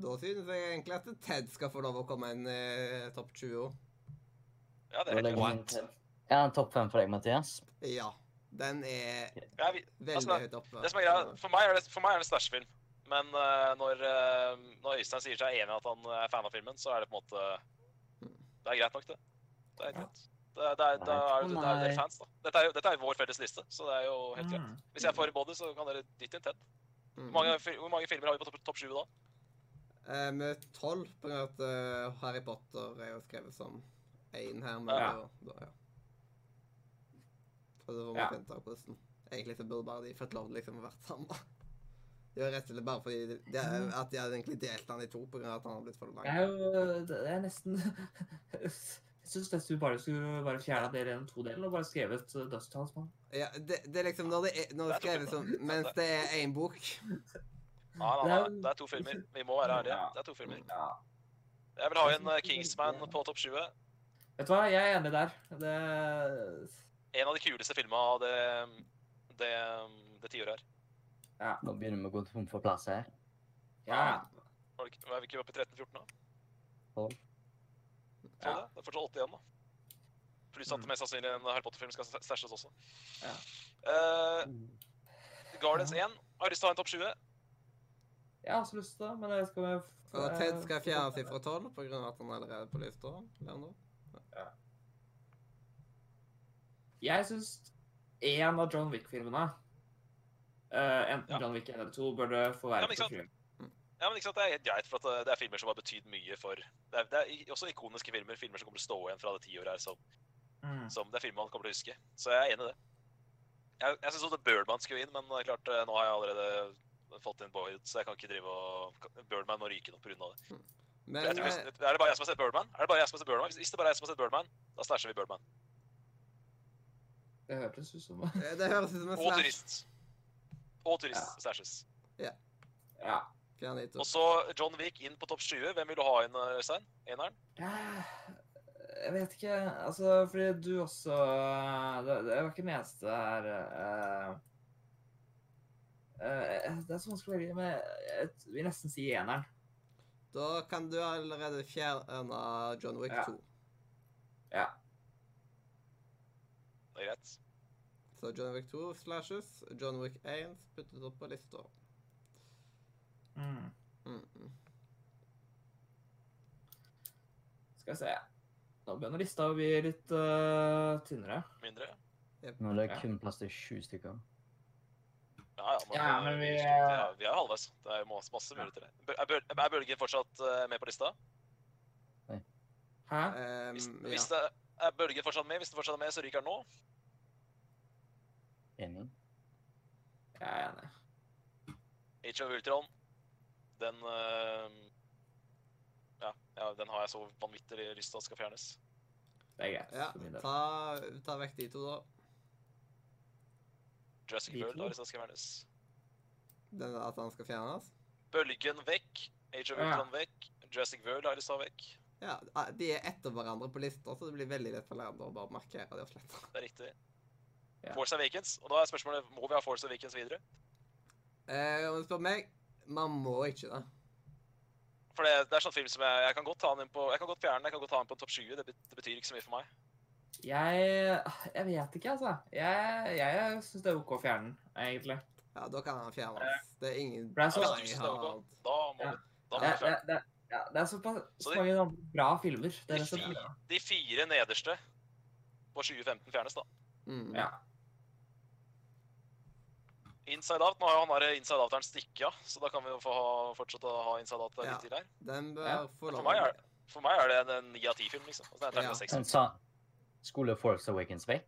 Da synes jeg egentlig at Ted skal få lov å komme inn i topp 20 òg. Ja, det Da er helt legger vi klart. den til. Ja, en topp fem for deg, Mathias. Ja. Den er Ja, vi, veldig Altså, høyt oppe. det som er greia, for meg er det, for meg er det stæsjfilm. Men eh, når, eh, når Øystein sier seg enig i at han eh, er fan av filmen, så er det på en måte Det er greit nok, det. Det er helt Ja. greit. Det, det, er, det, er, Nei, det, er, det nei. er fans, da. Dette er, jo- dette er jo vår felles liste, så det er jo helt greit. Mm. Hvis jeg får i body, så kan dere dytte inn tett. Mm. Hvor mange, fil- hvor mange filmer har vi på topp, topp 20 da? Eh, Med tolv, på grunn av at eh, Harry Potter er jo skrevet som én her. Men Ja. ja. Da, ja. Og det var Ja. mange penter på hvordan. Egentlig så burde bare de fått lov til liksom å vært sammen. Det var rett og slett bare fordi de, de, at de hadde egentlig delt han i to på grunn av at han hadde blitt for lang. Jeg er jo Det er nesten Jeg syns nesten vi bare skulle bare fjerna del én og to delen og bare skrevet eh, Dust Talisman. Ja, det, det er liksom når det er, når det er skrevet som Mens det er én bok. Nei, nei, Det er nei, jo- det er to filmer. Vi må være ærlige. Ja. Det er to filmer. Ja. Jeg vil ha en eh, Kingsman på topp 20. Vet du hva, jeg er enig der. Det En av de kuleste filmene av det, det, det tiåret her. Ja. Nå begynner vi å gå tom for plass her. ja. Var det ikke- Er vi ikke oppe i 13-14 nå? Tolv. Ja. Ja. Mm. Det. det er fortsatt 81, da. Pluss at det mest sannsynlig en Harry Potter-film skal sta- stæsjes også. Ja. Eh, Guardians 1 har lyst til å ha en topp 20. Jeg har også lyst til det, men jeg skal Og Ted eh, skal fjerne seg fra tolv på grunn av at han allerede er på lista. eller noe. Jeg syns én av John Wick-filmene eh, Enten Ja. John Wick 1 eller 2 burde få Ja, være men ikke på sant? film. Ja, men ikke sant, Det er helt greit, for at eh, det er filmer som har betydd mye for Det er, det er i- også ikoniske filmer. Filmer som kommer til å stå igjen fra det tiåret her. Som, Mm. som det er filmer man kommer til å huske. Så jeg er enig i det. Jeg, jeg syns også The Birdman skulle inn, men det er klart, eh, nå har jeg allerede fått inn Boyd, så jeg kan ikke drive og Birdman må ryke nå pga. det. Men Jeg tror, eh, hvis- er det bare jeg som har sett Birdman? Er det bare jeg som har sett Birdman? Hvis, hvis det bare er jeg som har sett Birdman, da stæsjer vi Birdman. Det hørtes ut som det høres ut som en Og slash. turist. Og turist Ja. stæsjes. Ja. Fjern de to. Og så John Wick inn på topp 20. Hvem vil du ha inn, Øystein? Eneren? Eh, Jeg vet ikke Altså, fordi du også Det, det var ikke den eneste her eh, eh, Det er så vanskelig å velge, men jeg jeg vil nesten si eneren. Da kan du allerede fjerne John Wick Ja. 2. Det er greit. Så John Wick 2 slashes, John Wick 1 puttet opp på lista. Mm. mm. Skal vi se Nå begynner lista å bli litt eh, tynnere. Mindre? Nå er det Ja. kun plass til sju stykker. Ja, ja. Ja, men vi, er, vi er halvveis. Det er jo masse, masse muligheter. der. Bø- Er, Bøl- er Bølgen fortsatt eh, med på lista? Hæ? Ehm, Hvis, ja. hvis det, er Bølgen fortsatt med? Hvis den fortsatt er med, så ryker den nå. Enig. Jeg er enig. Age of Ultron, den eh, ja, ja, den har jeg så vanvittig lyst til at skal fjernes. Det er greit. ja. for min del. Ta, ta vekk de to, da. Jurassic De World to? har lyst til at skal fjernes. Den der at han skal fjernes. Bølgen vekk. Age of Ja. Ultron vekk. Jurassic World har jeg lyst til å ha vekk. Ja, ah, De er etter hverandre på lista, så det blir veldig lett for hverandre å bare markere de og slette. Det er riktig. Ja. Force Awakens. Og da er spørsmålet må vi ha Force Awakens videre. Eh, om du spør meg, man må ikke det. For det, det er sånn film som jeg, jeg kan godt ta den inn på Jeg kan godt fjerne den, jeg kan godt ta den på en topp 20. Det, bet- det betyr ikke så mye for meg. Jeg Jeg vet ikke, altså. Jeg, jeg syns det er OK å fjerne den, egentlig. Ja, da kan han fjernes. Det er ingen For det er så- Nei, Hvis du synes det er ok. Harald. Da må vi Ja. da må Det, vi det, fjerne den. det, ja, det er såpass Så så de- mange andre bra filmer. Det er de rett og slett fire- De fire nederste på 2015 fjernes, da. Mm. Ja. Inside Out. Nå har jo han der Inside Out-eren stikket av, så da kan vi jo få ha, fortsette å ha Inside Out Ja. litt til her. Den bør Ja, få for lov. meg er For meg er det en- en ni av ti-film, liksom. Altså, den er Ja. terningkast seks. Men Sånn, sa Skulle Force Awakens vekk?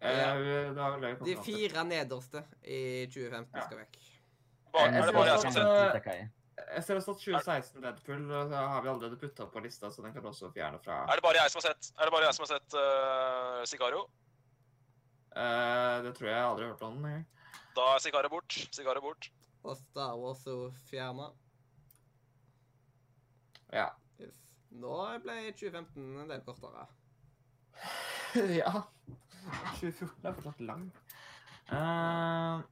Eh, det var vel det vi kom De fram til. fire nederste i 2015 Ja. skal vekk. Bare, Jeg er det ser bare eh, jeg også som at- har sett Jeg ser også at 2016 Deadpool eh, har vi allerede putta på lista, så den kan du også fjerne fra Er det bare jeg som har sett, er det bare jeg som har sett eh, Sicario? Eh, Det tror jeg jeg aldri har hørt om den. jeg. Da er Sicario bort. Sicario bort. Og Star Wars er fjerna. Ja. Yes. Nå ble 2015 en del kortere. ja. 2014 er fortsatt lang. Eh,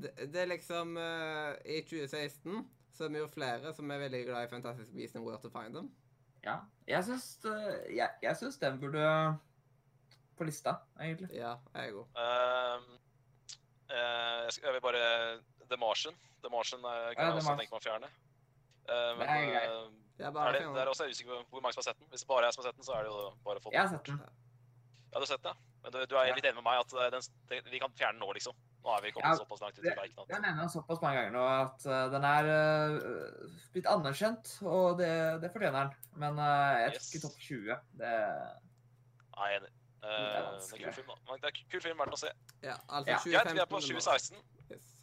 Det, det er liksom eh, I 2016 så er vi jo flere som er veldig glad i Fantastic Beasts and Where to Find Them. Ja. Jeg syns, eh, jeg, jeg syns den burde på lista, egentlig. Ja, jeg er god. Ehm, eh, jeg, skal, jeg vil bare The Martian. The Martian eh, Ja, kan jeg The også Martian. tenke meg å fjerne. Eh, Det men, er greit. eh, Det er er bare det, det er også jeg er usikker på hvor mange som har sett den. Hvis det bare er jeg som har sett den, så er det jo bare å få Jeg har den. sett den. Ja, du har sett den, ja. Men du, du er Ja. litt enig med meg at eh, den, den, vi kan fjerne den nå, liksom. Nå er vi kommet Ja, såpass langt ut i verken Jeg at mener den såpass mange ganger nå at eh, den er eh, blitt anerkjent, og det, det fortjener den. Men eh, jeg Yes. tror ikke topp 20. Det, Nei, jeg er enig. Eh, er det er vanskelig. kul film, da. Men Det er kul film verdt å se. Ja, altså Ja. Greit, vi 2015 er på det må- 2016. Yes.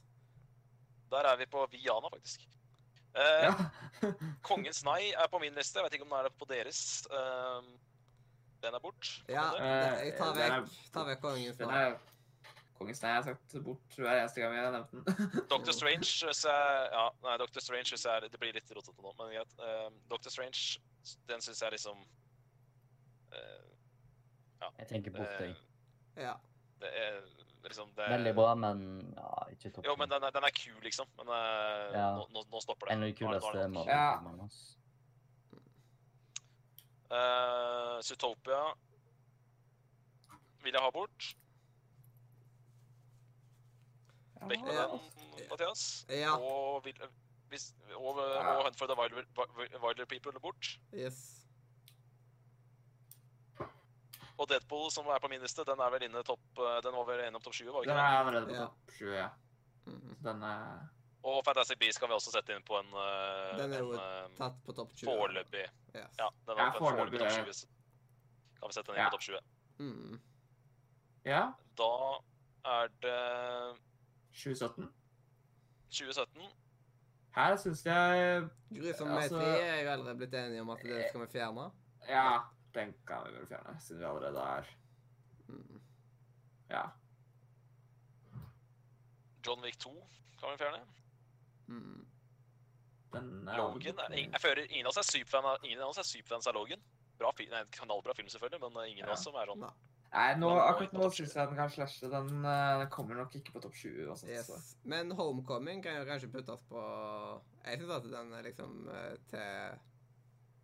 Der er vi på Viana, faktisk. Eh, ja. Kongens nei er på min liste. Jeg vet ikke om den er på deres. Ehm, den er bort. Ja, Kom det. det- jeg tar Eh, den er- vekk, tar vekk kongens Den navn. er Kongens nei jeg har sagt bort hver eneste gang vi har nevnt den. Dr. Strange synes jeg Ja, nei, Dr. Strange synes jeg er- Det blir litt rotete nå, men greit. Ehm, Dr. Strange, den syns jeg liksom eh, Jeg tenker borte. eh, Ja. Det er liksom det Veldig bra, men ja, ikke topp. Jo, men den er, den er kul, liksom. Men eh, Ja. nå, nå, nå stopper det. En av de Nå er det- nå er kuleste det nok. Ja. Marvel-filmene. ass. Eh, Zootopia vil jeg ha bort. Vekk med Ja. den, Mathias. Ja. Og, vil, hvis, og, Ja. og Hunt for the Wilder, Wilder People bort. Yes. Og Deadpool, som er på min liste, den er vel inne topp, eh, den var vel innom topp 20, var Den ikke er det? allerede på Ja. topp 20. ja. Mhm. Den er Og Fantastic Beasts kan vi også sette inn på en, eh, Den er jo en eh, Tatt på topp 20. foreløpig. Yes. Ja, den Ja, er på en foreløpig foreløpig, topp ja. 20. så Kan vi sette den inn Ja. på topp 20. Mhm. Ja. Da er det 2017. 2017. Her syns jeg Grusomme Altså- tre er jo allerede blitt enige om at det skal vi fjerne. Ja, den kan vi vel fjerne, siden vi allerede er Mhm. Ja. John Wick 2 kan vi fjerne. Mhm. Den er Logan. er- Jeg føler ingen av oss er superfan av, ingen av, oss er superfans av Logan. Bra, fi- nei, en knallbra film, selvfølgelig, men eh, ingen av Ja. oss som er sånn Nei. Nei, nå, Den var akkurat ikke på nå topp syns jeg den kan slashe. Den, eh, den kommer nok ikke på topp 20. Og sånt, så. Yes. Men Homecoming kan jo kanskje puttes på Jeg syns at den er liksom eh, til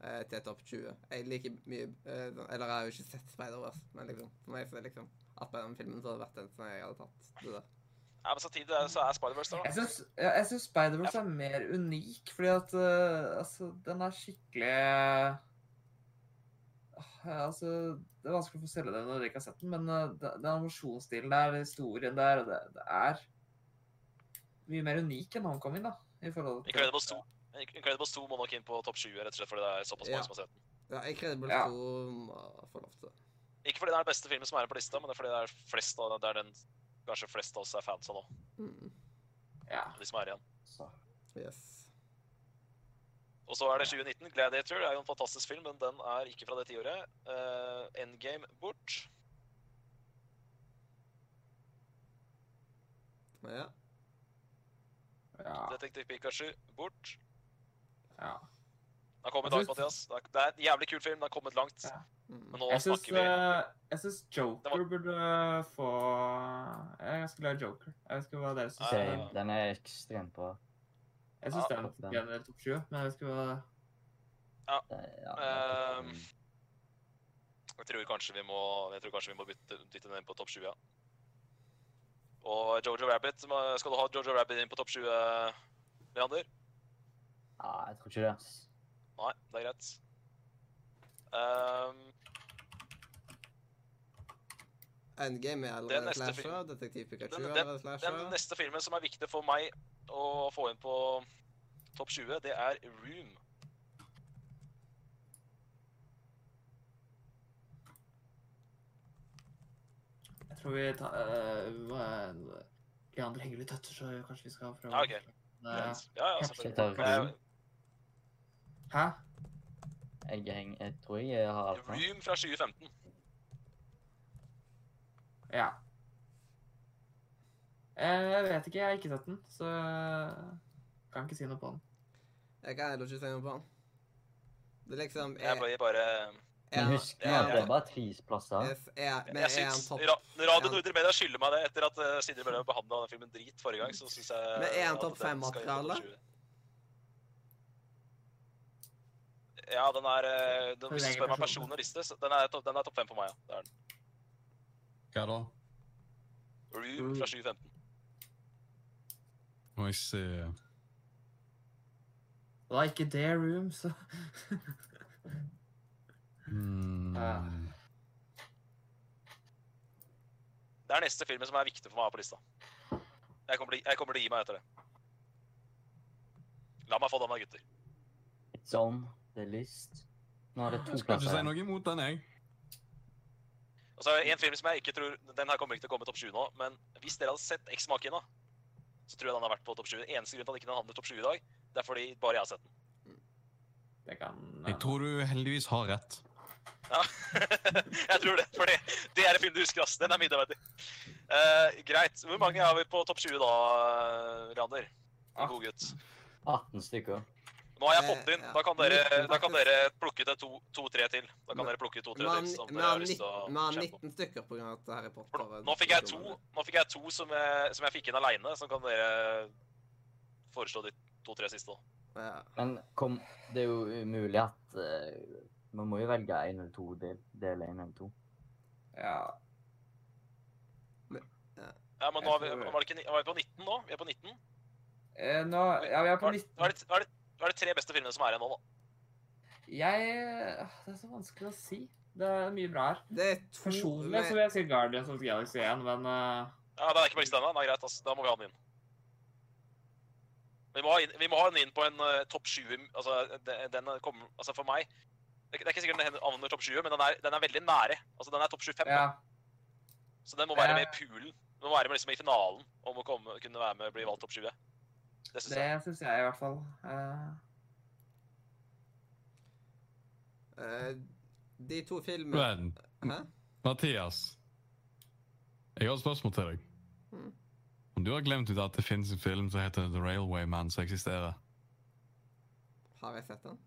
eh, til topp 20. Jeg liker mye eh, sånn- Eller jeg har jo ikke sett Spider-Verse, men liksom, for meg så er det liksom at på den filmen så hadde det vært den som jeg hadde tatt. Det der. Nei, men samtidig er- så er Spider-Verse der, Jeg da. syns, ja, jeg syns Spider-Verse er mer unik, fordi at eh, altså, den er skikkelig Ah, Altså, det er vanskelig å få selge den når dere ikke har sett den, men eh, de- den animasjonsstilen der, historien der, det, det er mye mer unik enn Homecoming, da. I forhold til Incredibles 2. Incredibles 2 må nok inn på topp 20, rett og slett fordi det er såpass Ja. mange som har sett den. Ja, Incredible Ja. 2 må få lov til det. Ikke fordi det er den beste filmen som er på lista, men det er fordi det er, flest av, det er den kanskje flest av oss er fans av nå. Mm. Ja. De som er igjen. Så. Yes. Og så er det 2019. Gladiator er jo en fantastisk film, men den er ikke fra det tiåret. Uh, Endgame bort. Ja. ja, Detektiv Pikachu bort. ja. Den har kommet Jeg langt, Mathias. Det er- det er en jævlig kul film. Den har kommet langt. Ja. Mm. Men nå Jeg syns, snakker vi eh, jeg syns Joker burde få Jeg er ganske glad i Joker. Jeg vet ikke hva dere syns. Nei, om nei, den. nei. Den er ekstremt bra. Jeg syns Ja. den fortjener topp 20, men jeg vet ikke hva Det er- ja, det er topp Ehm, fem. Jeg tror kanskje vi må, jeg tror kanskje vi må bytte, dytte den inn på topp 20. Ja. Og Jojo Rabbit. hva- Skal du ha Jojo Rabbit inn på topp 20, Leander? Ja, jeg tror ikke det. ass. Nei, det er greit. Ehm, Endgame er Den allerede neste slasher. film- Detektiv Pikachu Den- er den- allerede Den slasher. neste filmen som er viktig for meg å få inn på topp 20, det er Room. Jeg tror vi tar uh, Leander henger litt etter, så kanskje vi skal prøve eh, Ja, ok. Nei. Ja, ja, Kanskje selvfølgelig. tar Men, Room. Hæ? Jeg, heng, jeg tror jeg har eh, alt nå. Room fra 2015. Ja. Eh, Jeg vet ikke, jeg har ikke sett den, så eh, kan ikke si noe på den. Jeg kan heller ikke se noe på den. Det er liksom Jeg er- blir bare eh, Men er- husk nå er- at det er bare tvisplasser. Yes, er, men Jeg er han syns topp Ra- Ja. Radio Nordre Media skylder meg det etter at eh, Sindre Bøhler behandla den filmen drit forrige gang, så syns jeg Men er han at topp den fem skal inn på topp materiale? 20. Ja, den er eh, den, For Hvis du egen spør meg om person. person og liste, så den er topp den er topp fem på meg. ja. Det er den. Hva da? Mm. Rue fra 715. Må jeg se Det var ikke det room, så hmm. Ah. Det er neste filmen som er viktig for meg å ha på lista. Jeg kommer, til, jeg kommer til å gi meg etter det. La meg få dem av gutter. It's on the list. Nå er det to Jeg skal ikke plasser si igjen. noe imot den, jeg. Og så er det Altså, en film som jeg ikke tror Den her kommer ikke til å komme i topp 20 nå, men hvis dere hadde sett Eksmaken, da, så tror jeg den har vært på topp 20. Eneste grunn til at den ikke havner i topp 20 i dag, det er fordi bare jeg har sett den. Det kan eh, Jeg tror du heldigvis har rett. Ja. jeg tror det, for det, det er en film du husker, ass. Den er middelverdig. Eh, greit. Hvor mange har vi på topp 20 da, Rander? God gutt. 18 stykker. Nå har jeg fått inn. Da kan dere, Eh, da kan dere plukke ut to-tre til. Da kan dere plukke Vi ut to-tre har til. ni- som vi dere har har lyst til å nitten- vi har liksom kjempe om. 19 stykker på grunn av at Harry Potter For nå- Nå fikk jeg to, nå fikk jeg to som, jeg, som jeg fikk inn aleine, så kan dere foreslå de to-tre siste. da. Ja. Men kom, det er jo umulig at eh, Man må jo velge én eller to del, del én eller to. Ja. Ja, men Jeg nå er vi, tror- var det ikke, ni- var vi på 19 nå? Vi er på 19. Eh, nå Ja, vi er på Hva er, 19. hva er, det, hva er, det, hva er de tre beste filmene som er igjen nå, da? Jeg ah, Det er så vanskelig å si. Det er mye bra her. Det er to Personlig så men- vil jeg si Guardians of the Galaxy 1, men eh, Ja, Den er ikke på lista ennå. Den er greit, ass. Da må vi ha den inn. Vi må ha, inn, vi må ha den inn på en eh, topp 20 altså, de- den kommer, altså for meg Det er ikke- det er ikke sikkert den havner topp 20, men den er, den er veldig nære. Altså, Den er topp 25, ja. så den må være Ja. med i poolen. Den må være med liksom i finalen om å komme, kunne være med og bli valgt topp 20. Det synes jeg. Det syns jeg i hvert fall. Eh, eh, De to filmene Men Hæ? Mathias, jeg har et spørsmål til deg. Mm. Om du har glemt ut at det finnes en film som heter The Railway Man som eksisterer? Har jeg sett den?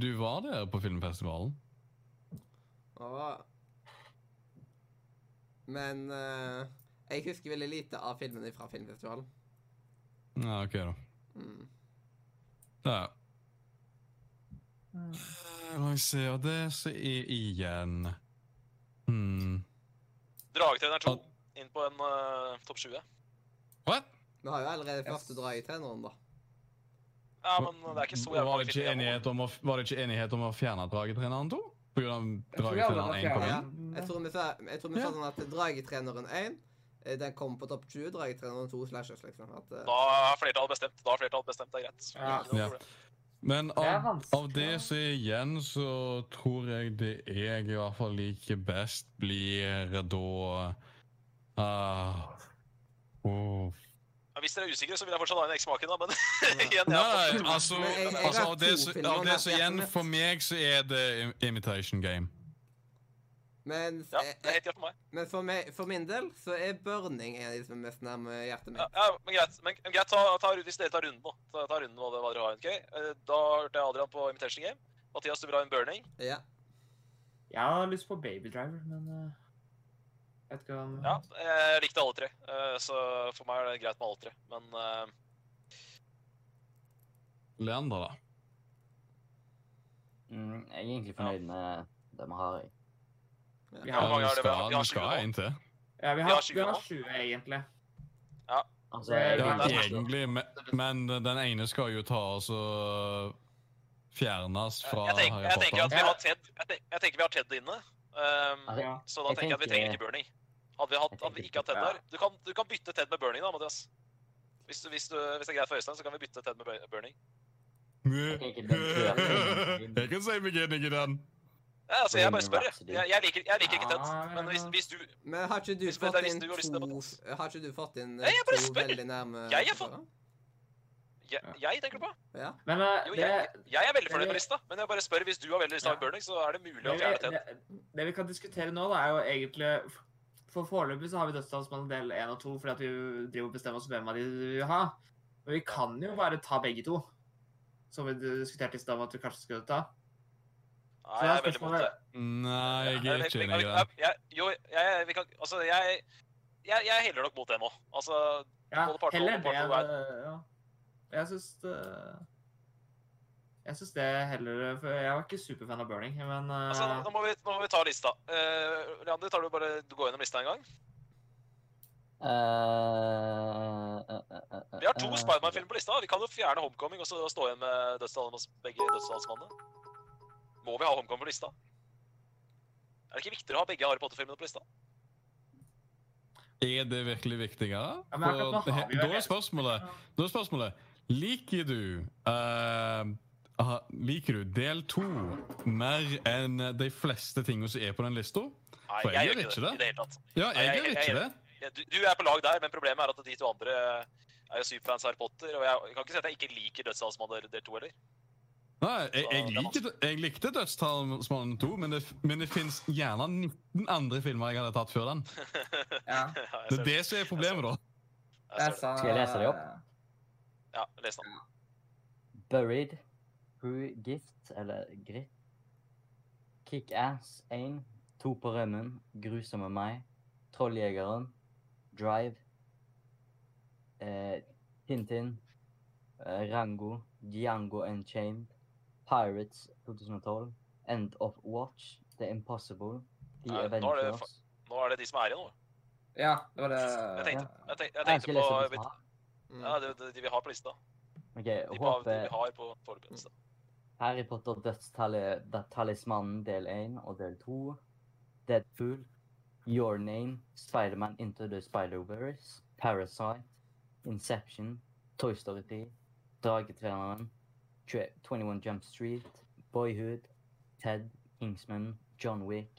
Du var der på filmfestivalen. Og... Men eh, jeg husker veldig lite av filmene fra filmfestivalen. Ja, ok da. Mm. Ja. Eh, La meg se, og det så er igjen hmm. Dragetreneren 2 inn på en eh, topp 20. What? Vi har jo allerede Jeg første drag i treneren, da. Ja, men eh, det er ikke så jævla var, mange det ikke filmer igjen. enighet om å, var det ikke enighet om å fjerne dragetreneren 2? På grunn av Jeg tror vi alle har dragetreneren 1 kom Ja, Jeg inn? fjernet den. tror vi sa, jeg tror vi Ja. sa sånn at dragetreneren 1 eh, den kom på topp 20. Dragetreneren 2 slashes, liksom. At, eh, Da har flertallet bestemt. Da har flertallet bestemt, det er greit. Ja. Ikke noe Ja. problem. Men Det er av, vanskelig. altså. av det som er igjen, så tror jeg det jeg i hvert fall liker best, blir da ah, oh. åh. Ja, hvis dere er usikre, så vil jeg fortsatt ha en eksmaken, da, men ja. igjen, jeg har Nei, fått to. altså, Men jeg- jeg altså har av, det, to som- filmer av det med som er igjen hjertet for meg, så er det Im- Imitation Game. mens, Ja, eh, det er helt greit for meg. men for, meg, for min del så er burning en av de som er mest nærme hjertet Ja, mitt. ja, men greit. Men, men greit ta, ta, hvis dere tar runden, da. Ta, ta runden hva det- hva dere har, ok? Eh, Da hørte jeg Adrian på Imitation Game. Mathias, du vil ha en burning. Ja. Jeg har lyst på Baby Driver, men eh, vet ikke om Ja, jeg likte alle tre, eh, så for meg er det greit med alle tre. Men eh, Leander, da. Mm, jeg er egentlig fornøyd med det vi har. jeg. Vi Hvor har, mange Ja, har det det vi har? skal, Vi har det skal sju nå. en til. ja, vi vi har har, vi har 20 20, egentlig. Altså, jeg, Det Ja, er liker- greit. egentlig, me- men den ene skal jo ta oss og fjernes fra jeg, tenk, jeg, Harry tenker at Potter. vi har Ted, jeg, tenk, jeg tenker vi har Ted inne. Um, Ja, Ja. Så da Jeg tenker jeg at vi tenker- trenger ikke burning. Hadde vi, hatt, Jeg hadde vi tenker ikke hatt Ted ja. der du kan, du kan bytte Ted med burning, da, Mathias. Hvis, du, hvis, du, hvis det er greit for Øystein, så kan vi bytte Ted med bur- burning. Jeg tenker den tror jeg- Jeg kan si meg enig i den. Ja, altså, jeg bare Bohemian spør, jeg. Rhapsody. Jeg, jeg, liker, jeg liker ikke Ted. Ja, Men hvis, ja. hvis du Men har ikke du Hvis- fått vent, inn hvis du har lyst til å to ta Har ikke du fått inn eh, Nei, jeg bare to spør. veldig nærme Jeg har forfattere? jeg, jeg tenker på Ja. Men eh, Jo, det, jeg, jeg er veldig fornøyd det- med lista, men jeg bare spør hvis du har veldig lyst til å ha Ja. burning, så er det mulig å det, fjerne vi- Ted. det, det vi kan diskutere nå, da, er jo egentlig For foreløpig så har vi dødsdalsmann del 1 og 2 fordi at vi driver og bestemmer oss hvem av de vi vil ha. Men vi kan jo bare ta begge to. Som vi diskuterte i stad om at vi kanskje skulle ta. Nei, jeg er veldig mot det. Nei, jeg er ikke vi- enig vi- i den. jeg- Jo, jeg, vi kan, altså, jeg, jeg, jeg heller nok mot det nå. Altså, Ja, Både part to og heller part to det. Ja. eh, Jeg syns det Jeg syns det heller for Jeg var ikke superfan av burning, men eh, Altså, nå, nå, må vi, nå må vi ta lista. Uh, Leander, tar du bare du går gjennom lista en gang? Eh, Vi har Eh, to Spiderman-filmer på lista. Vi kan jo fjerne Homecoming og så stå igjen med dødstallet hos begge dødstalsmannene. Må vi ha Homecoming på lista? Er det ikke viktigere å ha begge Harry Potter-filmene på lista? Er det virkelig viktigere? Ja, men akkurat nå For- har vi jo da er helt- spørsmålet Da er spørsmålet Liker du eh, ha- Liker du del to mer enn de fleste tingene som er på den lista? Nei, For jeg gjør ikke det. i det hele tatt. Nei, Ja, jeg jeg- gjør jeg- ikke det. Ja, Du, du er på lag der, men problemet er at de to andre er jo superfans av Harry Potter. Og jeg, jeg kan ikke si at jeg ikke liker Dødsdalsmannen del to heller. Nei, jeg, Så jeg, det er liker, jeg likte Dødstalsmannen 2, men det, men det fins gjerne 19 andre filmer jeg hadde tatt før den. ja. jeg Det ser er det som er problemet, da. Jeg ser det. sånn, Skal jeg lese det opp? eh, Ja, les den. Buried, Who Gift, eller Grit, Kick-Ass 1, To på rømmen, Grusomme meg, Trolljegeren, Drive, eh, Tintin, eh, Rango, Django Unchained, Pirates 2012, End of Watch, The Impossible, The Nei, nå er det Avengers. Nå er det de som er igjen, nå. ja, det var det Jeg tenkte, Ja. jeg tenkte, jeg Jeg liksom- skal tenkte på eh, lese det ja, som her. Mm. det, det, de vi har på lista. Ok, De, på, de vi håper har på foreløpig lista. Harry Potter Dødstali- Da- Talismanen del 1 og del 2. Deadpool. Your Name. Spiderman Into the Spider-Verse. Parasite. Inception. Toy Story 3. Dragetreneren. Tre- 21 Jump Street. Boyhood. Ted. Kingsman. John Wick.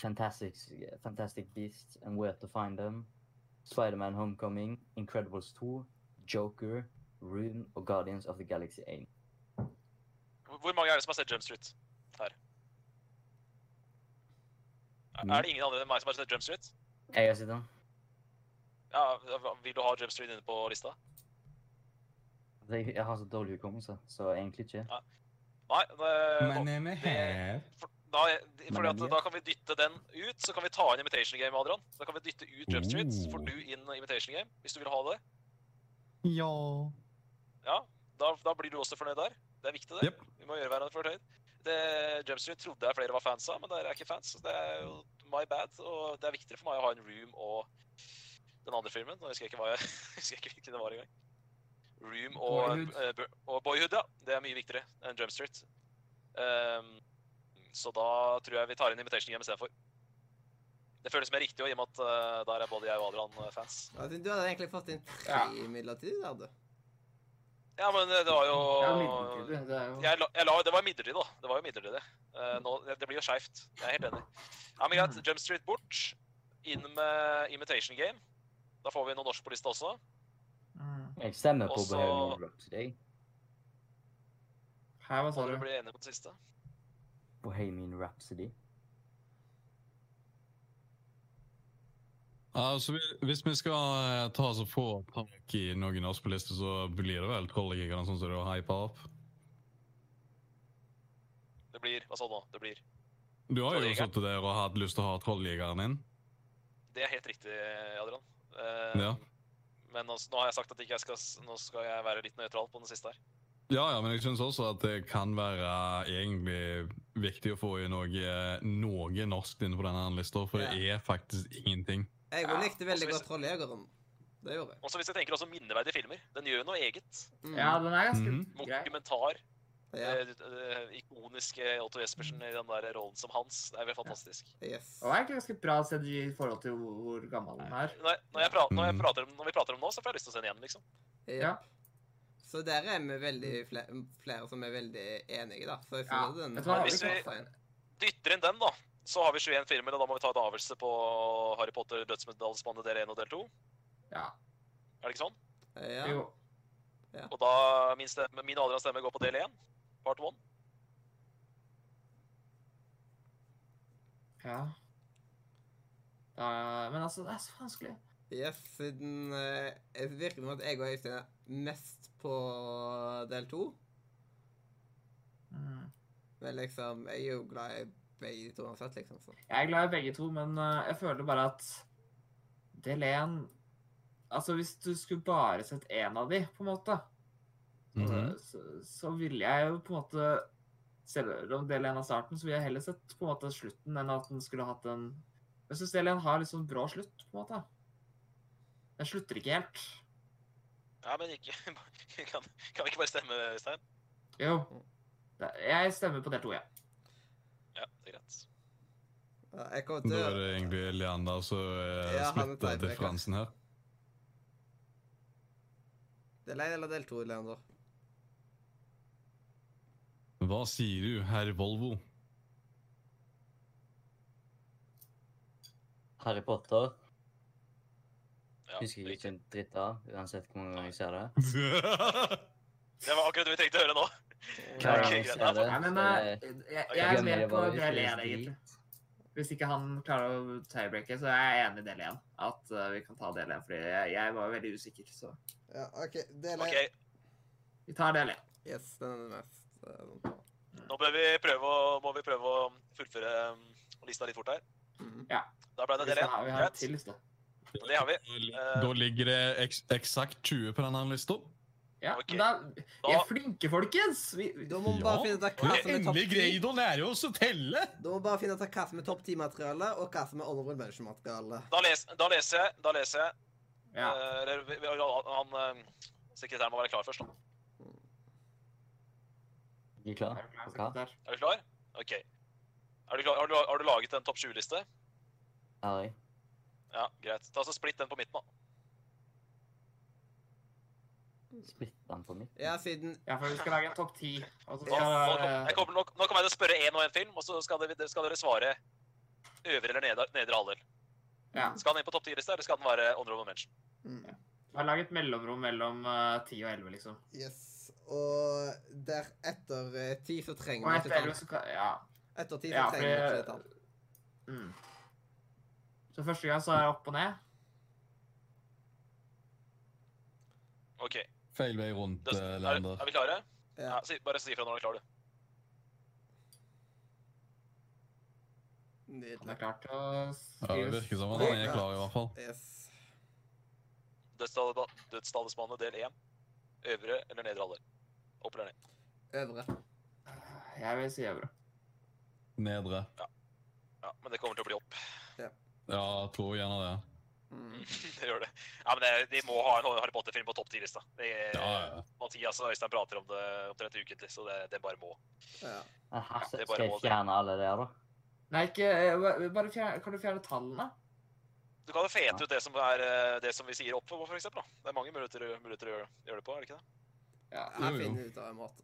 Fantastic, Fantastic Beasts and Where to Find Them. Spider-Man Homecoming. Incredibles 2. Joker. Room og Guardians of the Galaxy 1. Hvor hvor mange er det som har sett Jump Street her? Er- Er det ingen andre enn meg som har sett Jump Street? Jeg har sett den. Ja, hva- Vil du ha Jump Street inne på lista? Altså, Jeg, jeg har så dårlig hukommelse, så egentlig ikke. Nei. Det, name is Harry. For, da, fordi at, Mania. da kan vi dytte den ut, så kan vi ta inn Imitation Game, Adrian. Da kan vi dytte ut Jump Street, så får Oh. du inn Imitation Game, hvis du vil ha det. Ja. Ja, Da, da blir du også fornøyd der. Det er viktig, det. Jep. Vi må gjøre hverandre fornøyd. Det, Jump Street trodde jeg flere var fans av, men dere er ikke fans. så Det er jo my bad. Og det er viktigere for meg å ha en room og den andre filmen. Nå husker jeg ikke hva jeg husker jeg ikke hvilken det var engang. Room og Boyhood. eh, Bur- og Boyhood, ja. Det er mye viktigere enn Jump Street. Ehm, så da tror jeg vi tar inn Invitation Game istedenfor. Det føles mer riktig, og i og med at eh, der er både jeg og Adrian eh, fans. Jeg synes Altså, Du hadde egentlig fått inn tre Ja. midlertidig, hadde du? Ja, men eh, det var Det er jo jo midlertidig. Det er jo jeg la, jeg la, det var midlertidig, da. Det var jo midlertidig. Eh, nå, det blir jo skeivt. Jeg er helt enig. Ja, men greit. Jump Street bort. Inn med Imitation Game. Da får vi noe norsk på lista også. Mm. Jeg stemmer på Og så- Bohemian Rhapsody. jeg. Her, hva Så sa dere du? blir enige på den siste. Bohemian Rhapsody. Altså, vi- hvis vi skal eh, ta oss og få tak i noen av oss på lista, så blir det vel Trolljegeren sånn som du har hypa opp. Det blir Hva sa du nå? Det blir Du har jo Trolljegeren. sittet der og hatt lyst til å ha Trolljegeren inn. Det er helt riktig, Adrian. Eh, Ja. Men nå, nå har jeg sagt at ikke jeg skal, s- nå skal jeg være litt nøytral på den siste her. Ja, ja, men jeg syns også at det kan være egentlig viktig å få i noe, noe norsk inne på denne her lista, for det er faktisk ingenting. Jeg Ja, likte veldig også altså, hvis- godt Trolljegeren. Det gjorde jeg. Også hvis jeg tenker også minneverdige filmer. Den gjør jo noe eget. Mm. Ja, den er ganske Mhm. grei. Dokumentar. ja. eh, eh, ikoniske Otto Jespersen i den der rollen som Hans. Det er vel fantastisk. Yes. Eh, Og er egentlig ganske bra sett i forhold til hvor, hvor gammel den er. Når, jeg- når, jeg prater, når, jeg Mm. Mhm. prater om, når vi prater om nå, så får jeg lyst til å se den igjen, liksom. Ja. Jep. Så der er vi veldig flere, flere som er veldig enige, da. Så jeg Ja, synes den vet du hva, hvis vi- passer inn. Dytter inn den, da. Så har vi 21 filmer, og da må vi ta en avgjørelse på Harry Potter, Dødsmedaljespannende del 1 og del 2. Ja. Er det ikke sånn? Ja. Jo. Og da min, stemme, min og Adrians stemme går på del 1, part 1. Ja. Da- men altså, det er så vanskelig. Yes, siden eh, det virker som at jeg og Øystein er mest på del to. Mm. Men liksom, jeg er jo glad i begge de to uansett, liksom. Så. Jeg er glad i begge to, men eh, jeg føler bare at del én Altså, hvis du skulle bare sett én av de, på en måte, Mhm. så, så ville jeg jo på en måte Selv om del én av starten, så ville jeg heller sett på en måte slutten enn at den skulle hatt en Jeg syns del én har litt sånn brå slutt, på en måte. Den slutter ikke helt. Ja, men ikke Kan, kan vi ikke bare stemme, Stein? Jo. Det- Jeg stemmer på del to, jeg. Ja, det er greit. Ja, Jeg kommer til Da å er det egentlig Leander som eh, Ja, han er splitter tiebreaker. differansen her. Del 1 eller del 2, Leander? Hva sier du, herr Volvo? Harry Potter Ja, husker jeg riktig. ikke en dritt av, uansett hvor mange ganger jeg ser det. Det var akkurat det vi trengte å høre nå. Hver gang Ok, jeg greit. ser det, Nei, men så eh, jeg- jeg, Ok, jeg er glemmer med jeg på bare del hvis én, det er egentlig. Hvis ikke han klarer å tiebreake, så er jeg enig i del én. At eh, vi kan ta del én, fordi jeg, jeg var veldig usikker, så Ja, OK. Del 1. Ok, vi tar del én. Yes, den er den mest. eh, sånn. Nå bør vi prøve å, må vi prøve å fullføre um, lista litt fort her. Mhm. Da ble det Vi del skal én. ha- vi har en Greit. til liste. Det har vi. Eh. Da ligger det eks eksakt 20 på denne lista. Ja, Ok. men da, vi Da- er flinke, folkens! Vi, vi- Da må vi bare Ja. finne ut av Vi hva har som er topp endelig 10. greid å lære oss å telle! Da må vi bare finne ut av hva som er topp 10-materiale, og hva som er honorable mention-materiale. Da, les, da leser jeg. Da leser jeg. ja. Eh, eller vi- vi- han, eh, sekretæren må være klar først. da. Ikke Eh, klar? Er du klar, Og hva? sekretær? Er du klar? OK. Er du klar? Har, du, har du laget en topp 20-liste? Er jeg? Ja, greit. Ta så Splitt den på midten, da. Splitter han på mitt? Ja, siden Ja, for vi skal lage en topp ti. Og så Nå, nå, skal kom- jeg kommer, nå, nå kommer jeg til å spørre én og én film, og så skal dere, skal dere svare øvre eller nedre, nedre halvdel. ja, Skal den inn på topp 10-lista, eller skal den være honorable mention? mm, vi har laget mellomrom mellom eh, ti og elleve, liksom. Yes. Og deretter eh, 10 så trenger Og vi etter ikke tall. elleve så kan Ja. Etter 10 så Ja, trenger vi fordi- ikke tall. Mm. Så første gang så er jeg opp og ned. OK. Feil vei rundt, Da, eh, er, Leander. er vi klare? Ja. Ja, si, bare si ifra når du er klar, du. Han er Nydelig. klar til å Ja, det virker som at han er klar, i hvert fall. Yes. Dødstal- Dødstallismanet del 1. Øvre eller nedre halvdel. Opp eller ned. Øvre. Jeg vil si øvre. Nedre. Ja, men det kommer til å bli opp. Ja, jeg tror gjerne det. Mm. det gjør det. Ja, men det, De må ha en Harry Potter-film på topp 10-lista. Det- Ja, ja. Mathias og Øystein prater om det omtrent ukentlig, så det, det bare må. Ja. Men Eh, her det er skal bare jeg mål, det. fjerne alle der, da? Nei, ikke eh, ba- Bare fjerne, kan du fjerne tallene? Du kan jo fete Ja. ut det som, er, eh, det som vi sier opp for, for eksempel. Da. Det er mange muligheter, muligheter å gjøre, gjøre det på, er det ikke det? Ja, Her Jo, jo. finner vi ut av en måte.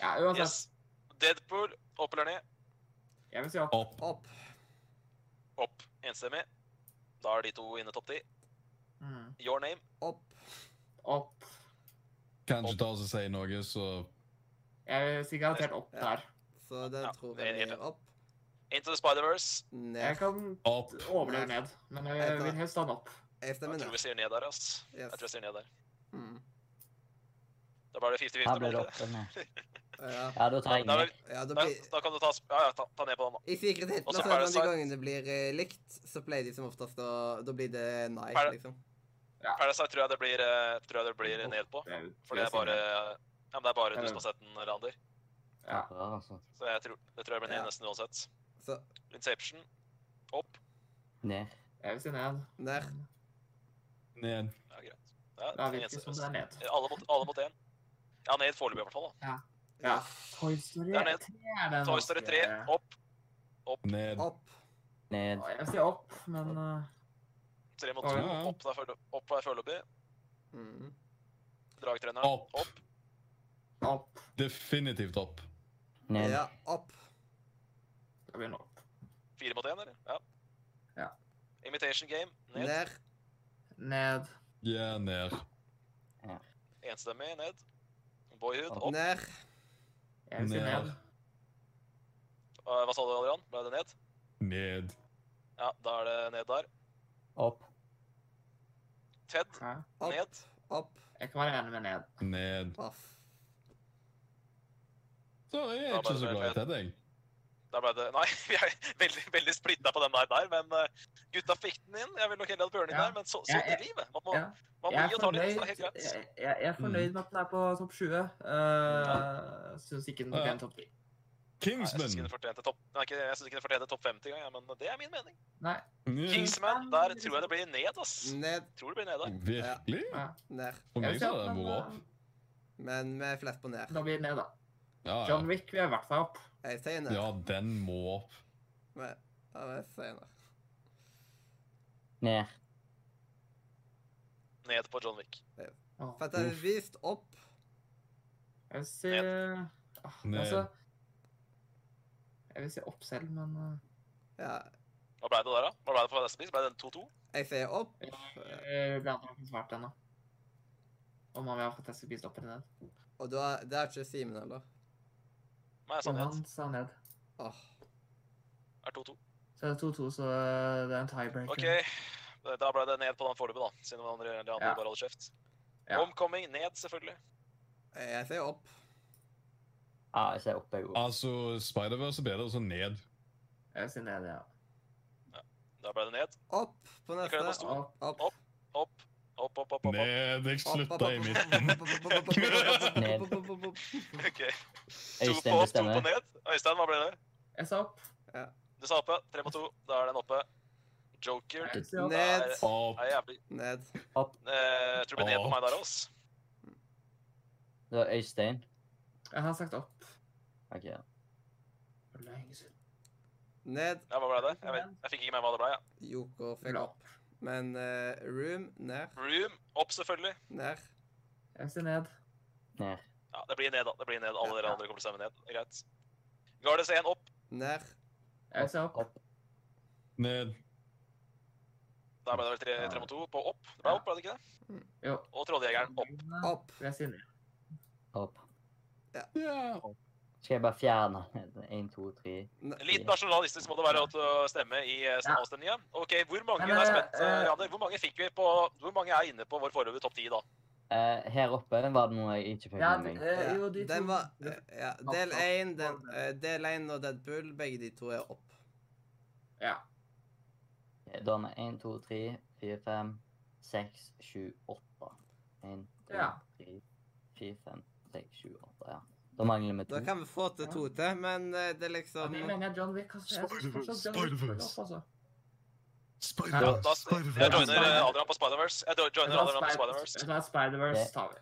ja uansett. Yes. Deadpool, opp eller ned? Jeg vil si opp. Opp. Opp. Opp. Enstemmig. Da er de to inne topp ti. Mm. Your name, Opp. Opp. Kan ikke ta oss og si noe, så Jeg vil si garantert opp Ja. der. Så den Ja, tror det er jeg helt- blir opp. Into the Spider-Verse. Jeg Ned. kan opp. overleve ned, men jeg Jeg tar- vil helst ha den opp. Jeg Jeg stemmer tror ned. vi sier ned der, ass. Yes. Jeg tror jeg sier ned der. Mm. Da blir det 50-50. Her blir blir det det opp eller ned. Ja. Ja, da tar jeg ikke det? ned. ja, da Da, blir da kan du ta, sp- ja, ja, ta, ta ned på den, da. I Secret Og Hitler, så så er det de Parasite. gangene det blir eh, likt, så pleier de som oftest å Da blir det nei, Para- liksom. Parasite tror jeg det blir, eh, tror jeg det blir ned på. Jeg vil- For det er bare, ja, men det er bare Ja. du som har sett den, Rander. Ja. Bra, altså. Så jeg tror, det tror jeg blir ned Ja. nesten uansett. Så Inception, opp. Ned. Jeg vil si ned. ned. Ned. Ja, greit. Ja, Da en- virker det som det er ned. alle, mot, alle mot én. Ja, ned foreløpig i hvert fall. da. Ja. Toy Story Det er ned. 3 er den. Toy Story norske- 3, opp. Ned. Opp. Ned. Jeg vil si opp, men eh, Tre mot Ja, to, ja. opp, der følge- opp er foreløpig. Mm. Dragtreneren, Opp. opp. opp. Definitivt opp. Ned. Ja, opp. Da blir den opp. Fire mot én, eller? Ja. Ja. Imitation Game, ned. Ned. Ned. Ja, ned. Enstemmig, ned. Boyhood, Opp. opp. Ned. Jeg vil si Ned. ned. Eh, Hva sa du, Adrian? Ble det ned? Ned. Ja, da er det ned der. Opp. Ted, Ja. Opp. ned. Opp. Jeg kan være enig med ned. Ned. Off. Så jeg er Da ikke bare så glad i ned. Ted, jeg. Der ble det Nei, vi er veldig, veldig splitta på den der, der men eh, Gutta fikk den inn. Jeg ville nok heller hatt burning Ja. der, men så, Ja, sånn er livet. Man må, ja. man må Jeg er, gi og ta litt. fornøyd, Det er helt greit. jeg, jeg jeg Mm. er fornøyd med at den er på topp 20. Uh, Syns ikke den Ja. fortjener topp 10. Nei, Jeg syns ikke Kingsman. den fortjente topp Nei, ikke- jeg synes ikke den fortjente topp 50 engang, jeg, men det er min mening. Nei. Ja, Kingsman, der tror jeg det blir ned, ass. Mm. Ned, Tror det blir ned der. Virkelig? Ja. ned. For Jeg meg vil så si hadde at den den, vært opp. eh, Men vi er flest på ned. Da blir den ned, da. Ja, Ah, ja. John Wick vil jeg i hvert fall opp. Jeg sier ned. ja, den må opp. Men- Ja, jeg sier ned. Ned. Ned på John Wick. Åh, For at det er vist opp Jeg vil si Åh, Ned. Altså Jeg vil si opp selv, men øh, Ja, Hva ble det der, da? Hva ble det på neste pris? Ble det en 2-2? jeg sier opp. eh, eh, det andre har ikke svart ennå. Om han vil ha fått jeg skal bli stoppet ned. Og da, det er ikke Simen heller. Nei, sannhet. Han sa ned. Åh, Er 2-2. Så er det 2-2, så øh, det er en tiebreaker. OK. Da ble det ned på den foreløpig, da. Siden de andre, de andre Ja. bare holder kjeft. Ja. Homecoming ned, selvfølgelig. jeg sier opp. Ja, Ah, jeg ser opp, jeg òg. Altså, Spider-Verse er bedre, og så ned. Jeg vil si ned, ja. Da ble det ned. Opp på Jeg kan ta neste. stor. Opp. Opp. Opp, Opp, opp, opp, opp. opp. opp. Ned. Jeg Opp, opp, slutta i opp, midten. opp, opp, opp, opp, opp, opp, Ned. opp, opp, opp, opp. OK. To på opp, to Øystein på bestemmer. ned. Øystein, hva ble det? Jeg sa opp. Du sa oppe. Tre på to. Da er den oppe. Joker. Jeg vil si opp. Ned. Opp. Nei, jævlig. Ned. Eh, jeg tror det blir ned på meg der, ass. Det var Øystein. Jeg har sagt opp. Ok, ja. For lenge siden. Ned. Ja, hva ble det? Jeg, vet, jeg fikk ikke med meg hva det ble. Ja. Joker fikk Bra. opp. Men eh, room ned. Room opp, selvfølgelig. Ned. Jeg vil si ned. Ned. Ja, Det blir ned, da. Det blir ned. Alle dere Ja. andre kommer til å stemme ned. Greit. Gardes 1 opp. Ned. Jeg vil si opp. Opp. Ned. Der ble det vel tre, tre mot to på opp. Det ble Ja. opp, ble det ikke det? Jo. øh, Og trolljegeren opp. Opp. Vil jeg si ned. Opp. Ja. Skal jeg bare fjerne én, to, tre Ned. Litt nasjonalistisk må det være å stemme i eh, Ja. avstemninga. OK, hvor mange Men, er eh, spent, eh, eh, Randi? Hvor mange fikk vi på Hvor mange er inne på vår foreløpige topp 10 da? Eh, Her oppe var det noe jeg ikke fikk Ja, med meg. eh, jo, Ja, de to. den var eh, Ja, del Opp, opp, 1 den, opp. eh, del 1 og Deadpool, begge de to er opp. Ja. Da er vi én, to, tre, fire, fem, seks, sju, åtte. Én, to, Ja. tre, fire, fem, seks, sju, åtte. Ja. Da mangler vi Da to. kan vi få til to til, men eh, det er Mm. Ja, liksom de mener jeg John Wick har jeg synes Spider-Verse, fortsatt John Wick skal Spider-Verse. opp, altså. Da, da, jeg joiner eh, Spider-Verse. Adrian på Spider-Verse. Jeg jo- joiner Adrian på Spider-Verse. Spider- Spider-Verse tar vi.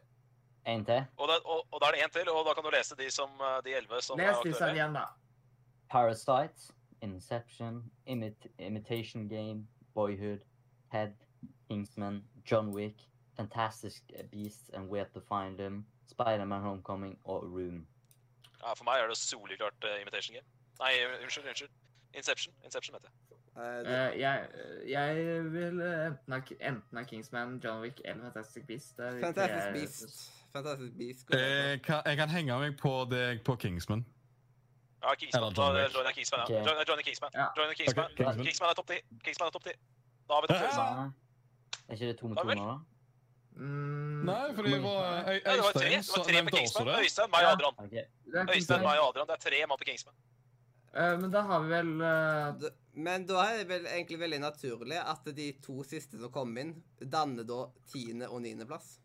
Én til. Og, da- og, og da er det én til, og da kan du lese de som eh, de elleve som er Les disse aktuelle. igjen, da. Parasite, Inception, Imit Imitation Game, Boyhood, Head, Kingsman, John Wick, Fantastic Beasts and Where to Find Them, Spider-Man Homecoming og Room. Ja, for meg er det soleklart eh, Imitation Game. Nei, unnskyld. unnskyld. Inception. Inception, heter det. eh, det- Eh, jeg, jeg vil eh, enten ha, enten ha Kingsman, John Wick eller Fantastic Beast. Det er de tre Fantastisk jeg- Beast. Fantastisk Beast. går det Eh, Jeg kan, Eh, jeg kan henge meg på deg på Kingsman. Ja, Kingsman. Eller Da John er Wick. Johnny Kingsman, ja. Ok. Johnny, Johnny Kingsman. Ja. Johnny Kingsman. Ok, Kingsman. Kingsman er topp 10. Kingsman er topp 10. Da har vi det Hæ? felles. da. Ja. Er ikke det to mot Ja to vel. nå, da? Mm, Nei, fordi det var Øy- Nei, det var tre. Øystein Det var som tre på nevnte også Kingsman. det. Øystein, meg og Ja. Adrian. Okay. det er Øystein, Kingsman. meg og Adrian. Det er tre mann på Kingsman. Eh, men da har vi vel eh, Da- Men da er det vel egentlig veldig naturlig at de to siste som kom inn, danner da tiende- og niendeplass.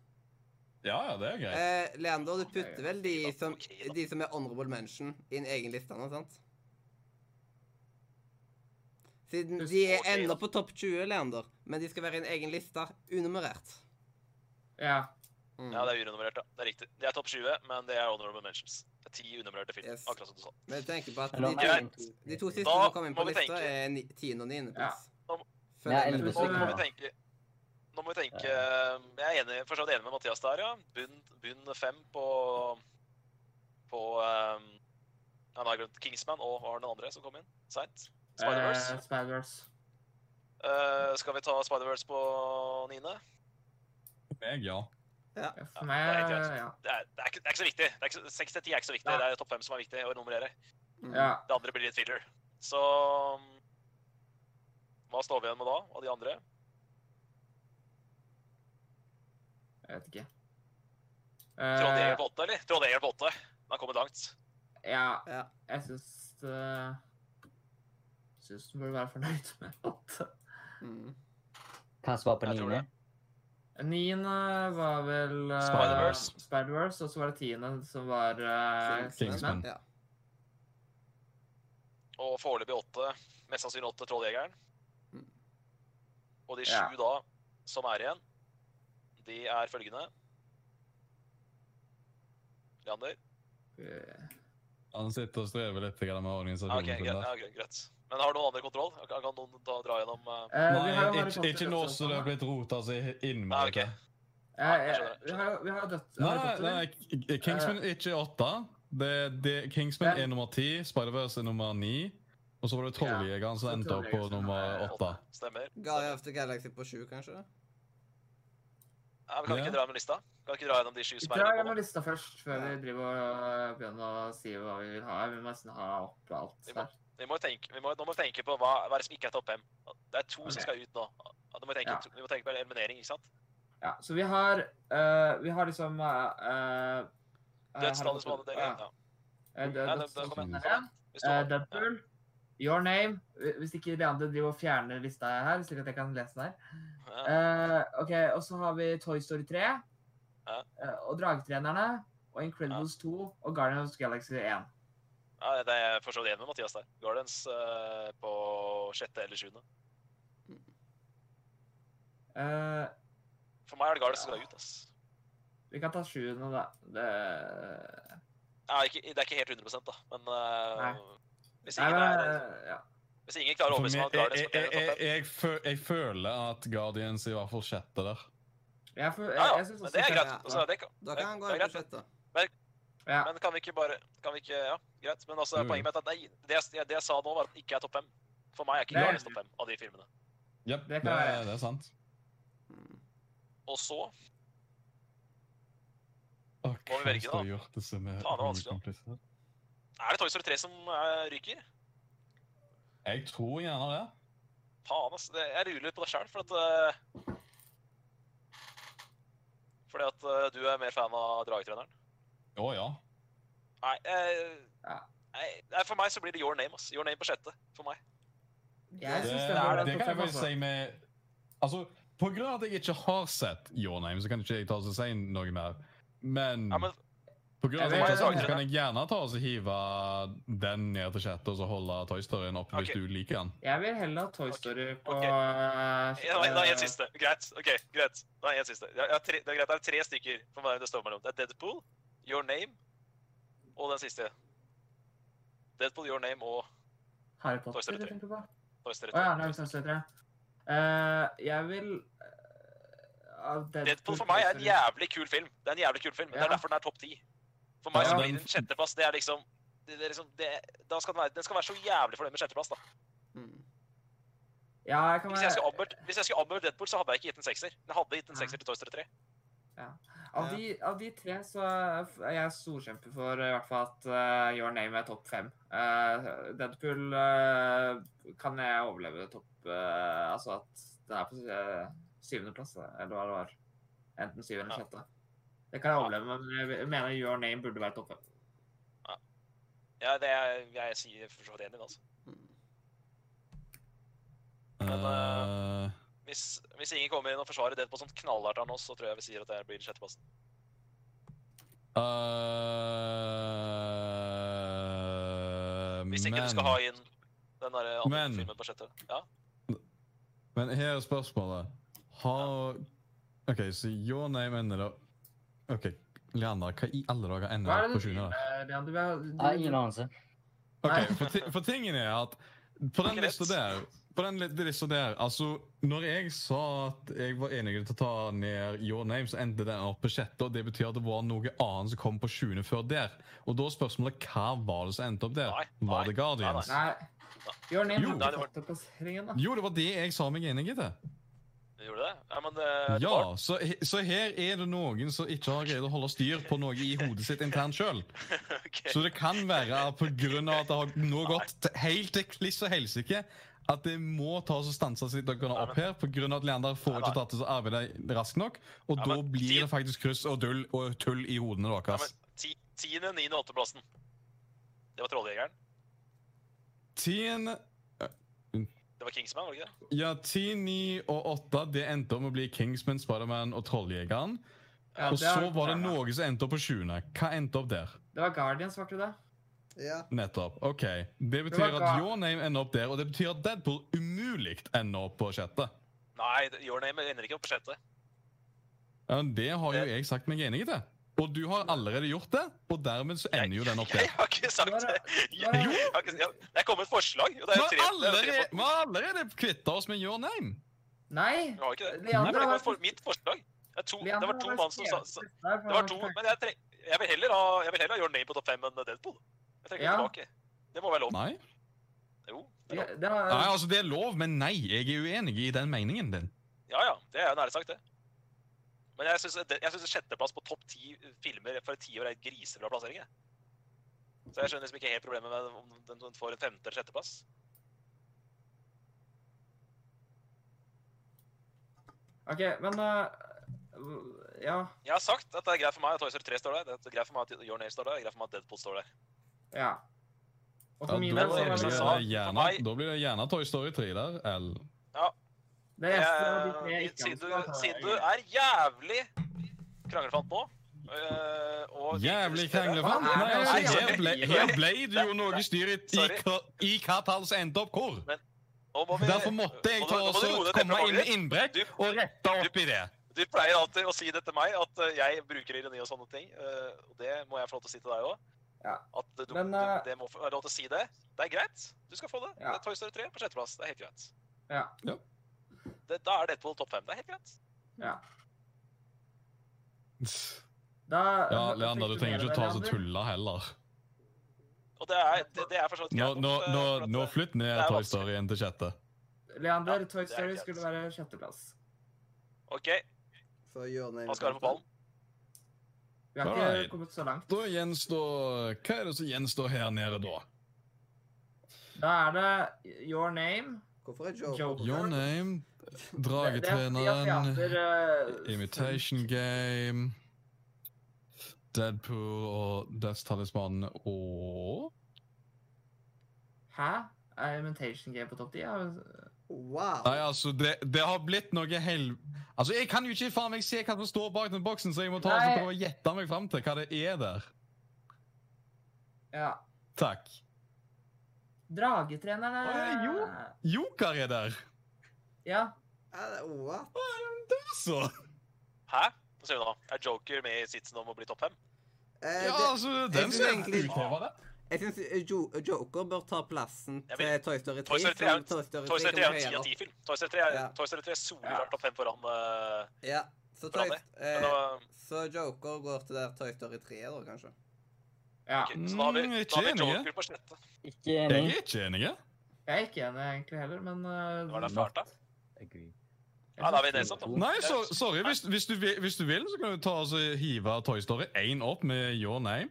Ja, ja, det er greit. Eh, Leander, du putter vel de Ok, da. som, Ok, da. de som er honorable mention, i en egen liste nå, sant? Siden de er Ok, da. ennå på topp 20, Leander, men de skal være i en egen liste, unummerert. Ja. Eh, Mm. Ja, det er unummerert, ja. Det er riktig. De er topp 20, men det er honorable mentions. Det er ti unummererte film, Yes. akkurat som du sa. Men tenk på at Eller de, Greit. to- de to siste Da som kom inn må på vi lista, tenke. er ni- tiende- og niendeplass. Ja. Følg Jeg er med. elleve Nå må Ja. vi tenke Nå må vi tenke eh, Jeg er enig, for så vidt enig med Mathias der, ja. Bunn, bunn fem på På um, ja, nå har jeg glemt Kingsman og hva var den andre som kom inn seint? Spider-Verse. eh, Spider-Verse. Eh, skal vi ta Spider-Verse på niende? Meg, ja. Ja, Ja, For meg eh, det er helt greit. ja. Det, er- det, er ikke- det er ikke så viktig. Det er ikke så- Seks til ti er ikke så viktig. Nei. Det er topp fem som er viktig å nummerere. Mm. ja. Det andre blir litt filler. Så um, Hva står vi igjen med da, av de andre? Jeg vet ikke. Trondheim Eh, på åtte, eller? Trondheim på åtte. Den har kommet langt. ja, eh, Ja. jeg syns uh, Syns du burde være fornøyd med at Mm. Hva som var på Jeg tror niende? det. Niende var vel eh, Spider-Verse. Spider-Verse, og så var det tiende som var eh, Kingsman. Ja. Og foreløpig åtte. Mest sannsynlig åtte Trolljegeren. Mm. Og de Ja. sju da, som er igjen, de er følgende Leander? Eh, Han sitter og strever litt grann med Ah, organisasjonen. Ok, greit, sin der. ja, greit, greit. Men har noen andre kontroll? Kan kan noen da dra gjennom eh, vi har jo Nei, Harry ikke, ikke Potter nå også, sånn som det har da. blitt rota så innmari. Nei, Ah, ok. til. Eh, jeg eh, skjønner, Vi har jo- vi har jo dødt Nei, Harry Potter. nei, K- Kingsman er ikke åtte. Det, det, Kingsman Ja. er nummer ti, Spider-Verse er nummer ni. Og så var det Trolljegeren som så endte opp på Trolljegeren som nummer er åtte. Stemmer. Guardian of the Galaxy på sju, kanskje? Ja, men kan vi Ja. ikke dra gjennom lista? Kan vi ikke dra gjennom de sju Vi som er drar igjen? nå? gjennom lista først, før Ja. vi driver og eh, begynner å si hva vi vil ha. Vi må nesten ha opp alt Vi må- her. Vi må jo tenke, vi må, nå må vi tenke på hva, hva er det som ikke er topp fem. Det er to Ok. som skal ut nå. Ja, Da må vi tenke, Ja. vi må tenke på eliminering, ikke sant? Ja, så vi har eh, Vi har liksom uh, Dødsfallet som hadde det Ja. ja. eh, Nei, død- det- det Dødsfall kommer- som er igjen. Hvis du Eh, har- Deadpool. Your Name. Hvis ikke de andre driver og fjerner lista her, slik at jeg kan lese den her. Ja. Ja. Eh, OK, og så har vi Toy Story 3. eh, og Dragetrenerne. Og Incredibles 2 og Guardians of the Galaxy 1. Ja, det er jeg for så vidt enig med Mathias der. Guardians eh, på sjette eller sjuende. Eh, For meg er det Guardians som skal ut. ass. vi kan ta sjuende, da. Det Ja, ikke, det er ikke helt 100 da, men eh, hvis, Nei, ingen men, er, eh, ja. hvis ingen klarer å For overbevise meg meg- om at Guardians jeg, fortjener en jeg, jeg, topp fem jeg, fø- jeg føler at Guardians er i hvert fall sjette der. Jeg, får- Ja, jeg, ja, jeg synes men også det er greit. ja. Altså, det kan. Da Det- kan han gå det er inn på greit, det. sjette. Ja. Mm. Men kan vi ikke bare kan vi ikke, Ja, greit. Men altså, Jo, jo. poenget mitt er at det, det, jeg, det jeg sa nå, var at det ikke er topp fem. For meg er ikke Nei. Guardians topp fem av de filmene. Jep, Det det, kan være. er- det er sant. Mm. Og så Å, vi velge, Christ, da? har gjort det som er Faen, det er vanskelig, da. komplisert. Er det Toy Story 3 som eh, ryker? Jeg tror gjerne det. Faen, ass. Det, jeg lurer litt på det sjøl, for at eh, Fordi at eh, du er mer fan av dragetreneren? Å ja. Nei, eh, Ja. nei, nei, for meg så blir det Your Name, ass. Your Name på sjette. For meg. Jeg Det, synes det, det var det topp kan jeg fem, vel altså. si med Altså, på grunn av at jeg ikke har sett Your Name, så kan ikke jeg ta og si noe mer. Men, Ja, men på grunn av at Jeg jeg vet- ikke har sett den, så kan jeg gjerne ta og så hive den ned til sjette og så holde Toy Storyen oppe Ok. hvis du liker den. Jeg vil heller ha Toy Story på ok. eh, Ja, nei, da er eh, en siste. Greit. ok, greit. Da er en siste. Jeg, jeg, har tre, det er greit, det er tre stykker for meg det står mellom. Det er Deadpool, Your Name og den siste. Deadpool, Your Name og Harry Toy Potter, Story du tre. tenker på? Toy Story Å ja, 3. nei, Toy Story 3. Eh, jeg vil eh, av Deadpool for Toy meg er en Story- jævlig kul film. Det er en jævlig kul film, men Det Ja. er derfor den er topp ti. For meg Ja, så den- blir den sjetteplass det er liksom det, det er liksom, det, da skal den, være, den skal være så jævlig fornøyd med sjetteplass, da. Mm. Ja, jeg kan Hvis jeg være skulle anmeldt- hvis jeg skulle anmeldt Deadpool, så hadde jeg ikke gitt en sekser. Jeg hadde gitt en Nei. sekser til Toy Story 3. av de, av de tre så er jeg storkjemper for eh, i hvert fall at eh, Your Name er topp fem. Eh, Deadpool eh, kan jeg overleve topp eh, Altså at den er på uh, syvendeplass, eller hva det var. Enten syv eller Ja. sjette. Det kan jeg overleve, men jeg mener Your Name burde være topp fem. Ja, det er, jeg sier for så vidt enig, i det, altså. Mm. Men, Eh, Hvis, hvis ingen kommer inn og forsvarer Deadpool som knallhardt av oss, så tror jeg vi sier at det her blir sjetteplassen. eh, Hvis ikke du men- skal ha inn den der eh, andre Men- filmen på sjette. Ja. Men her er spørsmålet. Har OK, så Your Name ender da OK, Leander, hva i alle dager Hva ender er det det på du sjuende? driver der? med, Leander? Vi har- Nei, du- ingen anelse. OK, for, ti- for tingen er at på den Ikke lista lett. der på den li- lista der, altså, Når jeg sa at jeg var enig til å ta ned Your Name, så endte den opp på sjette. og Det betyr at det var noe annet som kom på sjuende før der. Og da er spørsmålet hva var det som endte opp der? Nei, nei, Var det Guardians? Nei. Your Name Jo. hadde fått plasseringen, da. Jo, det var det jeg sa meg enig i. det. Gjorde du det? Ja, men det, Eh, det var- Ja, så, he- så her er det noen som ikke har greid å holde styr på noe i hodet sitt internt sjøl. Ok. Så det kan være pga. at det har nå gått t- helt til kliss og helsike at det må tas og stanses litt og kunne opp her pga. at Leander får ikke tatt til å arbeide raskt nok. Og Ja, da men blir tid- det faktisk kryss og dull og tull i hodene Ja, deres. men ti, tiende, niende og åttendeplassen. Det var Trolljegeren. Tiende øh, Det var Kingsman, var det ikke det? Ja, 10, 9 og 8 det endte om å bli Kingsman, Spiderman og Trolljegeren. Ja, og det er- så var det noe som endte opp på 20. Hva endte opp der? Det var Guardians, var ikke det? Ja. Nettopp. OK. Det var betyr at ga- Your Name ender opp der, og det betyr at Deadpool umulig ender opp på sjette. Nei, det- Your Name ender ikke opp på sjette. Ja, Det har jo jeg sagt meg enig i. det. Og du har allerede gjort det, og dermed så ender jo den opp Jeg der. har ikke sagt Hva er det. Jeg, det- jeg, har ikke, jeg, det er kommet et forslag. og Det Vi er jo har tre, det er jo tre allerede, for- vi har allerede kvitta oss med Your Name. Nei! Vi har ikke det. Nei, Leander men det har var vært- for, mitt forslag. Det, er to, det var to mann som sa sa- Det Det var to, men jeg, tre, jeg, vil heller ha, jeg vil heller ha Your Name på topp fem enn Deadpool. Jeg trekker Ja. det tilbake. Det må være lov. Nei. Jo, det er Ja, lov. det var, nei, altså det er lov, men nei. Jeg er uenig i den meningen din. Ja ja, det er jo nærlig sagt, det. Men jeg syns jeg synes sjetteplass på topp ti filmer for et tiår er en grisebra plassering. Jeg. Så jeg skjønner liksom ikke helt problemet med om den- den får en femte- eller sjetteplass. OK, men eh, Ja. Jeg har sagt at det er greit for meg at Toy Story 3 står der, det er greit for meg at Your Name står der, det er greit for meg at Deadpool står der. Ja. Og for Ja, da, min blir del det så jeg var som det, sa- det gjerne, for meg- da blir det gjerne Toy Story 3 der. Eller det resten av de tre Eh, jeg ikke siden, hadde du, sagt, siden du var- er jævlig kranglefant nå eh, og Jævlig Hva kranglefant! er Nei, det? altså, her ble, her ble det jo Sorry. noe styr i, i, Sorry. hva- i hva tall som endte opp hvor. Nå må vi- Derfor måtte jeg nå må- ta nå må oss du roe og ned komme inn temperamentet med innbrekk Du- og rette opp i det. Du pleier alltid å si det til meg, at eh, jeg bruker ironi og sånne ting. eh, Og det må jeg få lov til å si til deg òg. Ja. At eh, du, Men, du, eh, det må få være lov til å si det. Det er greit. Du skal få det. Ja. Det er Toy Story 3 på sjetteplass. Det er helt greit. Ja. Ja. Det, da er Deadpool topp fem. Det er helt greit. Da, Ja, Leander, du trenger ikke å ta så tulla heller. Og det er, det, det er for så vidt Nå, greit. nå, nok, eh, nå, for at, nå eh, flytt ned Det er Toy vanskelig. Story 1 til sjette. Leander, Ja, Toy det er Story greit. skulle være sjetteplass. OK, Så Your Name han skal være på ballen. Vi har Alright. ikke kommet så langt. Da gjenstår Hva er det som gjenstår her nede, da? Da er det Your Name. Hvorfor er Joe Joe. Your name, Det- det er- de har teater, Dragetreneren, eh, Imitation Game, Deadpool og Death Talisman og Hæ? Er Imitation Game på topp 10? Ja. Wow. Nei, altså, det, det har blitt noe hel... Altså, Jeg kan jo ikke faen meg se hva som står bak den boksen, så jeg må ta og Nei. prøve å gjette meg fram til hva det er der. ja. Takk. Dragetreneren er Å, jo. Joker er der! Ja. Er det what? Altså! Hæ? Hva sier du nå? Er Joker med i sitsen om å bli topp fem? Eh, Ja, det, altså, den synes ser egentlig- ut til å være det. jeg syns jo, Joker bør ta plassen Jeg til vil- Toy Story 3. Toy Story 3 er jo- som Toy Story Toy 3 Story 3 er kommer jo en ti høyere av opp. ti film. Toy Story 3 er, Ja. Toy Story 3 er Ja. soleklart topp fem foran eh, Ja. Så, Bra Toy, det. men eh, nå, så Joker går til der Toy Story 3 er, da, kanskje? ja. ok, Så da har vi, Mm, da har ikke vi enige. Joker på sjette. Ikke Jeg enig. er ikke enig. jeg. Jeg er ikke enig egentlig heller, men eh, Det var derfor jeg Not starta. agree. Ja, da er vi det sånn, da. Nei, Det er- så, sorry. Hvis, hvis, du, vil- hvis du vil, så kan du ta og så hive Toy Story 1 opp med Your Name.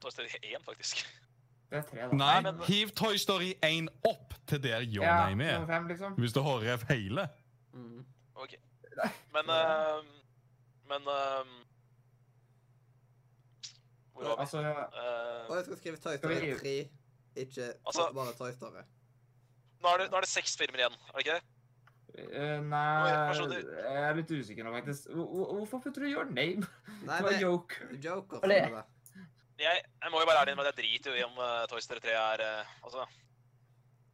Toy Story 1, faktisk. det er tre, da. Nei, Nei, men- hiv Toy Story 1 opp til der Your ja, Name nummer er. fem, liksom. Hvis du har rev hele. Mm. Ok. Men Ja. ehm, Men ehm, Hvor var vi? Altså, ja. Og Eh, jeg skal skrive Toy Skal vi- Story 3, ikke Altså- bare Toy Story. nå, er det, nå er det seks filmer igjen, er det ikke det? Eh, Oi, nei hva skjedde? Jeg er litt usikker nå, faktisk. Hvor- hvor- Hvorfor putter du your name? Nei, Det var det joke. Joker. Og det- som er det. Jeg, jeg må jo være ærlig med at jeg driter jo i om eh, Toy Story 3 er eh, Altså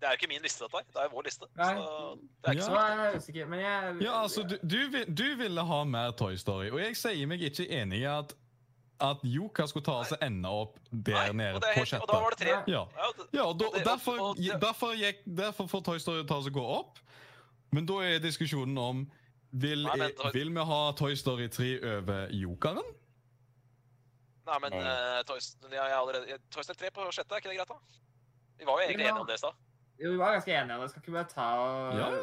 Det er jo ikke min liste, dette her. Det er vår liste. Nei. Så det er ikke Så Ja. så viktig. er jeg usikker, men jeg Ja, altså, du, du, vil- du ville ha mer Toy Story, og jeg sier meg ikke enig i at, at Joker skulle ta oss og ende opp der Nei, nede og, det er på helt, og da sjette. var det tre. Nei. Ja, Ja, det, ja og, da, Og det- og derfor, og- og det- derfor, gikk, derfor får Toy Story ta oss og gå opp. Men da er diskusjonen om vil, Nei, men Toy- vil vi ha Toy Story 3 over Jokeren? nei, men Nei. eh, Toy, Story- jeg, jeg allerede, Toy Story 3 på sjette, er ikke det greit, da? Vi var jo egentlig Ja. enige om det i stad. Jo, vi var ganske enige om det. Skal ikke bare ta og Ja, ja.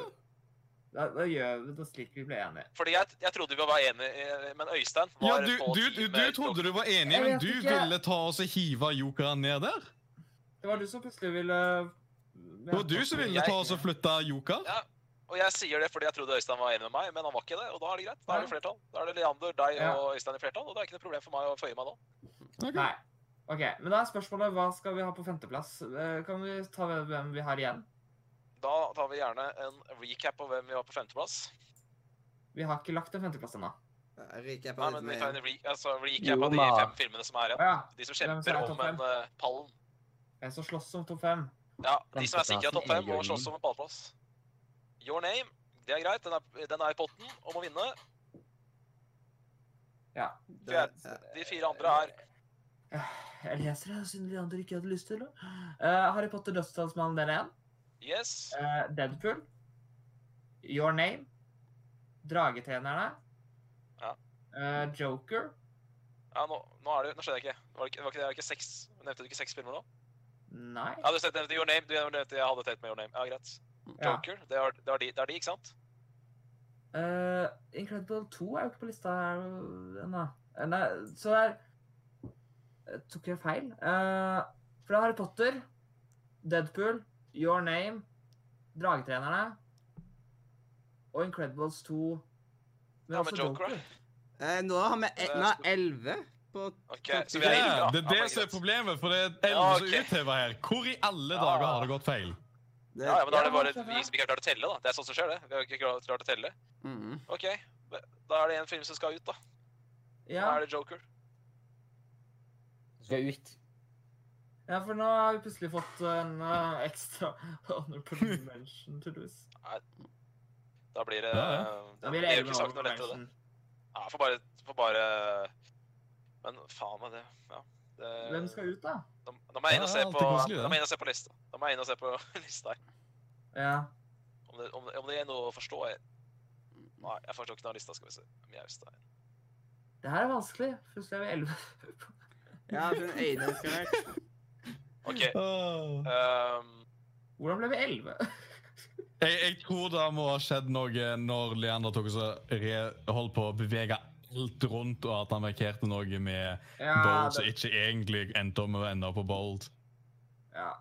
da, da gjør vi det slik vi ble enige. Fordi jeg, jeg trodde vi var enige, eh, men Øystein ja var du, på du, du, team du med trodde du var enig, Jeg men vet du ikke. ville ta oss og hive Jokeren ned der? Det var du som plutselig ville Det var du som ville ta oss og flytte Joker? Ja. Og jeg sier det fordi jeg trodde Øystein var enig med meg, men han var ikke det. Og da er det greit. Da er det flertall. Da er det Leander, deg Ja. og Øystein i flertall, og det er ikke noe problem for meg å føye meg nå. Ok. Nei. OK. Men da er spørsmålet hva skal vi ha på femteplass? Eh, Kan vi ta hvem vi har igjen? Da, tar vi gjerne en recap på hvem vi var på femteplass. Vi har ikke lagt en femteplass ennå. Recap Nei, av men vi litt tar en mer. re altså, Jo, recap av de men- fem filmene som er Å igjen. ja. De som Hvem som er kjemper topp om en eh, pallen. En som slåss om topp fem. Ja, de som er sikra Femteplassen topp er fem og Your slåss om en pallplass. Your name, det er greit. Den er, den er i potten og må vinne. Det- ja. De fire andre er Jeg leser det, siden de andre ikke hadde lyst til det. Eh, Harry Potter, Dødsdalsmannen, del 1. Yes. Eh, Deadpool. Your Name. Dragetrenerne. Ja. Eh, Joker. Ja, nå, nå er det Nå skjønner jeg ikke. Var det ikke, var ikke, det er ikke seks, nevnte du ikke seks filmer nå? Nei. Ja, du nevnte Your Name. Du nevnte jeg hadde tenkt med Your Name. Ja, greit. Ja. Joker, det er, det er, de, det er de, ikke sant? Eh, Incredible 2 er jo ikke på lista her øh, ennå. Eh, Nei, så det er Eh, Tok jeg feil? Eh, for det er Harry Potter, Deadpool, Your Name, Dragetrenerne og Incredibles 2. Men Ja, også men Joker, Joker. da? Eh, Nå har vi e- nå er det elleve på Ok, Takk for så vi er det. ille, da. Ja, det er Ja, det men som er greit. problemet, for det er elleve Ja, som ok. er utheva her. Hvor i alle Ja. dager har det gått feil? det. Ja, ja, men da er det Ja, bare skjønner vi jeg. som ikke har klart å telle, da. Det er sånn som skjer, det. Vi har ikke klart klart å telle. Mhm. Ok, da er det en film som skal ut, da. Da Ja, er det Joker. Skal ut. ja, for nå har vi plutselig fått en eh, ekstra honorable mention til Louis. Da blir det Ja, ja. eh, Da Det blir blir det jo 11 ikke sagt noe honorable lettere, det. mention. Ja, får bare, får bare Men faen meg det. Ja. Det, Hvem skal ut, da? Da, da må jeg inn Ja, og se alltid på, koselig, det. da må jeg inn og se på lista. Da må jeg inn og se på lista her. Ja. Om det, om, det- om det er noe å forstå her. Nei, jeg forstår ikke noe av lista, skal vi se. Mjaustein. Det her er vanskelig. Plutselig er vi 11 på Ja, for den ene skal vekk. OK. Åh. ehm, Hvordan ble vi 11? Jeg, jeg tror det må ha skjedd noe når Leander tok og så re- holdt på å bevege alt rundt, og at han markerte noe med Ja, Bolt som ikke egentlig endte om å ende opp på Bolt. ja.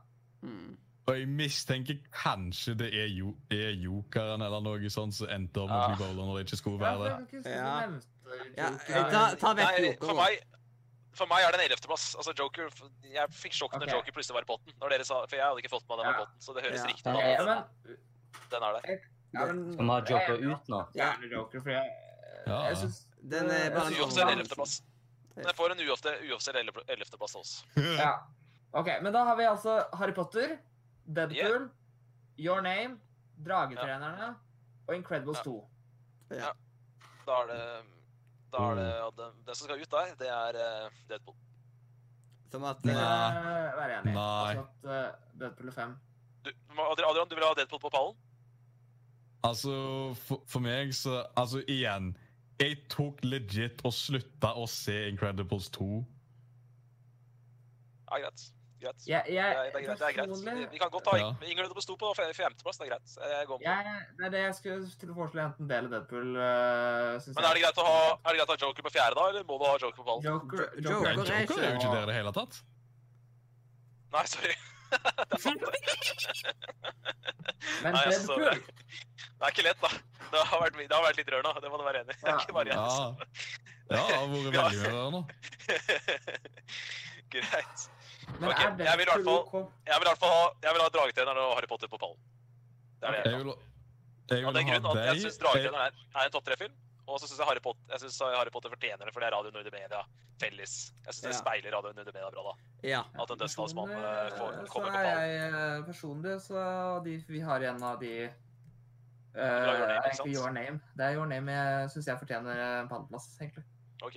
Mhm. Og jeg mistenker kanskje det er, jo, er jokeren eller noe sånt som endte opp Ah. med Bowler når det ikke skulle Ja, for jeg være det. kan ikke huske Ja. om du nevnte Ja, Joker. eh, ta, ta vekk nei, Joker. for da. meg for meg er det en 11.-plass. Altså, Joker Jeg fikk sjokk når Ok. Joker plutselig var i potten. Når dere sa, for jeg hadde ikke fått med meg den var Ja. i potten, så det høres Ja. riktig Ja, ut. ja, at men, Den er der. ja, men, Skal vi ha Joker Jeg- ut nå? Ja, Gjerne Joker, for jeg, Ja, ja. jeg syns Den eh, er bare men- Så en Uoffisiell overraskelse. 11.-plass. Men jeg får en uoffisiell- uoffisiell 11.-plass av oss. Ja. OK, men da har vi altså Harry Potter, Deadpool, Your Name, Dragetrenerne og Incredibles Ja. 2. Ja. Da er det da er det, Mm. ja, den, den som skal ut der, det er eh, Deadpool. Som at Nei. eh, Nei. Vær enig. Nei. Altså at eh, Deadpool er 5. Du, Adrian, Adrian, du vil ha Deadpool på pallen? Altså, for, for meg så Altså, igjen. Jeg tok legit og slutta å se Incredibles 2. Ja, greit. greit. Jeg, Det jeg, er, det, er greit, det er greit. Vi kan godt ta Ja. Ing- Ingrid Dobbe sto på fe- femteplass, det er greit. Eh, Jeg går med. jeg, det er det jeg skulle til å foreslå. Enten det eller Deadpool. eh, synes Men er det jeg. greit å ha, er det greit å ha Joker på fjerde, da, eller må du ha Joker på pallen? Joker, Jo- Nei, Joker Joker, er Joker er jo ikke der i det hele tatt. Nei, sorry. Det er sant, det. Men Nei, jeg så Deadpool det. Det er ikke lett, da. Det har vært, mi- det har vært litt rør nå, det må du være enig i. Det er ikke bare jeg. som- Ja, ja det har vært Ja. veldig mye rørende. greit. Men Ok, er jeg vil i hvert Deadpool fall- OK? Jeg vil i hvert fall ha, jeg vil ha Dragetreneren og Harry Potter på pallen. Det er det jeg Jeg vil ha. vil, jeg Av den vil grunn ha at jeg deg syns Dragetreneren er, er en topp tre-film. Og så syns jeg Harry Potter, jeg synes Harry Potter fortjener det, for det er Radio Nordre Media felles. Jeg syns det Ja. speiler Radio Nordre Media bra, da. Ja. At en dødsmannsmann Personlig, får, kommer eh, på Så pallen. er jeg eh, personlig, så de, vi har en av de eh, har Your Name, er ikke sant? egentlig Your Name. Det er Your Name jeg syns jeg fortjener eh, en pallplass, egentlig. Ok.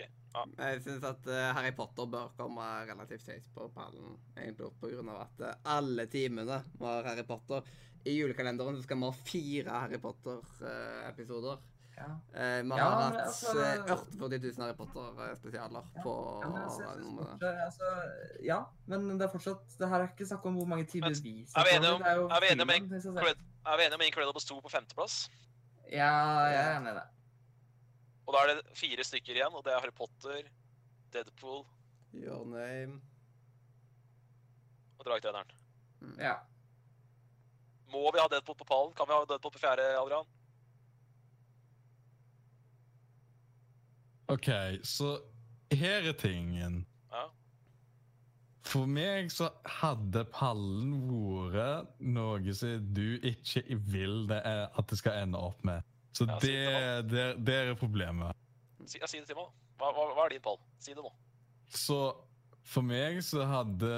Jeg syns at eh, Harry Potter bør komme relativt høyt på pallen, egentlig på grunn av at eh, alle timene var Harry Potter. I julekalenderen så skal vi ha fire Harry Potter-episoder. Ja. vi Ja, har men hatt altså- eh, 48 000 Harry Potter-spesialer på Ja, men jeg synes det er nummeret. fortsatt- altså, ja, men det er fortsatt Det her er ikke snakk om hvor mange timer Men, vi er vi snakker enige om- det jo er vi enige om filmen, synes jeg selv. Cred- Er vi enige om Incredibles 2 på femteplass? Ja, jeg er enig i det. Og da er det fire stykker igjen, og det er Harry Potter, Deadpool Your name og Dragetreneren. Ja. Må vi ha Deadpool på pallen? Kan vi ha Deadpool på fjerde, Adrian? OK, så her er tingen. Ja. For meg så hadde pallen vært noe som du ikke vil det er at det skal ende opp med. Så Ja, det, sikkert det, det er problemet. Si, ja, si det til meg, da. Hva, hva, hva er din pall? Si det nå. Så for meg så hadde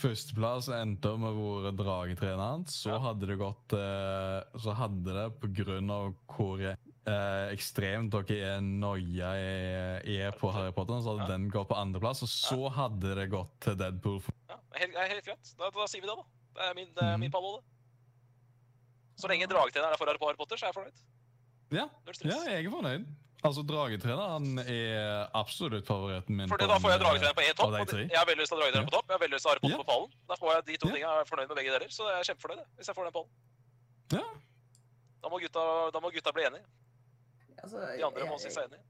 førsteplass endt opp med å være dragetreneren hans. Så Ja. hadde det gått eh, Så hadde det på grunn av hvor eh, ekstremt dere er noia er, er på Harry Potter, så hadde Ja. den gått på andreplass. Og så hadde det gått til Deadpool. for- Ja, det er helt, det er helt greit. Da, da sier vi det, da. Det er min, det er min Mhm. pall også, det. Så lenge dragetreneren er for Harry Potter, så er jeg fornøyd. Ja, Null stress. ja, jeg er fornøyd. Altså, dragetreneren er absolutt favoritten min. Fordi på da får jeg den, eh, dragetrener på én topp. av de og tre. Jeg har veldig lyst til å ha dragetrener på topp. Jeg har veldig lyst til å ha Harry Potter Ja. på pallen. Da får jeg de to Ja. tingene. Jeg er fornøyd med begge deler, så jeg er kjempefornøyd jeg, hvis jeg får den pallen. Ja. Da må gutta, da må gutta bli enige. Altså, De andre må si seg enige.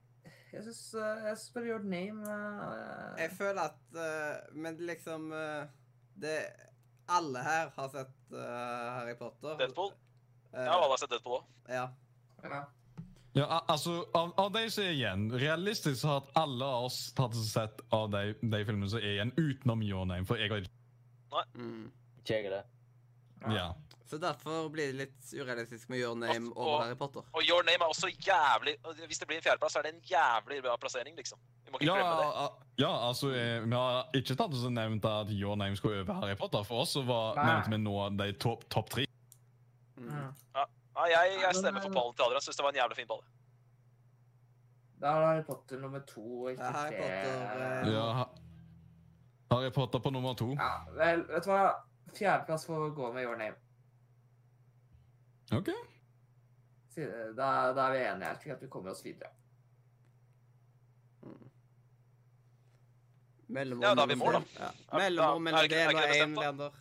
Jeg syns jeg spør Your Name eh, Jeg føler at eh, Men liksom eh, Det Alle her har sett eh, Harry Potter. Deadpool? Eh, Ja, alle har sett Deadpool òg. ja. ja. Ja, al- altså, av, av de som er igjen, realistisk så har at alle av oss tatt og sett av de, de filmene som er igjen, utenom Your Name. For jeg har Mm. Ikke jeg det. Ja. Så derfor blir det litt urealistisk med Your Name Og- og- over Harry Potter. Og Your Name er også jævlig Hvis det blir en fjerdeplass, så er det en jævlig bra plassering, liksom. Vi må ikke Ja, glemme det. al- ja, altså, eh, vi har ikke tatt oss og nevnt at Your Name skulle over Harry Potter. For oss så var, Nei. nevnte vi nå de topp topp tre. Mm. Ja, jeg, jeg stemmer for pallen til Adrian. Syns det var en jævlig fin ball. Da er det Harry Potter nummer to. og Ikke Ja, Harry tre. Potter, eh, Ja, ha- Harry Potter på nummer to. Ja, vel, vet du hva? Fjerdeplass får gå med Your Name. OK. Si det. Da, da er vi enige her, slik at vi kommer oss videre. Mellomrom Ja, da er vi mellom mål, da. det. Ja. Ja, Mellomrom da- mellom er det det ikke- og er ikke én det bestemt, da? leander.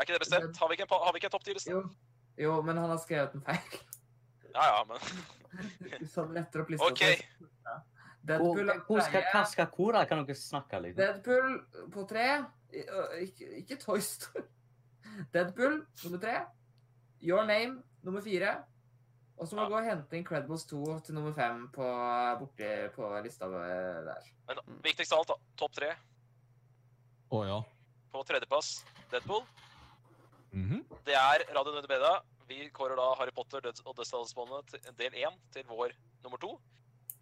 Er ikke det bestemt? Har vi ikke en, pa- har vi ikke en topp ti? liksom? Jo. jo, men han har skrevet en feil. Ja, ja, men Hvis han retter opp lista OK. Hvor, Deadpool, er hvor skal, tredje. hva skal hvor da? Kan dere snakke litt? Deadpool på tre. I- ø, Ikke, ikke Toy Story. Deadpool nummer tre. Your Name nummer fire. Og så må Ja. vi gå og hente Incredibles 2 til nummer fem på, borti på lista vår der. Men viktigst av alt, da. Topp tre. Å ja. På tredjeplass Deadpool. Mhm. Det er Radio Nudebedia. Vi kårer da Harry Potter Døds og Dødsdalsbåndet til- del én til vår nummer to.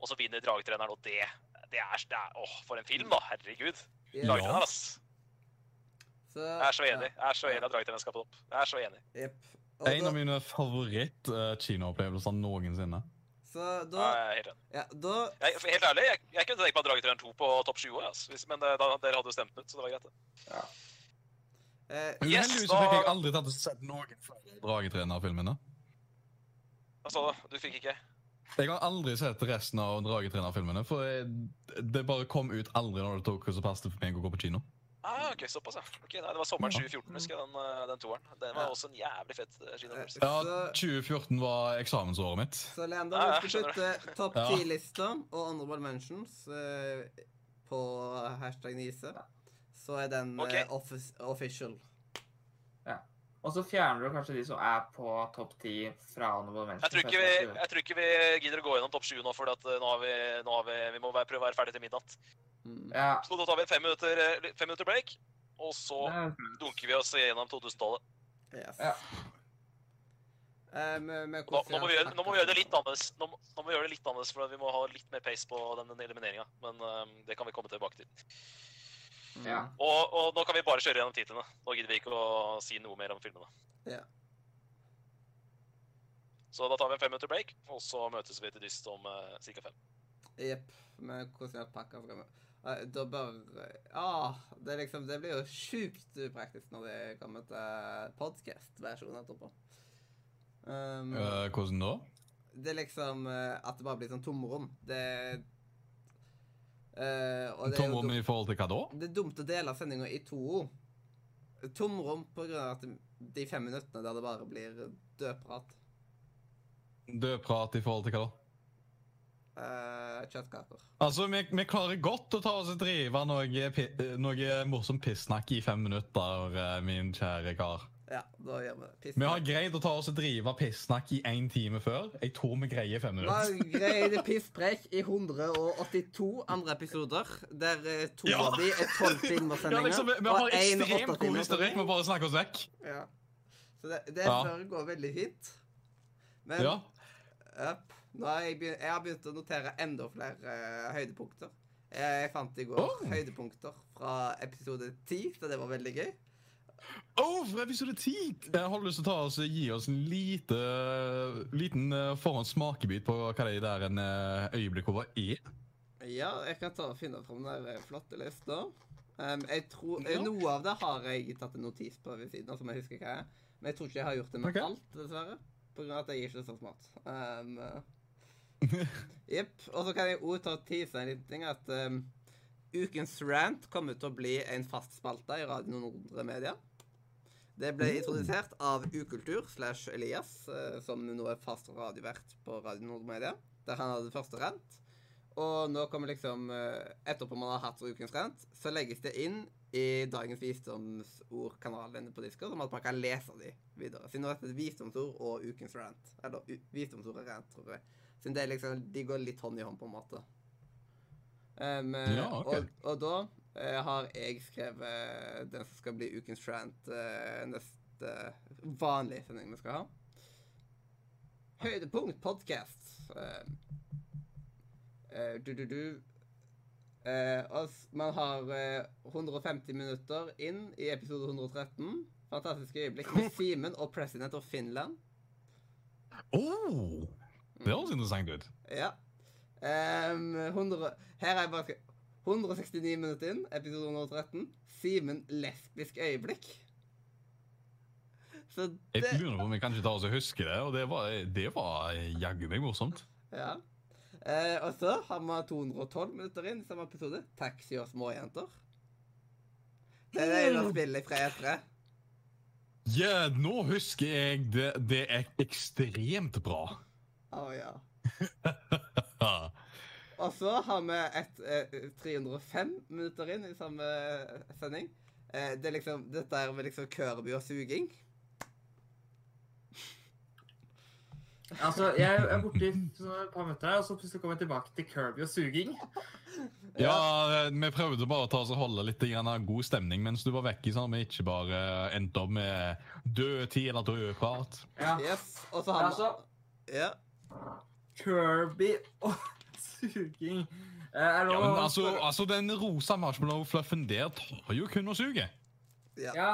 Og så vinner Dragetreneren, og det det er, det er Åh, for en film, da! Herregud. Ja. Dragetreneren, ass. Så, Jeg er så enig. Jeg er så enig at Dragetreneren skal på topp. Jeg er så enig. Ja, jepp. Og En da- av mine favoritt-kinoopplevelser noensinne. Så da Jeg er helt enig. Ja, da Jeg, for helt ærlig, jeg, jeg kunne tenkt meg Dragetreneren 2 på topp 20 år, ass. Hvis, men eh, da, dere hadde jo stemt den ut, så det var greit, det. eh, Yes, Uheldigvis da- fikk jeg aldri tatt og sett noen flere dragetrenerfilmene. Altså, du fikk ikke Jeg har aldri sett resten av Dragetrener-filmene, for jeg, det bare kom ut aldri når det tok så passet for meg å gå på kino. Ah, ok, såpass, ja. Ok, nei, det var sommeren Ja. 2014, husker jeg, den, eh, den toeren. Den var Ja. også en jævlig fett eh, kinoopplevelse. Ja, Så- 2014 var eksamensåret mitt. Så Leander, Ja, ja, hvis du skjønner putter topp Ja. ti-lista og honorable mentions eh, på hashtag Nise, så er den eh, Ok. offis- official. Og så fjerner du kanskje de som er på topp ti fra Honorable Jeg Mention. tror, ikke vi, jeg tror ikke vi gidder å gå gjennom topp 20 nå, for at eh, nå har vi, nå har vi, vi må være, prøve å være ferdig til midnatt. Mm. Ja. Så da tar vi et fem minutter, eh, li- fem minutter break, og så det er- dunker vi oss gjennom 2000-tallet. Yes. Ja. Eh, med- med Nå, hvordan nå, må vi han gjøre- nå må vi gjøre det litt annerledes, nå, må- nå må vi gjøre det litt annerledes, for vi må ha litt mer pace på den elimineringen. Men eh, det kan vi komme tilbake til. snakker. Ja. Mm. Og, og nå kan vi bare kjøre gjennom titlene. Nå gidder vi ikke å si noe mer om filmene. Ja. Så da tar vi en fem minutter break, og så møtes vi til dyst om uh, ca. fem. Jepp. Med hvordan jeg pakker frem. Eh, Da bare ah, det, er liksom, det blir jo sjukt upraktisk når det kommer til eh, podcast-versjonen etterpå. Um, Eh, hvordan da? Det er liksom eh, at det bare blir sånn tomrom. Det eh, Og det er, jo Tomrom dumt, i forhold til hva da? det er dumt å dele sendinga i to ord. Tomrom på grunn av at de fem minuttene der det bare blir dødprat. Dødprat i forhold til hva da? eh, kjøttkaker. Altså, vi, vi klarer godt å ta oss og drive noe, pi- eh, noe morsom pissnakk i fem minutter, eh, min kjære kar. Ja, da gjør vi det. Piss. Vi har greid å ta oss og drive pissnakk i én time før. Jeg tror vi greier fem minutter. Margrethe Pisspreik i 182 andre episoder, der eh, to Ja. av de er 12 timer Ja, sendinger. liksom, vi, vi har og en ekstremt 8 god timer historikk, sending. vi bare snakker oss vekk. Ja. Så det, det Ja. bør gå veldig fint. Men Ja. Yep. Nå har jeg, begynt, jeg har begynt å notere enda flere eh, høydepunkter. Jeg, fant i går Oh. høydepunkter fra episode 10, så det var veldig gøy. Oh, for episode 10! Jeg har lyst til å ta oss, gi oss en lite, liten eh, forhåndssmakebit på hva det der en eh, øyeblikk over er. Ja, jeg kan ta og finne fram den der eh, flotte lista. Um, jeg tror, eh, Ja. Noe av det har jeg tatt en notis på ved siden av, som jeg husker hva er. Men jeg tror ikke jeg har gjort det med Ok. alt, dessverre. På grunn av at jeg er ikke så smart. Um, Jepp. og så kan jeg òg ta og tease en liten ting, at um, ukens rant kommer til å bli en fast spalte i Radio Nordre Media. Det ble Mm. introdusert av Ukultur slash Elias, eh, som nå er fast radiovert på Radio Nordre Media, der han hadde første rant. Og nå kommer liksom eh, Etterpå man har hatt ukens rant, så legges det inn i dagens visdomsordkanal inne på Discord, om at man kan lese de videre. Siden nå heter det visdomsord og ukens rant. Eller u- visdomsord og rant, tror jeg. Siden det er liksom, de går litt hånd i hånd, på en måte. Em, eh, Ja, ok. og, og da eh, har jeg skrevet eh, den som skal bli ukens rant eh, neste vanlige sending vi skal ha. Høydepunkt Eh, podkast. Eh, Du-du-du. Eh, man har eh, 150 minutter inn i episode 113. Fantastiske øyeblikk med Simen og President of Finland. Oh, det høres interessant ut. Ja. Ehm, 100, her er jeg bare skrevet 169 minutter inn, episode 113. Simen lesbisk øyeblikk. Så Jeg det lurer på om vi kanskje tar oss og husker det, og det var, det var jaggu meg morsomt. Ja. Eh, og så har vi 212 minutter inn i samme episode. 'Taxi og småjenter'. Det er det ene spillet fra E3. Ja, nå husker jeg det. Det er ekstremt bra. Å ja. Ja. Og så har vi et eh, 305 minutter inn i samme sending. Eh, det er liksom, dette er med liksom Kirby og suging. Altså, jeg er borte i sånn et par minutter, og så plutselig kommer jeg tilbake til Kirby og suging. ja, eh, Vi prøvde bare å ta oss og holde litt eh, grann av god stemning mens du var vekke, sånn at vi ikke bare eh, endte opp med død tid eller død prat. Ah. Ja. Yes. Og så har vi Altså, Ja. Kirby og suging. Eh, Er det Ja, lov men å altså, spørre- altså, den rosa marshmallow-fluffen der tar jo kun å suge. Ja.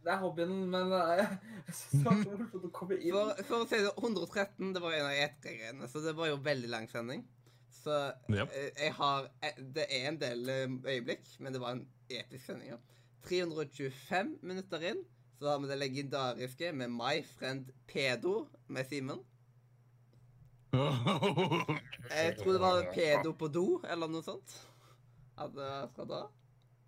Det er hobbyen, men eh, jeg synes det var så morsomt å komme inn. For, for å si det, 113 det var en av E3-greiene, så det var jo veldig lang sending. Så Ja. eh, jeg har eh, Det er en del eh, øyeblikk, men det var en episk sending. Ja. 325 minutter inn så har vi det legendariske med My Friend Pedo med Simen. Jeg tror det var Pedo på do, eller noe sånt. At det var fra da.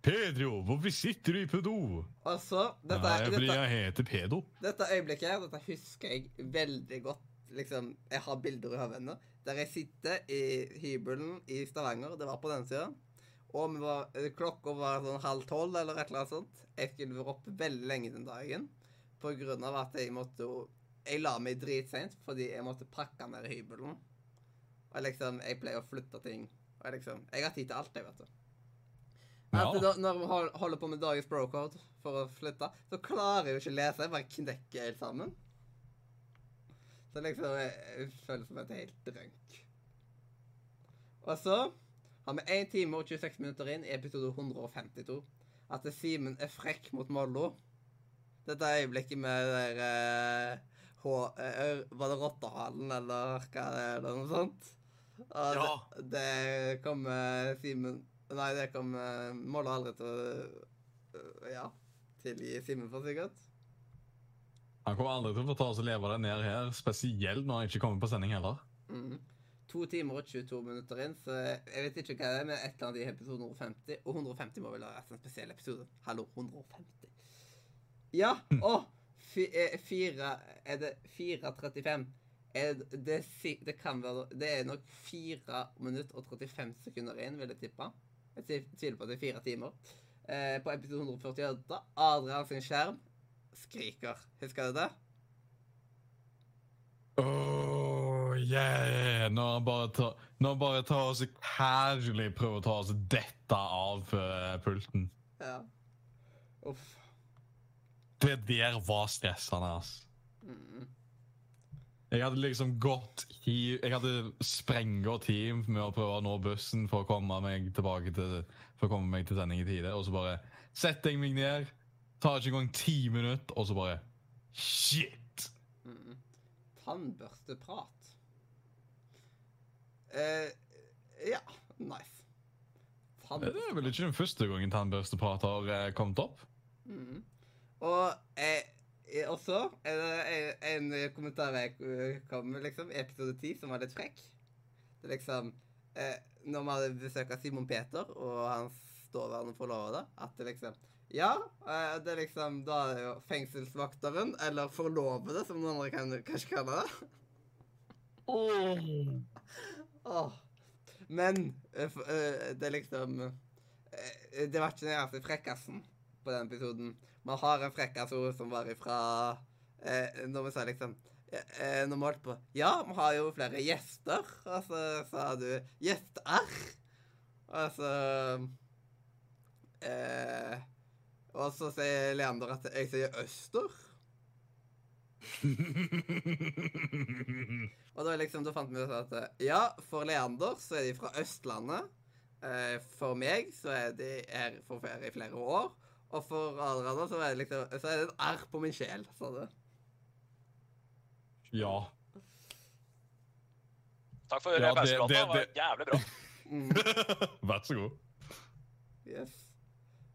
Pedro, hvorfor sitter du i pedo? Og så Altså, dette, Nei, fordi dette, jeg heter Pedo. dette øyeblikket her, dette husker jeg veldig godt. Liksom, jeg har bilder i hodet ennå. Der jeg sitter i hybelen i Stavanger. Det var på den sida. Og vi var, eh, klokka var sånn halv tolv eller et eller annet sånt. Jeg skulle være oppe veldig lenge den dagen på grunn av at jeg måtte jo- Jeg la meg dritseint fordi jeg måtte pakke ned hybelen. Og liksom, jeg pleier å flytte ting. Og liksom, jeg har tid til alt, jeg, vet du. Ja. At da, når vi hol- holder på med dagens brocode for å flytte, så klarer jeg jo ikke å lese. Jeg bare knekker helt sammen. Så liksom jeg, jeg føler som et helt drunk. Og så har vi 1 time og 26 minutter inn i episode 152 at Simen er frekk mot Mollo. Dette er øyeblikket med det der eh, H... eh, var det Rottehalen, eller hva det er, eller noe sånt? Og Ja. det, det kommer Simen Nei, det kommer Mollo aldri til å eh, Ja. Tilgi Simen for, sikkert. Han kommer aldri til å få ta oss og leve det ned her, spesielt når han ikke kommer på sending heller. Mm. To timer og 22 minutter inn, så jeg vet ikke hva det er, men et eller annet i episode 150. Og 150 må vel ha vært en spesiell episode. Hallo, 150. Ja, og fi- eh, fire Er det 4.35? Er det, det, si- det kan være Det er nok 4 minutter og 35 sekunder inn, vil jeg tippe. Jeg tvi- tviler på at det er fire timer. eh, på episode 148, da Adrian sin skjerm skriker. Husker du det? Oh, yeah. Når han bare tar, når han bare tar og så casually prøver å ta oss dette av eh, pulten. Ja. Uff. Det der var stressende, ass. Mm. Jeg hadde liksom gått i Jeg hadde sprenga team med å prøve å nå bussen for å komme meg tilbake til For å komme meg til sending i tide, og så bare setter jeg meg ned, tar ikke engang ti minutter, og så bare Shit! Mm. Tannbørsteprat. Eh, ja, nice. Det Tannbørste. er vel ikke den første gangen tannbørsteprat har eh, kommet opp? Mhm. Og eh, eh, også er det en, en kommentar jeg eh, kom med liksom, i episode 10, som var litt frekk. Det er liksom eh, Når vi hadde besøk av Simon Peter og hans daværende forlovede, at det liksom Ja, eh, det er liksom Da er det jo fengselsvakteren, eller forlovede, som noen andre kan, kanskje kaller det. Åh. Men eh, f- eh, det er liksom eh, Det var ikke den eneste frekkasen på den episoden. Man har en frekkasord som var ifra eh, Når vi sa liksom eh, eh, Når vi holdt på Ja, vi har jo flere gjester. Og så sa du 'gjester'. Og så eh, Og så sier Leander at jeg sier 'øster'. Og da, liksom, da fant vi ut at eh, ja, for Leander så er de fra Østlandet. Eh, for meg så er de her for ferie i flere år. Og for Adrian så er det liksom Så er det et arr på min sjel, sa du. ja. Takk for ja, Ja, det- pausepraten. Det, det- var det- jævlig bra. Mm, Vær så god. yes.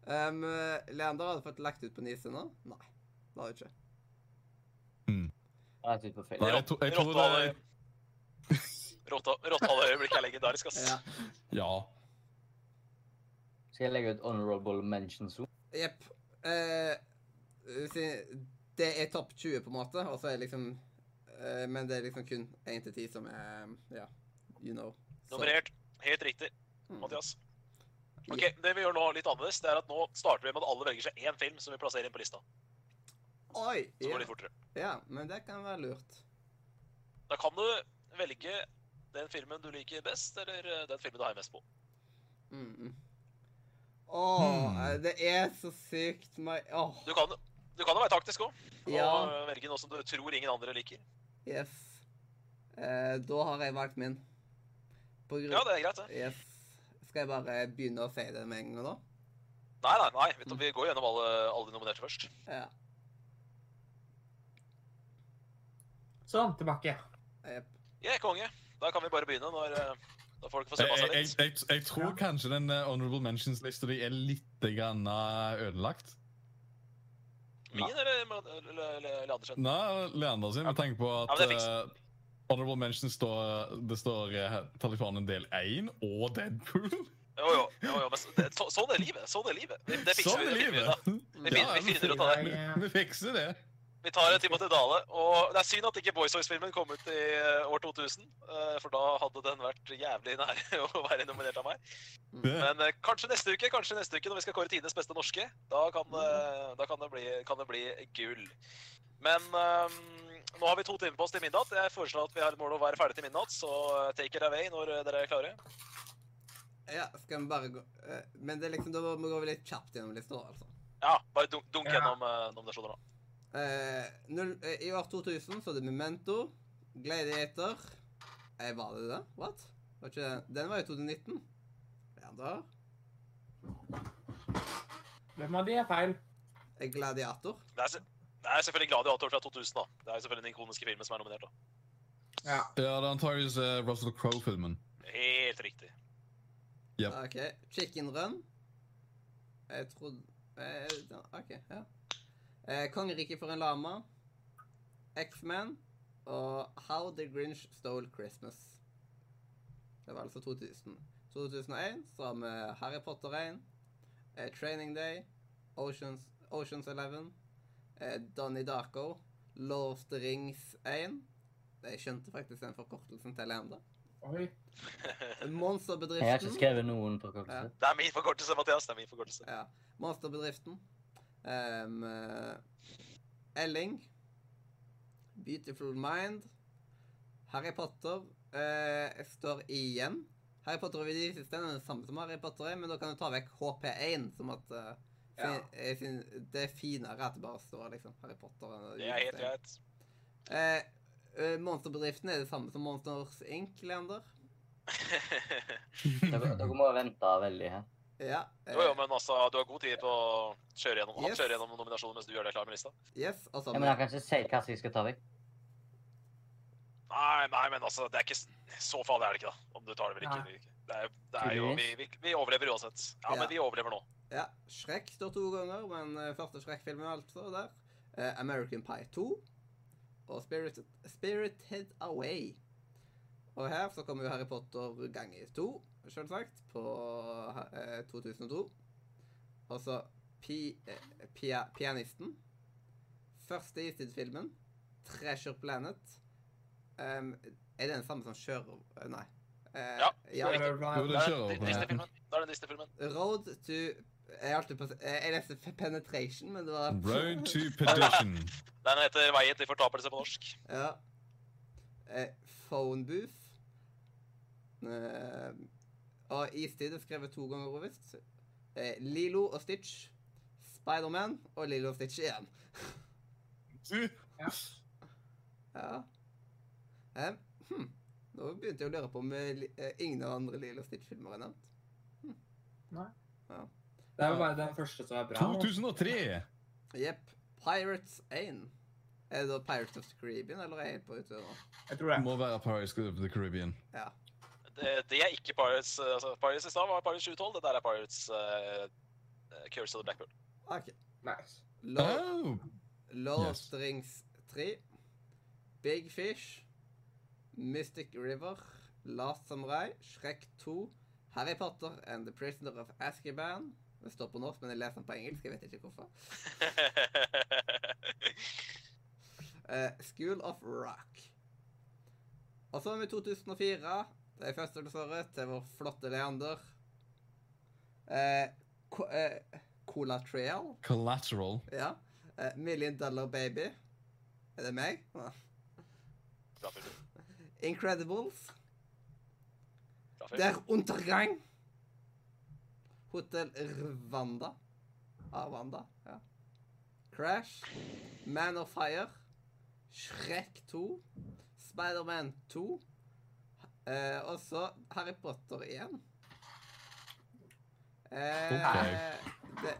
Um, Leander hadde fått lagt ut på Nise nå? Nei, det har hun ikke. Rett ut på Nei, Facebook. jeg, tro- jeg tror det er Rottehaleøyeblikket er legendarisk, ass. Ja. Ja. Skal jeg legge ut honorable mentions ord? Jepp. Eh, si- det er topp 20, på en måte, og så er det liksom eh, Men det er liksom kun 1 til 10 som er Ja, you know. Så- Nummerert. Helt riktig, Mm. Mathias. Ok, Det vi gjør nå litt annerledes, det er at nå starter vi med at alle velger seg én film som vi plasserer inn på lista. Oi! Så går ja. det litt fortere. Ja, men det kan være lurt. Da kan du velge den filmen du liker best, eller eh, den filmen du heier mest på. Mm -mm. Åh, Hmm. eh, det er så sykt meg... Åh, Du kan, du kan jo være taktisk òg, og Ja. eh, velge noe som du tror ingen andre liker. yes. Eh, da har jeg valgt min. På grunn... Ja, det er greit, det. Yes. Skal jeg bare begynne å si det med en gang nå? Nei, nei, nei. vet du, Mm. Vi går gjennom alle, alle de nominerte først. Ja. Sånn, tilbake. Jepp. Ja, konge. Da kan vi bare begynne når eh, da folk får se Jeg, på seg jeg, litt. jeg, jeg tror kanskje den eh, honorable mentions-lista di er litt grann eh, ødelagt. Min eller, eller, eller, eller Andersen? Nei, Leander sin. Jeg tenker på Ja, at men det fikser eh, Honorable Mention står, det står eh, Talifanen del 1 og Deadpool. Jo, jo. jo, jo men så, det, så, sånn er livet. Sånn er livet. Det, det fikser Sånn vi. Det finner er vi ut av. livet. Vi finner, Ja, vi finner ut av det. Jeg, eh, Vi fikser det. Vi tar en Timothy Dale. Og det er synd at ikke Boys Voice-filmen kom ut i eh, år 2000, eh, for da hadde den vært jævlig nære å være nominert av meg. det. Men eh, kanskje neste uke, kanskje neste uke når vi skal kåre tidenes beste norske, da kan, eh, da kan, det, bli, kan det bli gull. Men eh, nå har vi to timer på oss til midnatt. Jeg foreslår at vi har et mål å være ferdig til midnatt, så eh, take it away når eh, dere er klare. Ja, skal vi bare gå... eh, men det er liksom, da må vi gå litt kjapt gjennom lista, altså. Ja, bare dunk, dunk Ja. gjennom eh, nominasjoner nå. Eh, null, eh, I år 2000 så er det Memento, Gladiator eh, Var det det? What? Var ikke det? Den var jo 2019. Leander. Hvem av de er feil? eh, Gladiator. Det er, se- det er selvfølgelig Gladiator fra 2000, da. Det er jo selvfølgelig den ikoniske filmen som er nominert, da. Ja. Ja, det er antakeligvis eh, Russell Crowe-filmen. Helt riktig. Ja. OK. Chicken Run. Jeg trodde eh, da- OK, ja. Eh, Kongeriket for en lama. X-Man. Og How the Grinch Stole Christmas. Det var altså 2000. 2001 så har vi Harry Potter 1. Eh, Training Day. Oceans, Oceans 11. Eh, Donnie Darko. Lord of the Rings 1. Jeg skjønte faktisk den forkortelsen til Leander. Oi. Jeg har ikke Monsterbedriften. skrevet noen forkortelser. Det er min forkortelse, Mathias. Det er min forkortelse. Ja. Monsterbedriften. Ehm, eh, Elling. Beautiful Mind. Harry Potter. eh, jeg står igjen. Harry Potter og de siste er den samme som Harry Potter, er, men da kan du ta vekk HP1, som at eh, Ja. fin- jeg syn- Det er finere at det bare står liksom Harry Potter. enn Det er helt utestedet. greit. Eh, eh, monsterbedriften er det samme som Monsters Inc. Leander. Dere, dere må vente veldig her. Ja. eh, Jo, jo, men altså, du har god tid på å kjøre gjennom, han Yes. kjører gjennom nominasjonen mens du gjør deg klar med lista. yes, altså, Ja, men jeg kan ikke si hva jeg skal ta vekk. Nei, nei, men altså, det er ikke s- så farlig er det ikke, da. Om du tar det eller ikke. Nei. eller ikke. Det er, det er jo, vi, vi, vi overlever uansett. Ja, Ja. men vi overlever nå. Ja, Shrek står to ganger, men eh, første Shrek-filmen altså der. Eh, American Pie 2 og Spirited, Spirited Away. Og her så kommer jo Harry Potter ganger to, selvsagt, på eh, 2002. Og så pi, eh, pia, Pianisten. Første Istid-filmen. Treasure Planet. Em, er det den samme som Sjørøver... Nei. Eh, Ja, ja. riktig. Jo, Det det er kjører den over. Disney-filmen. Det er den Disney-filmen. Road to Jeg, alltid på, jeg jeg leste f- Penetration, men det var Road to perdition. Den heter Veien til fortapelse på norsk. Ja. Eh, phone booth. Eh, og Istid er skrevet to ganger, over, visst. Eh, Lilo og Stitch. Spiderman og Lilo og Stitch igjen. Ja. Ja. Eh, hm. Nå begynte jeg å lure på om eh, li- eh, ingen av andre Lilo og Stitch-filmer er nevnt. Det er jo bare den første som er bra. 2003. Jepp. Pirates 1. Er det da Pirates of the Caribbean, eller er jeg helt på utur nå? Jeg tror det. Må være Pirates of the Caribbean. Det, det er ikke Pirates. eh, Altså, Pirates i stad var Pirates 2012. Det der er Pirates eh, eh, Curse of the Blackbird. Ok. Nice. Lord, Oh, Lord of Yes. the Rings 3, Big Fish, Mystic River, Last Samurai, Shrek 2, Harry Potter and The Prisoner of Azkaban. Det står på norsk, men jeg leser den på engelsk. jeg vet ikke hvorfor. Eh, School of Rock. Og så er vi i 2004. Det er første året til vår flotte Leander. Eh, Co eh, Cola Trail. collateral. Ja. Eh, Million Dollar Baby. Er det meg? Ja. Bra film. Incredibles. Bra film. Der Untergang. Hotel Rwanda. Arvanda, ja. Crash. Man of Fire. Shrek 2. Spiderman 2. Eh, og så Harry Potter igjen. Eh, det,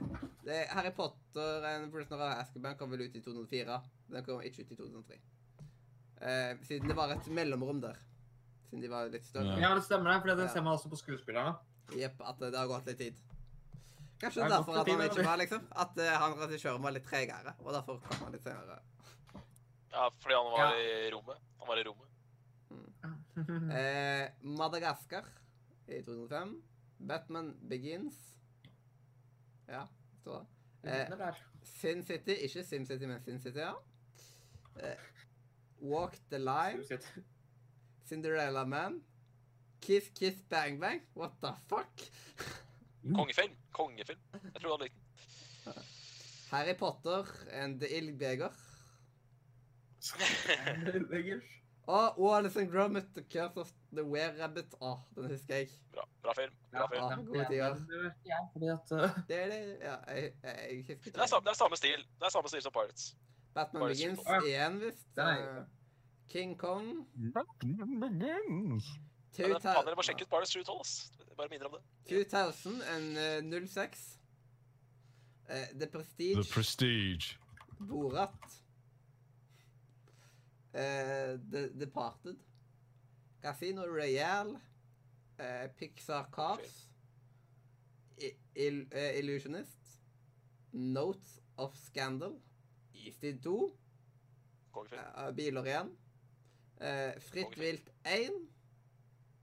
det, Harry Potter and Prisoner of Azkaban kom vel ut i 2004. Den kom ikke ut i 2003. Eh, siden det var et mellomrom der. Siden de var litt større. Ja. Ja, det stemmer det, for det Ja. ser man også på skuespillerne. Jepp, at det har gått litt tid. Kanskje Det har derfor gått at litt han tid, ikke da. var liksom. At eh, han regissøren var litt tregere, og derfor kom han litt senere. Ja, fordi han var Ja. i rommet. Han var i rommet. Eh, Madagaskar i 2005. Batman Begins. Ja, så. Eh, Sin City, ikke Sim City, men Sin City, ja. Eh, Walk the Line. Cinderella Man. Kiss Kiss Bang Bang. What the fuck? Kongefilm. Kongefilm. Jeg tror han likte den. Harry Potter and The Ildbeger. Å, Wallace and Gromit, The Curse of the Were-Rabbit. Å, den husker jeg. Bra, bra film. Bra film. Ja, gode tider. Ja, fordi at uh, Det er det, ja, jeg, jeg husker Det er, samme, det er samme stil Det er samme stil som Pirates. Batman Bare Begins skyt på. igjen, visst. Den er- Eh, King Kong. Men det- faen, dere må 2000, sjekke ut Pirates 2012. ass. Jeg Bare minner om det. 2000 and, eh, 06. Eh, The Prestige. The Prestige. Borat. Eh, The Departed. Casino Royale. eh, Pixar Cars. I, il, eh, Illusionist. Notes of Scandal. Istid 2. Kongefilm. eh, biler igjen. Eh, Fritt Kongefilm. vilt 1.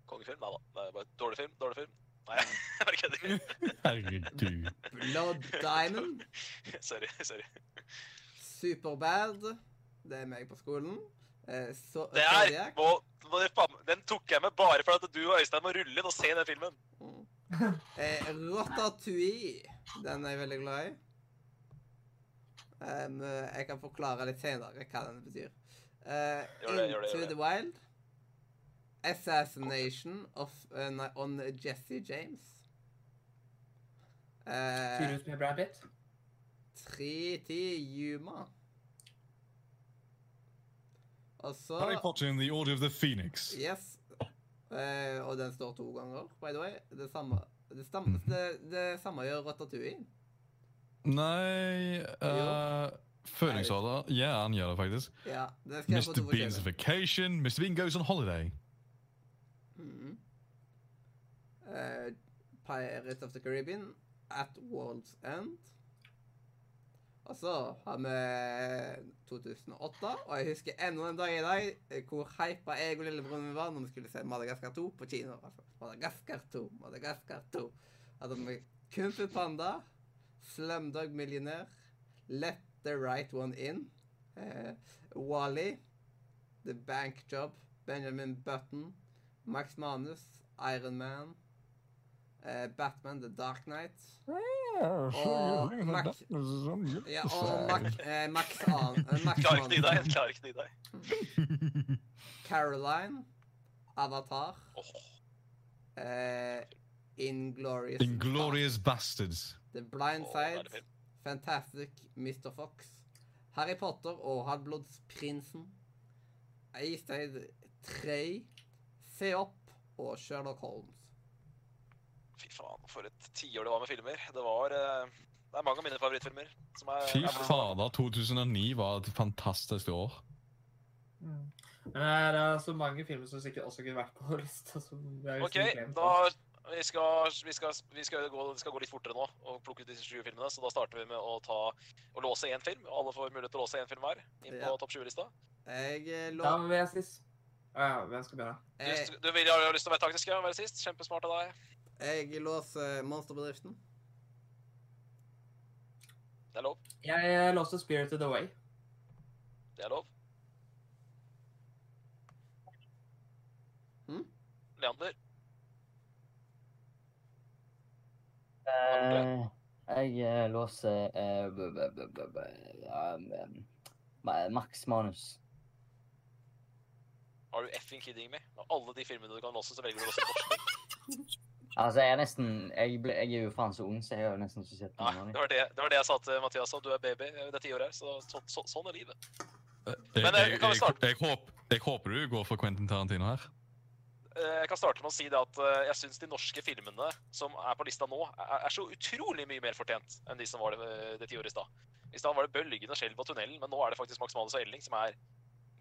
Kongefilm. Nei da. Det er bare dårlig film. Dårlig film. Nei, jeg bare kødder. Herregud. Blood Diamond. Sorry. sorry. Superbad. Det er meg på skolen. Eh, så, Det er Zodiac. må det faen- den tok jeg med bare for at du og Øystein må rulle inn og se den filmen. Mm. Eh, Ratatouille. Den er jeg veldig glad i. Em, eh, jeg kan forklare litt senere hva den betyr. Eh, Gjør det, gjør det, Into gjør det. the Wild. Assassination of, eh, nei, on Jesse James. Eh, Turhus med Brad Pitt. 310 Yuma. Og så Harry Potter in the Order of the Phoenix. Yes. Eh, og den står to ganger, by the way. Det samme, det stam- det, det samme gjør Ratatouille. Nei uh, Føningsorder. Ja, han gjør det faktisk. Ja, det skal jeg få Mr. to Beans forskjellige. vacation. Mr. Bean goes on holiday. Mhm. Eh, Pirates of the Caribbean, At World's End. Og så har vi 2008, og jeg husker ennå en dag i dag eh, hvor hypa jeg og lillebroren min var når vi skulle se Madagaskar 2 på kino. Altså, Madagaskar 2, Madagaskar 2. Hadde vi Kung Fu Panda, Slumdog Millionaire, Let the Right One In, eh, Wally, The Bank Job, Benjamin Button, Max Manus, Iron Man, eh, Batman The Dark Knight Og Mac- ja, og Mac, eh, Max, An eh, Max Klarer ikke det i deg. Manus, Klarer ikke det i deg. Caroline, Avatar, Åh, eh, Inglorious Inglorious bastards. The Blind Åh, da er Side, det film. Fantastic Mr. Fox, Harry Potter og Halvblodsprinsen, Eistein 3, Se opp og Sherlock Holmes. Fy faen, for et tiår det var med filmer. Det var eh, Det er mange av mine favorittfilmer. Som er, Fy er- fader, 2009 var et fantastisk år. Mm. Men det er eh, så mange filmer som sikkert også kunne vært på lista. Som jeg OK, liksom glemt. da vi skal, vi, skal, vi, skal gå, vi skal gå litt fortere nå og plukke ut disse 20 filmene. Så da starter vi med å ta og låse én film. Alle får mulighet til å låse én film hver inn på Ja. topp 20-lista. Jeg eh, Da lå... vil jeg sist. Å ja, hvem skal begynne? Du, Jeg, du vil, har lyst til å være taktisk ja, og være sist? Kjempesmart av deg. jeg låser Monsterbedriften. Det er lov. Jeg eh, låste Spirited Away. Det er lov. Hm? Leander, Eh, jeg eh, låser eh, b- b- b- b- b- ja, mm, ma- Max Manus. har du effing kidding me? Av alle de filmene du kan låse, så velger du å låse bort. Altså, jeg er nesten Jeg, ble, jeg er jo faen så ung, så jeg har jo nesten ikke sett Nei, det noen av dem. var det, det var det jeg sa til Mathias. og Du er baby. Det er ti år her, så, så, så sånn er livet. Jeg, Men, eh, jeg, kan vi jeg, starte? jeg, håp, jeg håper du går for Quentin Tarantino her. Eh, Jeg kan starte med å si det at eh, jeg syns de norske filmene som er på lista nå, er er så utrolig mye mer fortjent enn de som var det, eh, det tiåret i stad. I stad var det 'Bølgen' og 'Skjelv' og 'Tunnelen', men nå er det faktisk 'Max Manus og Elling' som er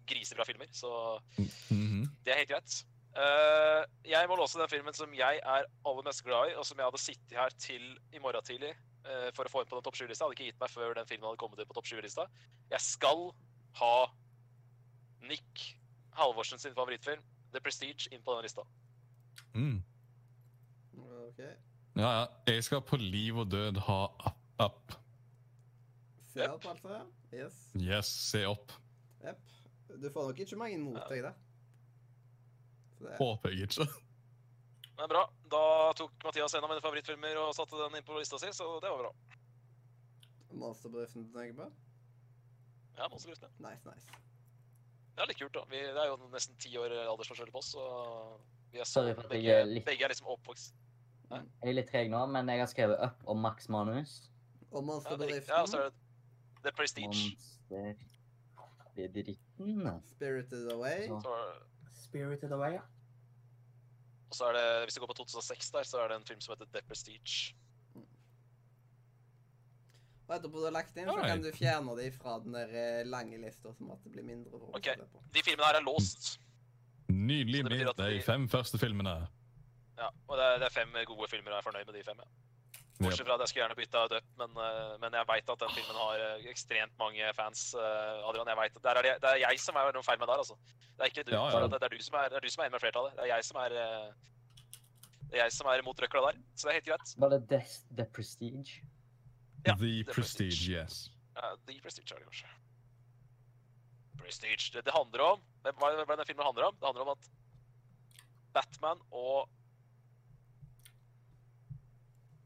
grisebra filmer. Så Mhm. det er helt greit. Eh, jeg må låse den filmen som jeg er aller mest glad i, og som jeg hadde sittet her til i morgen tidlig eh, for å få inn på den topp 7-lista. Hadde ikke gitt meg før den filmen hadde kommet inn på topp 7-lista. Jeg skal ha Nick Halvorsen sin favorittfilm, 'The Prestige', inn på den lista. Mm. Ok. Ja, ja. Jeg skal på liv og død ha up. up. Se Jep. opp, altså. Yes. Yes, se opp. Jep. Du får nok ikke mange mot Ja. deg, da. Så det, Håper jeg ikke. Det er bra. Da tok Mathias en av mine favorittfilmer og satte den inn på lista si, så det var bra. monsterbedriften du tenker på? Ja, monsterguttene. Nice, nice. Det er litt kult, da. Vi, det er jo nesten ti år aldersforskjell på oss, så vi er så Sorry for at jeg begge, er litt- begge er liksom oppvokst. Jeg er litt treg nå, men jeg har skrevet Up og Max Manus. Og Ja, det er riktig. ja, og så monsterbedriften, er det The Prestige. Monster Bedriften. Spirited Away. Så- Så, er- Spirited Away, ja. og så er det, hvis du går på 2006 der, så er det en film som heter The Prestige. Og etterpå du har lagt inn, så Alright. kan du fjerne de fra den der eh, lange lista, som at det blir mindre for å Ok. se på. De filmene her er låst. Nydelig Så det betyr med at vi- de fem første filmene. Mm. Ja, og det er, det er fem gode filmer, og jeg er fornøyd med de fem. ja. Bortsett fra at jeg skulle gjerne bytta det opp, men, eh, men jeg veit at den filmen har eh, ekstremt mange fans. eh, Adrian, jeg vet, at- der er det, det er jeg som er noe feil med der, altså. Det er ikke du. Ja, ja. Det, er du som er, det er du som er enig med flertallet. Det er jeg som er eh, det er jeg som er imot røkla der, så det er helt greit. Var det Death, The Prestige? Ja, The The Prestige. Prestige, yes. Ja, The Prestige er det kanskje. Prestige. Det, det handler om Hva hva er det den filmen handler om? Det handler om at Batman og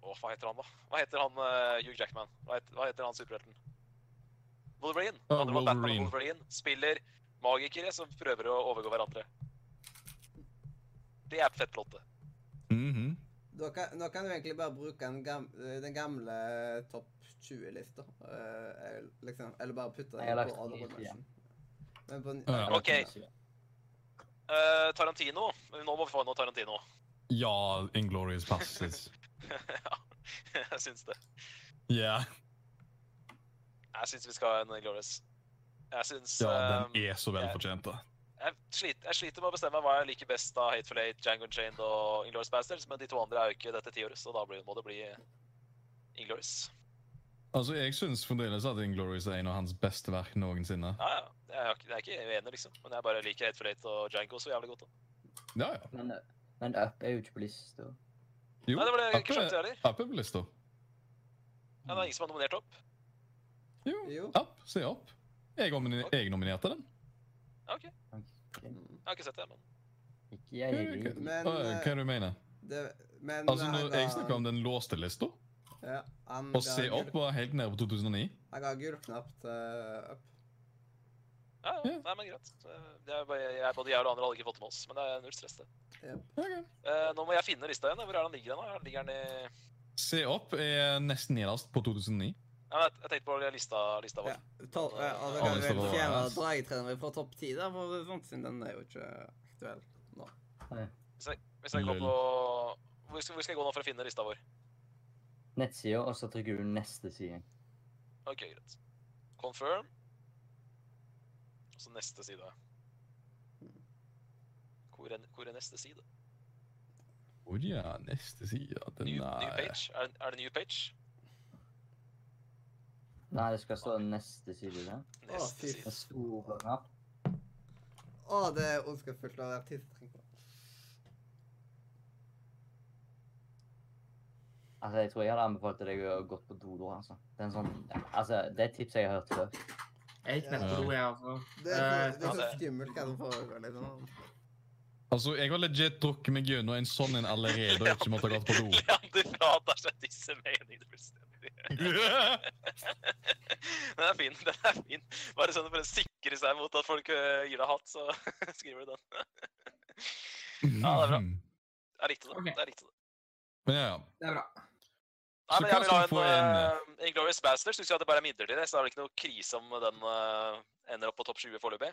Åh, hva heter han, da? Hva heter han eh, Hugh Jackman? Hva heter, hva heter han superhelten? Wolverine. Det Ja, handler om at Batman og Wolverine. Wolverine spiller magikere som prøver å overgå hverandre. Det er fett plottet. Mhm. Da kan, da kan du egentlig bare bruke den gamle, den gamle eh, topp 20-lista. eh, liksom, eller bare putte Nei, jeg har den lagt på den honorable i tida. mention. Men på, Ja, ja. Ok. Eh, Tarantino. Nå må vi få noe Tarantino. Ja, Inglorious Passes. ja, jeg syns det. Ja, Jeg syns vi skal ha en Glorious. Jeg syns ja, ehm, den er så velfortjent, da. jeg, sliter, jeg sliter med å bestemme hva jeg liker best av Hateful Eight, Django Chained og Inglorious Bastards, men de to andre er jo ikke dette tiåret, så da blir, må det bli Inglorious. Altså, Jeg syns fremdeles at Inglorious er en av hans beste verk noensinne. Ja, ja. Jeg er, ikke- jeg er ikke uenig, liksom, men jeg bare liker Hateful Eight og Django så jævlig godt. da. Ja, ja. Men, men Up er jo ikke på lista. Jo, Nei, det ble Up ikke skjønt, er- det heller. Up er på lista. Ja, det er ingen som har nominert opp. Jo, Jo. Up. Se opp. Jeg, nomine- jeg nominerte den. Ja, ok. Jeg Mm. har ikke sett det, men Ikke jeg heller. Men, Hva hva er det du mener? det, men Altså, han når ga- jeg snakker om den låste lista, ja, han og ga Se gul- opp var helt nede på 2009 Han ga gul knapp til eh, Up. ja, ja. Ja. Nei, men greit. Det er bare, jeg, både jeg og andre hadde ikke fått det med oss, men det er null stress, det. Ok. Eh, nå må jeg finne lista igjen. Hvor er den ligger den? da? Ligger den i Se opp er nesten nederst på 2009. Ja, men jeg, jeg tenkte på lista, lista vår. Ja. Tolv, ja, og da Ja, kan det vi står vel på- fjerne dragetrenere fra topp 10, da, for det er sånt, siden den er jo ikke aktuell. Hvis jeg går Lol. på hvor skal, hvor skal jeg gå nå for å finne lista vår? Nettsida, og så trykker du neste side. Ok, greit. Confirm. Og så neste side. Hvor er, hvor er neste side? Å ja, neste side. Den New, new er page? Er, er det new page? Nei, det skal stå neste side der. fy Neste Med side. store knapp. Å, det er ondskapsfullt av artistring. Altså, jeg tror jeg hadde anbefalt deg å gå på do da, altså. Det er en sånn, altså, det er et tips jeg har hørt før. Jeg gikk ned på do, jeg også. Det er så, det Eh, er så ja, det- skummelt hva som foregår, liksom. Altså, jeg har legit drukket meg gjennom en sånn en allerede og ikke måtte ha gått på do. Leander fratar seg disse meningene fullstendig. Den er fin. den er fin. Bare sånn for å sikre seg mot at folk øh, gir deg hatt, så skriver du den. Ja, det er bra. Jeg likte det. Ok. Jeg likte det. Men ja, ja. Det er bra. Nei, Så men hva jeg vil skal vi få ha en igjen? uh, Inglorious Bastards. Syns jeg at det bare er midlertidig, så det er vel ikke noe krise om den eh, ender opp på topp 20 foreløpig.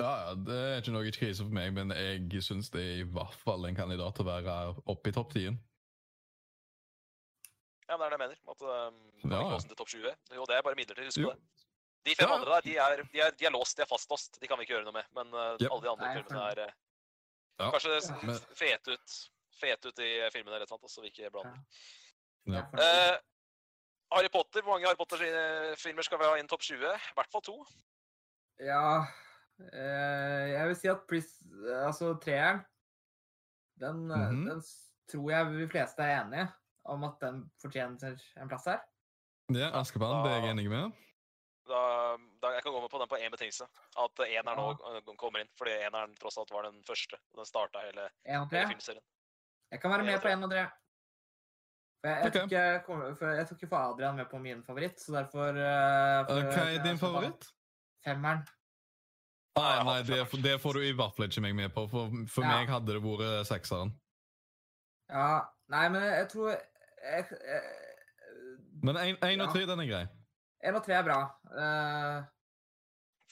Ja, ja, Det er ikke noe krise for meg, men jeg syns det er i hvert fall en kandidat til å være oppe i topp 10. Ja, men det er det jeg mener. At eh, man Ja, ikke ja. låser den til topp 20. Jo, det er bare midlertidig, husk på Jo. det. De fem Ja, ja. andre der, de er, de, er, de er låst, de er fastlåst. De kan vi ikke gjøre noe med. Men eh, Jep. alle de andre Nei, jeg filmene er eh, Ja, kanskje s- men- fete ut. Fete ut i filmene, rett og slett, så vi ikke blander. Ja. Jeg er fornøyd. Eh, Harry Potter, Hvor mange Harry Potter-filmer skal vi ha inn topp 20? I hvert fall to. Ja eh, Jeg vil si at Pris, altså treeren, den, eh, Mhm. den s- tror jeg de fleste er enige om at den fortjener en plass her. Ja, Askeban, det er jeg enig med. Da, da, jeg kan gå med på den på én betingelse. At eh, eneren nå eh, kommer inn. Fordi eneren tross alt var den første. og Den starta hele, En og tre. hele filmserien. Jeg kan være En med og på tre. en og tre. For jeg, jeg, Ok. tok ikke, jeg kommer- for jeg tok ikke få Adrian med på min favoritt, så derfor eh, Eh, for- Hva er for- din favoritt? Femmeren. Ah, jeg nei, hadde det, femmeren. det får du i hvert fall ikke meg med på. For, for Ja. meg hadde det vært sekseren. Ja, nei, men jeg, jeg tror jeg, jeg, Men én og Ja. tre, den er grei. En og tre er bra. Eh,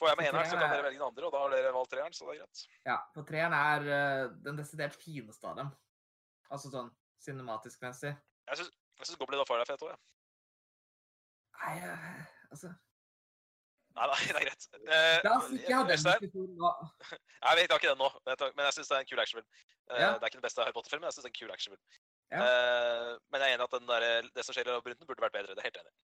Får jeg med Så eneren, så kan treeren dere er- velge den andre. Og da har dere valgt treeren, så det er greit. ja, for treeren er eh, den desidert fineste av dem. Altså sånn cinematisk-messig. Jeg syns, jeg syns Goblin of Fire er fet òg, jeg. Nei, eh, altså Nei, nei, det er greit. Eh, La oss ikke ha den Øystein? diskusjonen nå. Nei, vi tar ikke den nå, men jeg tar- men jeg syns det er en kul actionfilm. Eh, Ja. Det er ikke den beste Harry Potter-filmen, men jeg syns det er en kul actionfilm. Ja. Eh, men jeg er enig i at den der, eh, det som skjer i labyrinten, burde vært bedre. Det er jeg helt enig. i.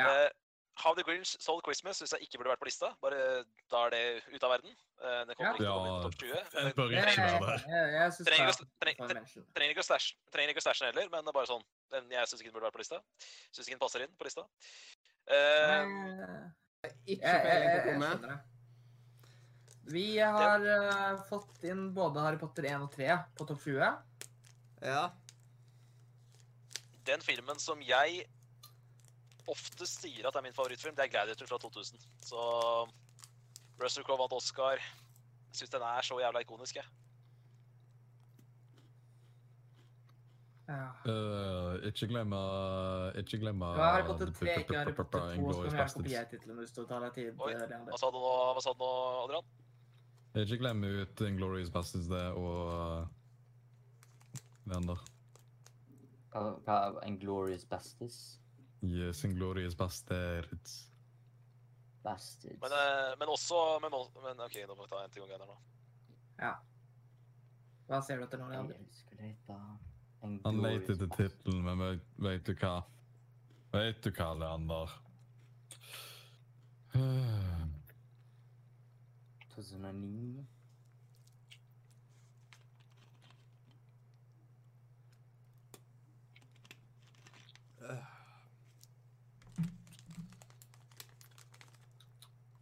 Ja. Eh, How the Grinch Soul Christmas syns jeg ikke burde vært på lista. Bare Da er det ut av verden. Eh, det kommer Ja. ikke til å komme inn Ja, på topp 20. men Den det- bør Jeg, ikke jeg, være der. jeg, jeg syns Trenger bare ikke å- trenger- for mention. Trenger ikke å stæsje trenger ikke å stæsje den heller, men det er bare sånn. Den, jeg syns ikke den burde vært på lista. Syns ikke den passer inn på lista. Eh, Nei, Ikke jeg, jeg, jeg, peiling på jeg hvor med. skjønner det. Vi har eh, fått inn både Harry Potter 1 og 3 på topp 20. Ja. Den filmen som jeg oftest sier at er min favorittfilm, det er Gladiator fra 2000. Så Russell Crowe vant Oscar. Jeg syns den er så jævla ikonisk, jeg. Ja. Eh, ikke glemme Ikke glemme Du har Harry Potter 3, ikke Harry Potter 2. Så kan jeg kopiere titlene hvis du tar deg tid. Oi, eh, Leander. Hva sa du nå, hva sa du nå Adrian? Ikke glemme ut Inglorious Bastards det og eh, Leander. Hva- hva- En glorious bastards? Yes, Inglorious Bastards. Bastards. Men, eh, men også men, al- men OK, nå må vi ta en til gang her nå. Hva ser du etter nå, Leander? Jeg husker det het, da. En Han glorious leter etter bastard. tittelen, men vet, vet du hva? Vet du hva, Leander? 2009.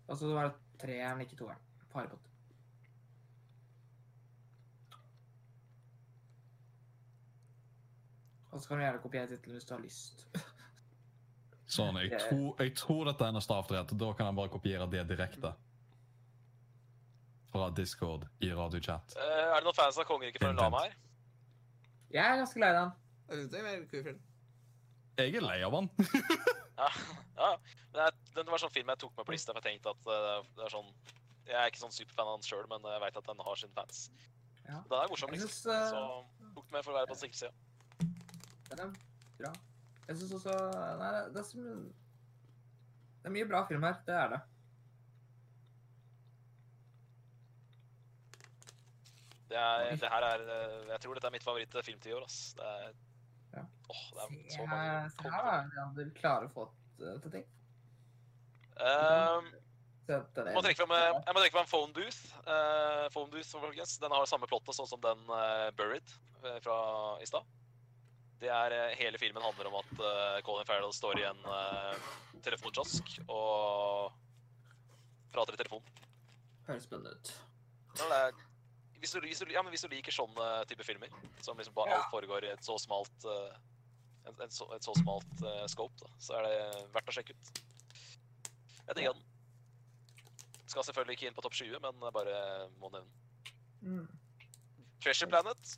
Altså, det var treeren, ikke toeren. På Harry Potter. Og så kan du gjerne kopiere tittelen hvis du har lyst. Sånn, jeg tror, jeg tror dette er en stavtrett, og da kan han bare kopiere det direkte. Fra Discord i radiochat. Eh, er det noen fans av Kongeriket for en lama her? Jeg er ganske lei den. Jeg synes det er en veldig kul film. Jeg er lei av han. Ja. ja. Men jeg, den var sånn film jeg tok med på lista, for jeg tenkte at eh, det er sånn Jeg er ikke sånn superfan av den sjøl, men jeg veit at den har sine fans. Ja. Den er morsom, Jeg liksom. synes, Så eh, tok den med for å være på den sikre sida. den er bra. Jeg syns også Nei, det- det er, så, mye- det er mye bra film her. Det er det. Det, er, det her er eh, Jeg tror dette er mitt favoritt filmtiår, ass. Det er, Ja. Åh, det er Se så mange her, se her konger. da, Leander klarer å få t- til ting. Ehm, Se etter det. jeg må trekke frem, eh, jeg må trekke frem Phone Booth. eh, phone Booth, folkens. Den har samme plottet sånn som den eh, Buried eh, fra i stad. Det er eh, Hele filmen handler om at eh, Colin Farrell står i en uh, telefonkiosk og prater i telefonen. Høres spennende ut. Ja, det er, hvis, du, hvis, du, ja, men hvis du liker sånne type filmer, som liksom bare Ja. alt foregår i et så smalt eh, en, en så, et så smalt eh, scope, da, så er det verdt å sjekke ut. Jeg digger den. Skal selvfølgelig ikke inn på topp 20, men jeg bare må nevne den. Mm. Treasure Planet,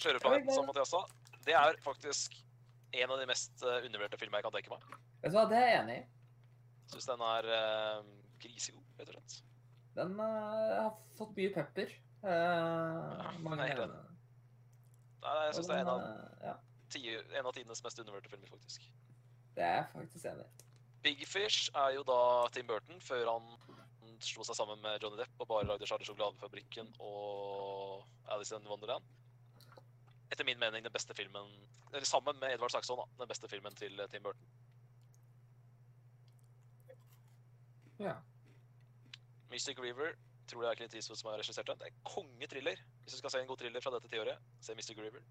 sjørøverplaneten som Mathias sa, det er faktisk en av de mest eh, undervurderte filmene jeg kan tenke meg. Vet du hva, det er jeg enig i. Syns den er uh, grisegod, rett og slett. Den eh, har fått mye pepper. Eh, mange jeg er nevner. Nei, jeg syns det er en av, Eh, Ja, ti, en av tidenes mest undervurderte filmer, faktisk. det er jeg faktisk enig i. Big Fish er jo da Tim Burton før han slo seg sammen med Johnny Depp og bare lagde Charlie Sjokoladefabrikken og Alice in Wonderland. Etter min mening den beste filmen Eller sammen med Edvard Saxon, da. Den beste filmen til eh, Tim Burton. Ja. Mystic River tror det er Clint Eastwood som har regissert den. Det er kongetriller. Hvis du skal se en god thriller fra dette tiåret, se Mystic River.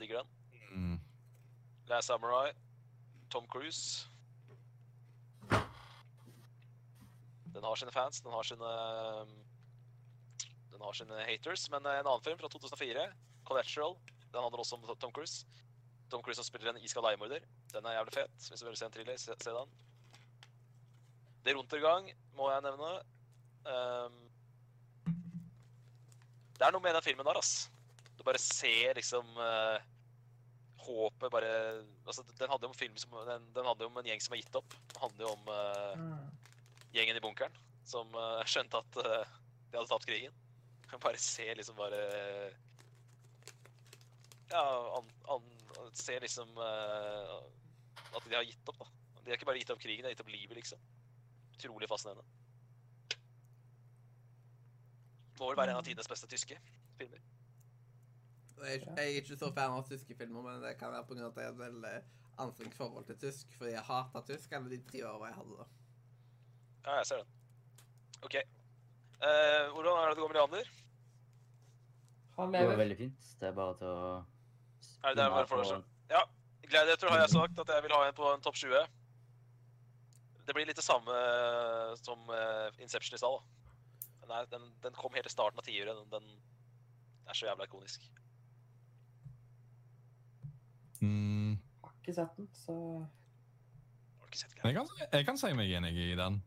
Digger den. Mm. Last Samurai, Tom Cruise. Den har sine fans, den har sine um, Den har sine haters. Men eh, en annen film fra 2004, Collateral, den handler også om Tom- Tom Cruise. Tom Cruise som spiller en iskald leiemorder. Den er jævlig fet. Hvis du vil se en thriller, se, se den. Det er Runtergang må jeg nevne. Um, det er noe med den filmen der, ass. Du bare ser liksom eh, håpet bare altså, Den handler jo om film som, den, den handler jo om en gjeng som har gitt opp. Den handler jo om eh, Mm. gjengen i bunkeren som eh, skjønte at eh, de hadde tapt krigen. Jeg bare ser liksom bare Ja, an, an, ser liksom eh, at de har gitt opp, da. De har ikke bare gitt opp krigen, de har gitt opp livet, liksom. Utrolig fascinerende. Må vel være en av tidenes beste tyske filmer. Jeg, jeg er ikke så fan av tyske filmer, men det kan være på grunn av at jeg har et veldig anstrengt forhold til tysk, fordi jeg hatet tysk alle de tre årene jeg hadde. Ja, jeg ser den. OK. Eh, hvordan er det det går med Leander? Han Det var lever. veldig fint. Det er bare til å Er det der bare for å- Gladiator har jeg sagt at jeg vil ha en på en topp 20. Det blir litt det samme som eh, Inception i stad. da. Den, er- den, den kom helt i starten av tiåret. Den, den er så jævla ikonisk. Mm, Har ikke sett den, så Har du ikke sett jeg, greia? kan, jeg kan si meg enig i den.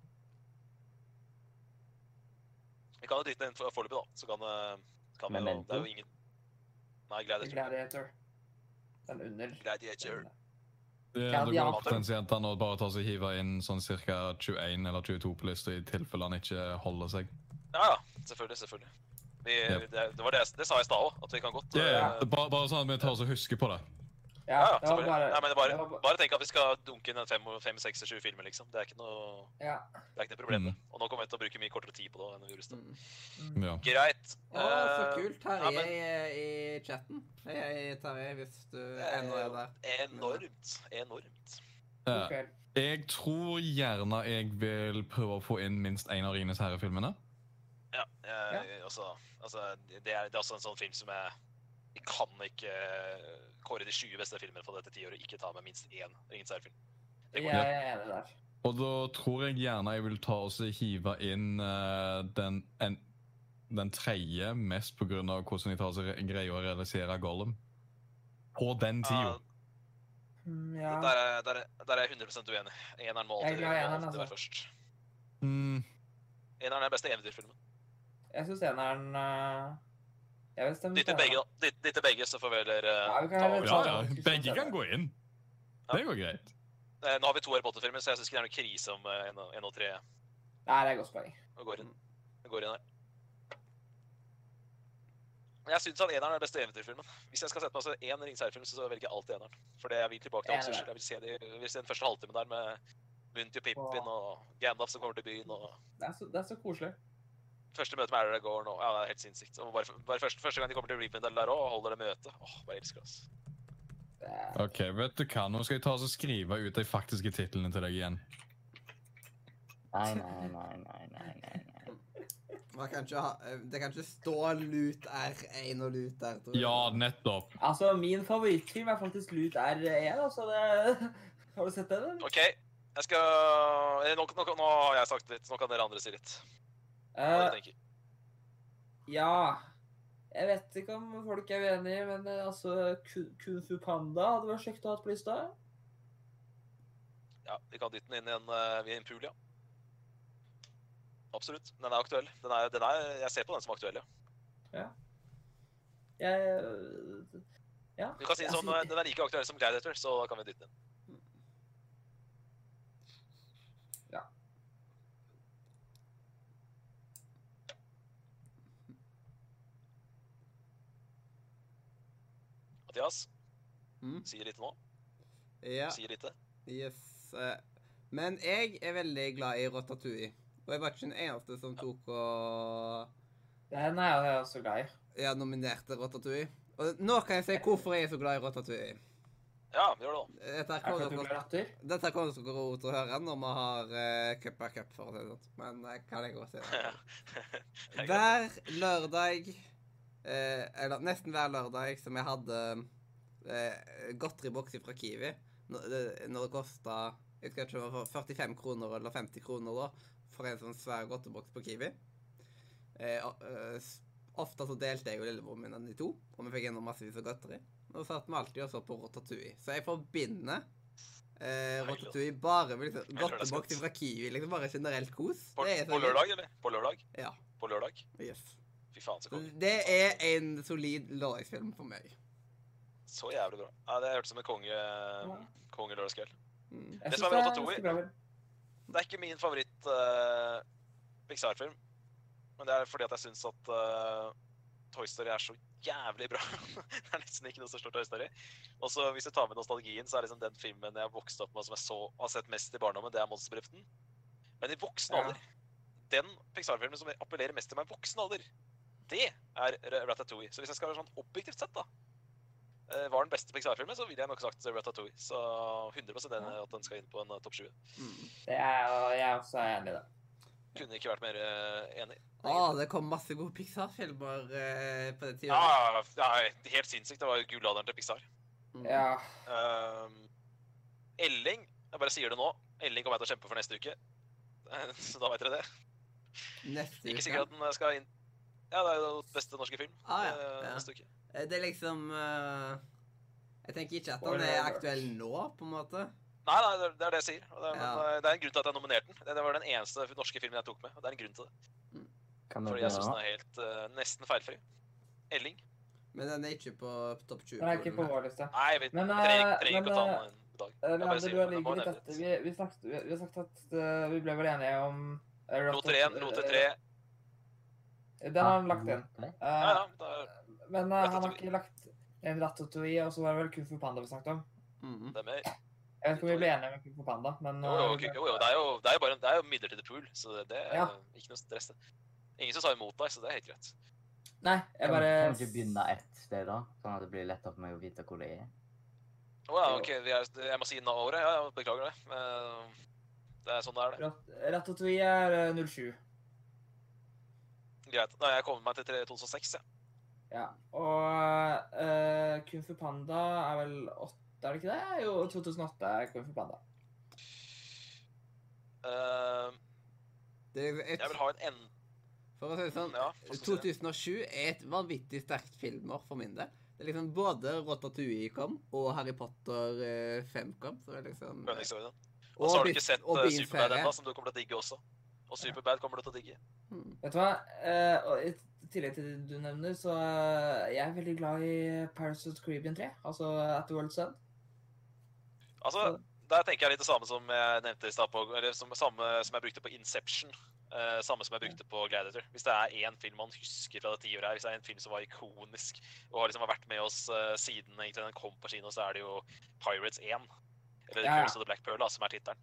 Vi kan jo dytte den inn for- foreløpig, da. Så kan, eh, kan vi jo Memento? Det er jo ingen Nei, Gladiator. Gladiator. Den under. Gladiator. Det, Ja, det ja. går potensielt an å bare ta seg hive inn sånn ca. 21 eller 22 på lista i tilfelle han ikke holder seg. Ja, ja. Selvfølgelig. selvfølgelig. Vi, Yep. det, det var det, jeg- det sa jeg i stad òg, at vi kan godt Ja, ja. eh, Bare, bare sånn at vi tar oss og husker på det. Ja, Ja, ja, det var selvfølgelig. bare, Nei, men det er bare, det var ba- bare tenk at vi skal dunke inn en fem, fem seks, sju filmer, liksom. Det er ikke noe, ja. det er ikke noe problem. Og nå kommer vi til å bruke mye kortere tid på det enn vi gjorde i sted. Mm. Mm. Ja. Greit. Å, så Eh, kult. Her ja, er men- jeg eh, i chatten. Hei, hei, Terje, hvis du Eh, ennå er der. Enormt. Enormt. Eh, God kveld. Jeg tror gjerne jeg vil prøve å få inn minst én av Rines herre-filmene. Ja. Jeg, Også, Eh, altså, det, er, det er også en sånn film som jeg Jeg kan ikke eh, kåre de 20 beste filmene fra dette tiåret og ikke ta med minst én Ringens herre-film. Det går Jeg er enig der. Og da tror jeg gjerne jeg vil ta og så hive inn eh, den, en, den tredje, mest på grunn av hvordan jeg tar så re- greier å realisere Gollum. På den tida. Ja, Mm, Eh, der, Ja. er- der, er- der er jeg 100 uenig. Eneren må Jeg er alltid, glad i må eneren, alltid være altså. først. Mm, Eneren er den beste eventyrfilmen. Jeg syns eneren eh, Jeg vil stemme Dytte for begge, eneren. da. Dytte, dytte begge, så får vi heller eh, Ja, vi kan ta heller over. ja, ja. Begge kan gå inn. Det går greit. Eh, Nå har vi to Harry Potter-filmer, så jeg syns ikke det er noe krise om eh, en og- en og tre Nei, det er godt poeng. går inn, går inn her. Men Jeg syns at eneren er den beste eventyrfilmen. Hvis jeg skal sette meg så én Ringens herre-film, så velger jeg alltid eneren. For det jeg vil tilbake til Enig Akershus. der. Jeg vil se, de, jeg vil se den første halvtimen der med Munti og Pippin og Gandalf som kommer til byen, og Det er så, det er så koselig. første møte med Aragorn og Ja, det er helt sinnssykt. Og bare, bare første, første gang de kommer til Reapendale der òg, og holder det møtet. Åh, bare elsker det, altså. Det er, OK, vet du hva, nå skal jeg ta og så skrive ut de faktiske titlene til deg igjen. Nei, nei, nei, nei, nei, nei. nei. Man kan ikke ha, eh, det kan ikke stå lut R1 og lut R2. Ja, nettopp. Altså, min favorittfilm er faktisk Lut R1, altså. Det... Har du sett den? eller? OK. Jeg skal eh, nå, nå, nå har jeg sagt litt. Nå kan dere andre si litt. Hva dere Eh, tenker. ja. Jeg vet ikke om folk er uenig, men eh, altså Ku- Kung Fu Panda hadde vært kjekt å ha på lista. Ja, vi kan dytte den inn i en, eh, i en pool, ja. Absolutt. Den er aktuell. Den er, den er, jeg ser på den som aktuell, ja. Jeg øh, Ja. Du kan si det sånn, eh, Den er like aktuell som Gladiator, så da kan vi dytte den inn. Ja. Mathias, Mm. sier lite nå. Ja, Sier lite. yes. eh, Men jeg er veldig glad i Ratatouille. Og jeg var ikke den eneste som tok og Den er jeg også glad i. ja, nominerte Ratatouille. Og nå kan jeg si hvorfor jeg er så glad i Ratatouille. Ja, vi gjør det, da. Dette her Er det kommer at du dere, blir latter? dette her kommer dere til å høre når vi har eh, Cup er cup, for å si det sånn. Men jeg kan jeg godt si det. Det er greit. Hver lørdag, eh, eller nesten hver lørdag, som jeg hadde eh, godteriboks fra Kiwi Når det, når det kosta jeg husker ikke, om det var 45 kroner eller 50 kroner da, for en sånn svær godteriboks på Kiwi. Eh, og, eh, s- ofte så delte jeg og lillebroren min den i to, og vi fikk ennå massevis av godteri. Og så satt vi alltid og så på Rotatui. Så jeg forbinder eh, Deilig, da. Rotatui bare med liksom, Med lørdagsgodt. godteriboks fra Kiwi. liksom Bare generelt kos. På, Det er så på gøy. lørdag, eller? På lørdag? Ja. På lørdag? Yes. Fy faen, så konge. Det er en solid lørdagsfilm for meg. Så jævlig bra. Ja, Det hørtes ut som en konge, konge lørdagskveld. Mm. Jeg Det synes som er med Ratatouille- ganske bra vel. Det er ikke min favoritt eh, Pixar-film. Men det er fordi at jeg syns at eh, Toy Story er så jævlig bra. det er nesten ikke noe som slår Toy Story. Og så hvis du tar med nostalgien, så er liksom den filmen jeg vokste opp med som jeg så, har sett mest i barndommen, det er Monsterbedriften. Men i voksen Ja. alder Den Pixar-filmen som appellerer mest til meg i voksen alder, det er R- Ratatouille. Så hvis jeg skal være sånn objektivt sett, da eh, var den beste Pixar-filmen, så ville jeg nok sagt Ratatouille. Så 100 enig at den skal inn på en eh, topp 20. Mm. Det er jo- jeg er også enig i det. Kunne ikke vært mer eh, enig. Ah, det kom masse gode Pixar-filmer eh, på det tida. Ja, ja, ja, det er helt sinnssykt. Det var jo gullalderen til Pixar. Mm. Ja. Ehm, Elling, jeg bare sier det nå, Elling kommer jeg til å kjempe for neste uke. Så da vet dere det. Neste Ikke uke. sikkert at den skal inn Ja, det er jo beste norske film Ah, ja, eh, ja. neste uke. Eh, Det er liksom eh, Jeg tenker ikke at den Spoiler er alert. aktuell nå, på en måte. Nei, nei, det er- det er det jeg sier. Og det, er, Ja. men, eh, det er en grunn til at jeg nominerte den. Det- Det var den eneste norske filmen jeg tok med. og Det er en grunn til det. Kan Fordi dere jeg syns den gjøre? er helt eh, nesten feilfri. Elling. Men den er ikke på topp 20. Den er ikke på her. vår liste. Nei, vi Men, trenger eh, trenger ikke men, å ta eh, den en dag. Eh, Jeg bare Leander, sier du har det, men det like må litt nevnes. at vi, vi, snakket, vi, vi har sagt at eh, vi ble vel enige om eh, Rotten- Roter 1, Roter 3 Ja, Eh, Den har han lagt inn. Eh, ja. da- men eh, han har Ratatouille. ikke lagt en Ratatouille, og så var det vel Kung Fu Panda vi snakket om. Mhm. Det er mer. Jeg vet ikke om vi ble enige med Kung Fu Panda, men Jo, jo, eh, ok, jo, jo, det er jo, det er jo bare en, det er jo midlertidig pool, så det, det er Ja. ikke noe stress. det. Ingen som sa imot deg, så det er helt greit. Nei, jeg bare Kan vi ikke begynne ett sted, da? Sånn at det blir lettere for meg å vite hvor det er. Å ja, Jo. ok, vi er, jeg må si Naore. Ja, ja, beklager det. Men det er sånn det er, det. Rat- Ratatouille er eh, 07. Greit. Nei, jeg kommer meg til tre- 2006, jeg. Ja. Og eh, Kung Fu Panda er vel 8, er det ikke det? Jo, 2008 er Kung Fu Panda. Eh, Det er et, jeg vil ha en ende for å si det sånn, Ja, hva skal man si det? 2007 er et vanvittig sterkt filmår for min del. Det er liksom Både Rotatouille kom, og Harry Potter eh, 5 kom. Så det er liksom eh, Lønningsøyne. Og så har du Beast- ikke sett og eh, Beans Superbad serie. ennå, som du kommer til å digge også. Og Superbad kommer du til å digge. Mm. Vet du hva? Eh, og I tillegg til det du nevner, så eh, jeg er veldig glad i Paris of the Caribbean 3. Altså At the World's End. Altså, der tenker jeg litt det samme som jeg nevnte i stad, på- eller som, samme som jeg brukte på Inception. eh, samme som jeg brukte på Gladiator. Hvis det er én film man husker fra det tiåret her, hvis det er en film som var ikonisk og har liksom vært med oss eh, siden egentlig den kom på kino, så er det jo Pirates 1. Eller Ja, ja. Curse of the Black Pearl, da, som er tittelen.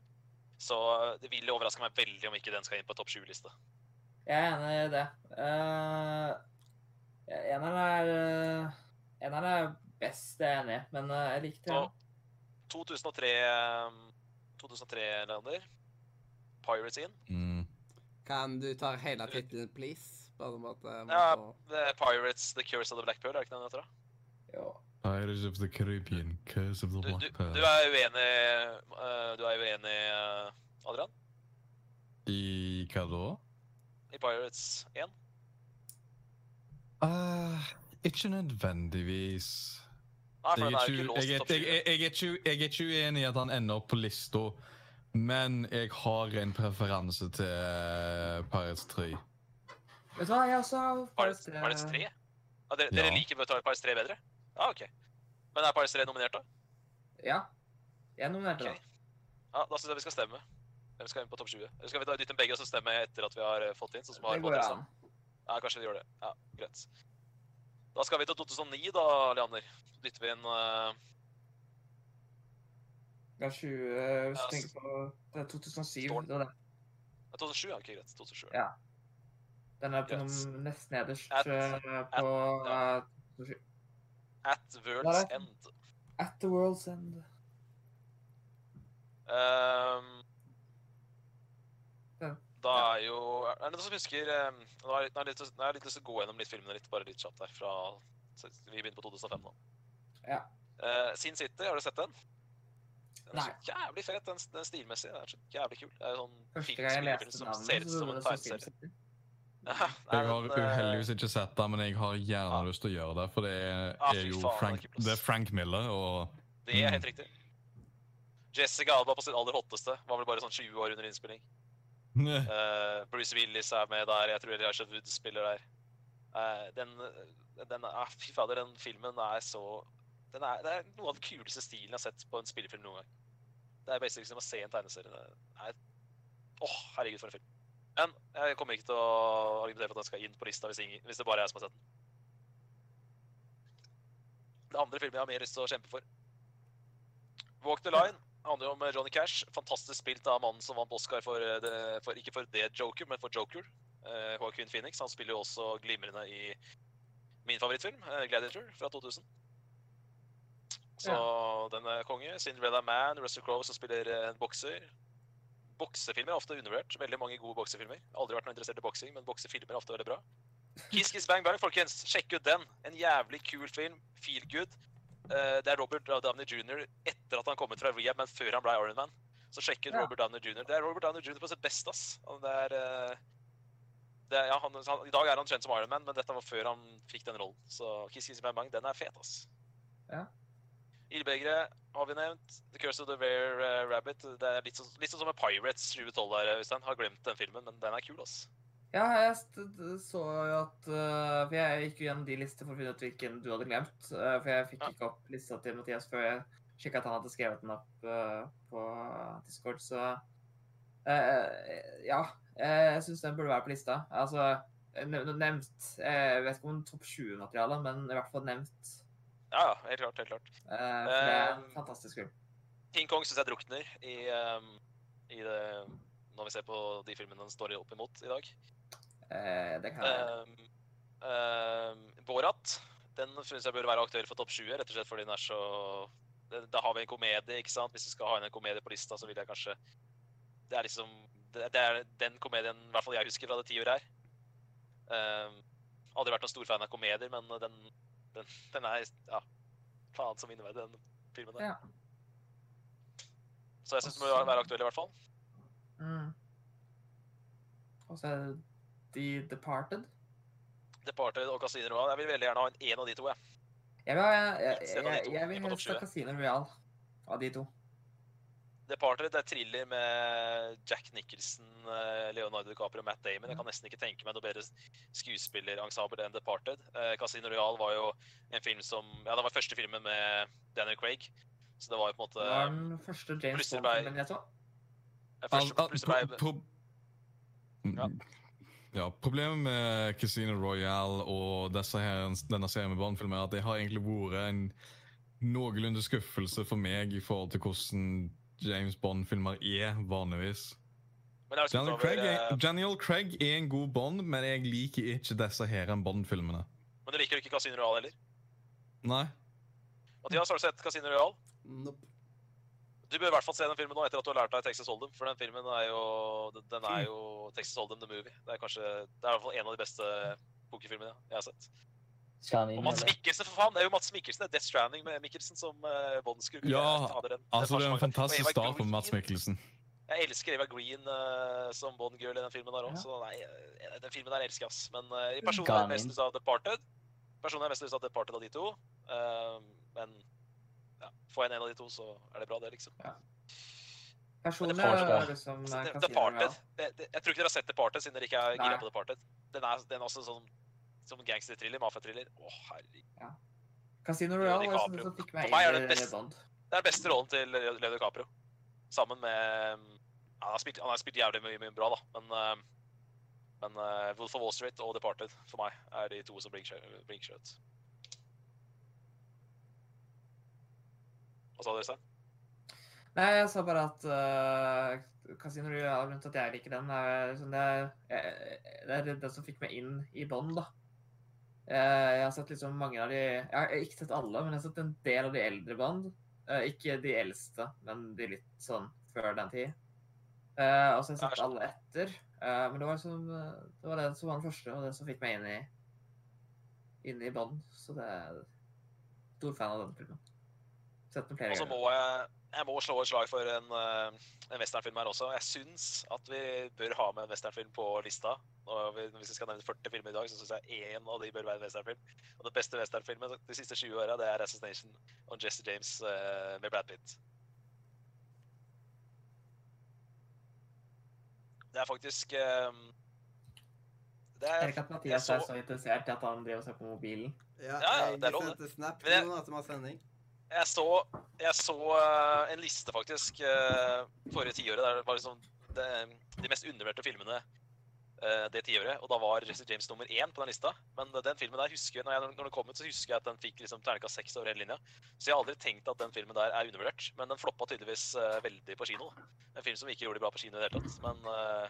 Så eh, det ville overraske meg veldig om ikke den skal inn på topp 20-liste. Jeg er enig i det. Eh, eneren er eh, Eneren er best, det er jeg enig i. Men eh, jeg likte Og den. 2003 eh, 2003-lander. Pirates inn. Mm. Kan du ta hele tittelen, please? Bare om at eh, man Ja. får- The Pirates, The Curse of the Black Pearl, er det ikke den heter? da? Jo. Pirates of the Caribbean, Curse of the Du, du, Black Pearl. du er uenig, eh, du er uenig eh, Adrian, I hva da? i Pirates 1? Eh, ikke nødvendigvis. Nei, for Jeg den er, er jo ikke, ikke jeg, låst i er, topp jeg, 20. jeg, er ikke, jeg er ikke uenig i at han ender opp på lista, men jeg har en preferanse til Pirates 3. Vet du hva, jeg også har eh, Pirates, Pirates 3? Ja, dere, dere Ja. liker å ta Pirates 3 bedre? Ja, ok. Men er Pirates 3 nominert, da? Ja. Jeg nominerte Ok. Ja, da syns jeg vi skal stemme. Hvem skal inn på topp 20? Eller skal vi ta dytte inn begge og så stemme etter at vi har eh, fått inn? Sånn som den. har Det fått går inn, an. Ja, kanskje vi gjør det. Ja, greit. Da skal vi til 2009, da, Leander. Så dytter vi inn eh, Det er 20 eh, Hvis Ja, du tenker på Det er 2007. Står den- Det var den. ja, 2007, ja. Ok, greit. 2007. Ja. Den er på Yes. nom- nest nederst At- eh, på ja. eh, At World's Der er- End. At the World's End. Ehm, Ja. da er jo Er det noen som husker ehm, Nå har jeg nå har jeg litt lyst- nå har jeg litt lyst til å gå gjennom litt filmene litt, bare litt kjapt her fra så Vi begynner på 2005 nå. Ja. Eh, Sin City, har du sett den? Den er Nei. så jævlig fet, den, den stilmessig. Den er så jævlig kul. Det er sånn Første film- gang jeg spillefilm leste som ser navnet, ut så som var en det som Sim tegneserie. City. Ja, nei, Jeg har men, eh, uheldigvis ikke sett det, men jeg har gjerne lyst til å gjøre det, for det er, Ah, fy er jo faen, det er Frank, ikke plass. det er Frank Miller, og Det er helt riktig. Jessica Alba på sitt aller hotteste. Var vel bare sånn 20 år under innspilling. Eh, Bruce Willis er med der. Jeg tror Elijah Wood spiller der. Eh, den, den ah, Fy fader, den filmen er så den er, Det er noe av den kuleste stilen jeg har sett på en spillefilm noen gang. Det er basically som å se en tegneserie. Det er- Åh, herregud, for en film. Men jeg kommer ikke til å argumentere for at den skal inn på lista hvis, ingen, hvis det bare er jeg som har sett den. Det andre filmen jeg har mer lyst til å kjempe for. Walk the Line handler jo om Johnny Cash. Fantastisk spilt av mannen som vant Oscar for, eh, det, for ikke for det Joker, men for Joker. Eh, Joaquin Phoenix. Han spiller jo også glimrende i min favorittfilm, eh, Gladiator, fra 2000. Så den er konge. Cinderella Man, Russell Crowe som spiller eh, en bokser. Boksefilmer er ofte undervurdert. Veldig mange gode boksefilmer. Aldri vært noe interessert i boksing, men boksefilmer er ofte veldig bra. Kiss Kiss Bang Bang, folkens. Sjekk ut den. En jævlig kul film. Feel good. Eh, det er Robert Downey jr. etter at han kom ut fra rehab, men før han ble Iron Man. Så sjekker Ja. Robert Downey jr. Det er Robert Downey jr. på sitt beste, ass. Han, det er, eh, det er, ja, han, han, I dag er han kjent som Iron Man, men dette var før han fikk den rollen. Så Kiss Kiss Bang Bang, den er fet, ass. Ja. Ildbegeret har vi nevnt. The Curse of the Rare eh, Rabbit. Det er litt sånn, litt sånn som med Pirates 2012 her, Øystein. Har glemt den filmen, men den er kul, ass. Ja, jeg st- d- så jo at eh, For jeg gikk jo gjennom de lister for å finne ut hvilken du hadde glemt. eh, for jeg fikk Ja. ikke opp lista til Mathias før jeg sjekka at han hadde skrevet den opp eh, på Discord, så eh, Ja. eh, jeg syns den burde være på lista. Altså nev- nevnt eh, Jeg vet ikke om topp 20-materiale, men i hvert fall nevnt. Ja, ja, helt klart, helt klart. eh, for det er en Eh, fantastisk film. King Kong syns jeg drukner i, ehm, i det, når vi ser på de filmene den står opp imot i dag. Eh, det kan jeg. Ehm, ehm, Borat den syns jeg burde være aktuell for topp 20, rett og slett fordi den er så Da da har vi en komedie, ikke sant? Hvis vi skal ha inn en komedie på lista, så vil jeg kanskje Det er liksom Det det er den komedien i hvert fall jeg husker fra det tiåret her. Ehm, aldri vært noen stor fan av komedier, men den, den, den er Ja, faen som innevei, den filmen der. Ja. Så jeg syns den bør være aktuell, i hvert fall. eh. Mm. Og så er det The Departed. Departed og Casino Royale. Jeg vil veldig gjerne ha en, en av de to. Jeg. Jeg vil, ha- jeg, jeg, Helst en av jeg, de to. jeg, Ikke vil på topp helst ha 20. Casino Royal av de to. Departed det er thriller med Jack Nicholson, eh, Leonardo DiCaprio og Matt Damon. Jeg kan nesten ikke tenke meg noe bedre skuespillerensembel enn Departed. Eh, Casino Royale var jo en film som Ja, det var første filmen med Daniel Craig. Så det var jo på en Det var måte den første James plutselig ble- Bond-filmen jeg så. eh, Al- første, al- plutselig pro- ble- pro- Ja. Ja, Problemet med Casino Royale og disse her, denne serien med barnefilm er at det har egentlig vært en noenlunde skuffelse for meg i forhold til hvordan James Bond-filmer er vanligvis. Men jeg har Daniel skutt Craig, over er, eh, Daniel Craig er en god Bond, men jeg liker ikke disse her Bond-filmene. Men du liker jo ikke Casino Royale heller? Nei. Mathias, har du sett Casino Royale? Nope. Du bør i hvert fall se den filmen nå etter at du har lært deg Texas Hold'em. For den filmen er jo, den- den er jo Texas Hold'em the movie. Det er kanskje, det er i hvert fall en av de beste pokerfilmene jeg har sett. Skal han Og inn Mats eller? Mikkelsen, for faen! Det er jo Mats Mikkelsen, det er Death Stranding med Mikkelsen som uh, båndskurk. Ja, Jeg hater den. Den Altså, Det første er en mange- Og fantastisk Eva start på Green. Mats Mikkelsen. Jeg elsker Eva Green eh, som Bond-girl i den filmen der òg, Ja. så nei, eh, den filmen der elsker jeg, ass. Men eh, i personen Ga er han jeg mest inn? lyst av Departed. Personen er mest lyst av Departed av de to. Eh, men ja, får jeg en en av de to, så er det bra, det, liksom. Personlig Departed. er det som Så eh, det- Casino Royale. Departed det- det- Jeg tror ikke dere har sett Departed, siden dere ikke er gira Nei. på Departed. Den er, den er også sånn som gangsterthriller, mafiatriller. Å, herregud. Casino Leo Royale var sånn DiCaprio. som fikk For meg meg er det inn i best- Bond. Det er den beste rollen til Leo DiCaprio. Sammen med mm, ja, Han har spilt, han har spilt jævlig mye, mye bra, da, men eh, men eh, Wolf of Wall Street og Departed for meg er de to som bringer seg- bringer seg ut. Hva sa du, Øystein? Nei, jeg sa bare at eh, Casino Royale, rundt at jeg liker den, er sånn det er, eh, det er den som fikk meg inn i Bond, da. Eh, jeg har sett liksom mange av de Jeg har ikke sett alle, men jeg har sett en del av de eldre Bond. Eh, ikke de eldste, men de litt sånn før den tid. Eh, og så har jeg sett alle etter. Eh, men det var liksom eh, Det var den som var den første, og den som fikk meg inn i inn i Bond. Så det er stor fan av den filmen. Sett den flere Og så må ganger. jeg, jeg må slå et slag for en, eh, en westernfilm her også. Jeg syns at vi bør ha med en westernfilm på lista. Og vi- hvis vi skal nevne 40 filmer i dag, så syns jeg én av de bør være en westernfilm. Og den beste westernfilmen de siste 20 åra, det er 'Assassination on Jesse James' eh, med Brad Pitt. Det er faktisk eh, Det Jeg er ser ikke at Eh, jeg Mathias så- er så interessert i at han driver og ser på mobilen. Ja, ja, jeg det er lov, det. sendte snap Men jeg- nå at vi har sending. Jeg så, jeg så eh, en liste, faktisk, eh, forrige tiåret. Der det var liksom det, de mest undervurderte filmene eh, det tiåret. Og da var Jesse James nummer én på den lista. Men den filmen der husker jeg, når, jeg, når den kom ut, så husker jeg at den fikk liksom terningkast seks over hele linja. Så jeg har aldri tenkt at den filmen der er undervurdert. Men den floppa tydeligvis eh, veldig på kino. da. En film som ikke gjorde det bra på kino i det hele tatt. Men eh,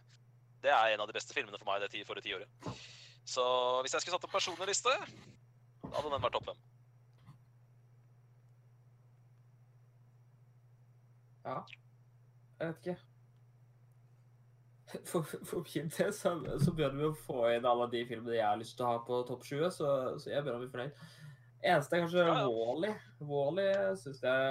det er en av de beste filmene for meg det ti, forrige tiåret. Så hvis jeg skulle satt opp en personlig liste, da hadde den vært topp fem. Ja. Jeg vet ikke. For, for min del så, så bør vi jo få inn alle de filmene jeg har lyst til å ha på topp 20, så, så jeg bør bli fornøyd. Eneste er kanskje Ja, ja. Wall-E. Wall-E syns jeg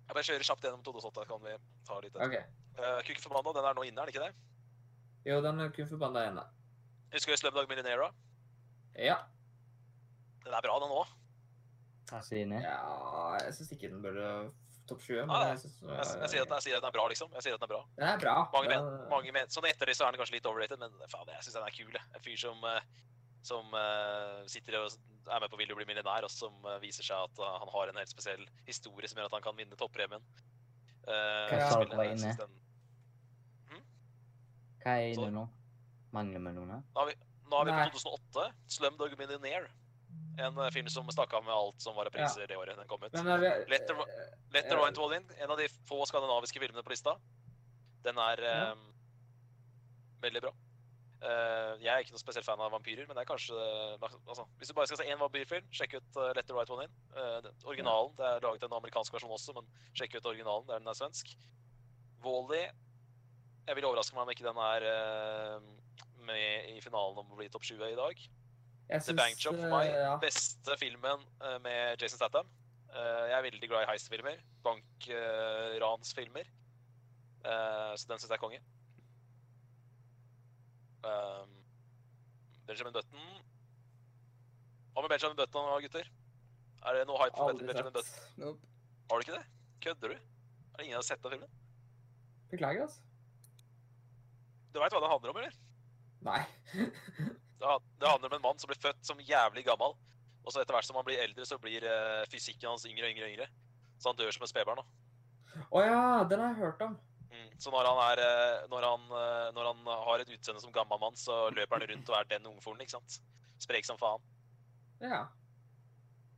Jeg Bare kjøre kjapt gjennom 2008, kan vi ta litt etterpå. OK. Eh, Kuken forbanna, den er nå inne, er den ikke det? Jo, den er kun forbanna igjen, da. Husker du Slumdog Millionaire? Ja. Den er bra, den òg. Casini. ja. Jeg syns ikke den burde topp 20, men Ah, jeg syns den, Jeg, s- jeg, sier at den- jeg sier at den er bra, liksom. Jeg sier at den er bra. den er bra. Mange men, Den- mange men. Sånn etter det så er den kanskje litt overrated, men faen, jeg syns den er kul. jeg. En fyr som, eh, som eh, sitter og er med på Vil du bli millionær, og som eh, viser seg at eh, han har en helt spesiell historie som gjør at han kan vinne toppremien. Eh, Hva jeg du sa spiller- var jeg inne? synes den- Hva er Så- inne nå? Mangler vi noe? nå? Nå er vi Nei. på 2008. Slumdog Millionaire. En eh, film som stakk av med alt som var av priser det året den kom ut. Men eh, jeg, Let the ro- Let the Ja. Right Wall In, en av de få skandinaviske filmene på lista. Den er Ja. eh, veldig bra. Eh, jeg er ikke noe spesiell fan av vampyrer, men det er kanskje eh, altså, Hvis du bare skal se én vampyrfilm, sjekk ut eh, Let the Right One In. Eh, den- originalen. Det er laget en amerikansk versjon også, men sjekk ut originalen. Der den er svensk. Wally Jeg vil overraske meg om ikke den er eh, med i finalen om å bli topp 20 i dag. jeg The syns, Bank Job for eh, meg. ja. Beste filmen eh, med Jason Statham. Eh, Jeg er veldig glad i heist-filmer. Bankransfilmer. Eh, Så den syns jeg er konge. Um, Benjamin Button Hva med Benjamin Button, da, gutter? Er det noe hype for Aldri Benjamin Button? sett. Nope. Har du ikke det? Kødder du? Er det ingen som har sett den filmen? Beklager, altså. Du veit hva den handler om, eller? Nei. Det ha- det handler om en mann som blir født som jævlig gammel. Og så etter hvert som han blir eldre, så blir eh, fysikken hans yngre og yngre. og yngre. Så han dør som en spedbarn. da. Å ja, den har jeg hørt om. Mm. Så når han, er, eh, når, han, eh, når han har et utseende som gammel mann, så løper han rundt og er den ungfolen, ikke sant? Sprek som faen. Ja.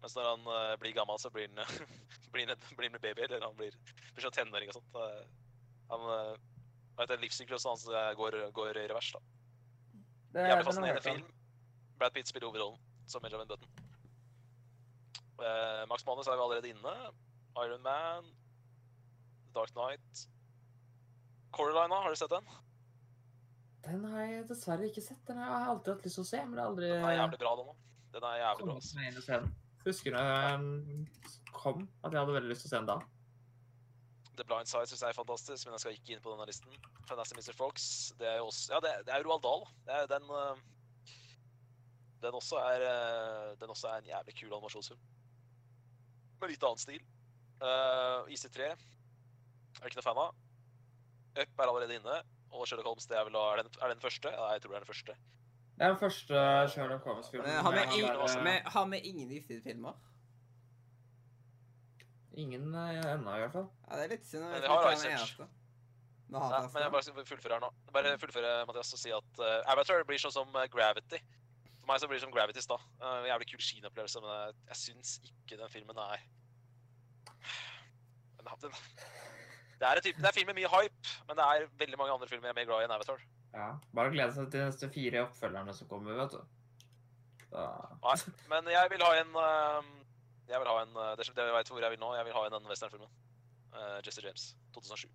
Mens når han eh, blir gammel, så blir han, blir han, et- blir han en baby, eller han blir, blir sånn tenåring og sånt. Eh, Han eh, vet, du, Livssyklusen hans eh, går, går i revers, da. Det, Jævlig den har jeg fascinerende hørt om. film. Brad Pitt spiller hovedrollen som Benjamin Button. Eh, Max Manus er jo allerede inne. Iron Man. Dark Knight. Coraline, har du sett den? Den har jeg dessverre ikke sett. Den har jeg alltid hatt lyst til å se, men det har aldri Den er jævlig bra, den òg. Den er jævlig bra. kommet ass. meg inn og se den. Husker da den kom, at jeg hadde veldig lyst til å se den da. The Blind Side synes jeg er fantastisk, men jeg skal ikke inn på denne listen. Fantastic Mr. Fox. Det er jo også Ja, det, det er Roald Dahl. Det er, den eh, Den også er eh, Den også er en jævlig kul animasjonsfilm. Med litt annen stil. Eh, IC3 er jeg ikke noe fan av. Up er allerede inne. Og Sherlock Holmes det er vel da Er det den, er det den første? Ja, jeg tror det er den første. Det er den første Sherlock Holmes-filmen. Eh, har, vi med han ing- der, eh, vi- har vi ingen Ifsid-filmer? Ingen eh, ennå, i hvert fall. Ja, det er litt synd. Men Men vi vi har har Iceland. Iceland. Vi har altså. Nei, men jeg Iceland. bare skal fullføre her nå. Bare fullføre, Mathias, og si at eh, Avatar blir sånn som eh, Gravity. For meg så blir det som Gravity i stad. Eh, jævlig kul kinoopplevelse, men eh, jeg, jeg syns ikke den filmen er den, den, det, er en type, det er film med mye hype, men det er veldig mange andre filmer jeg er mer glad i enn Avatar. Ja. Bare glede seg til de neste fire oppfølgerne som kommer, vet du. Da. Nei, men jeg vil ha en eh, Jeg vil ha en eh, Det er- dere vet hvor jeg vil nå. Jeg vil ha en den westernfilmen. Eh, Jesse James, 2007.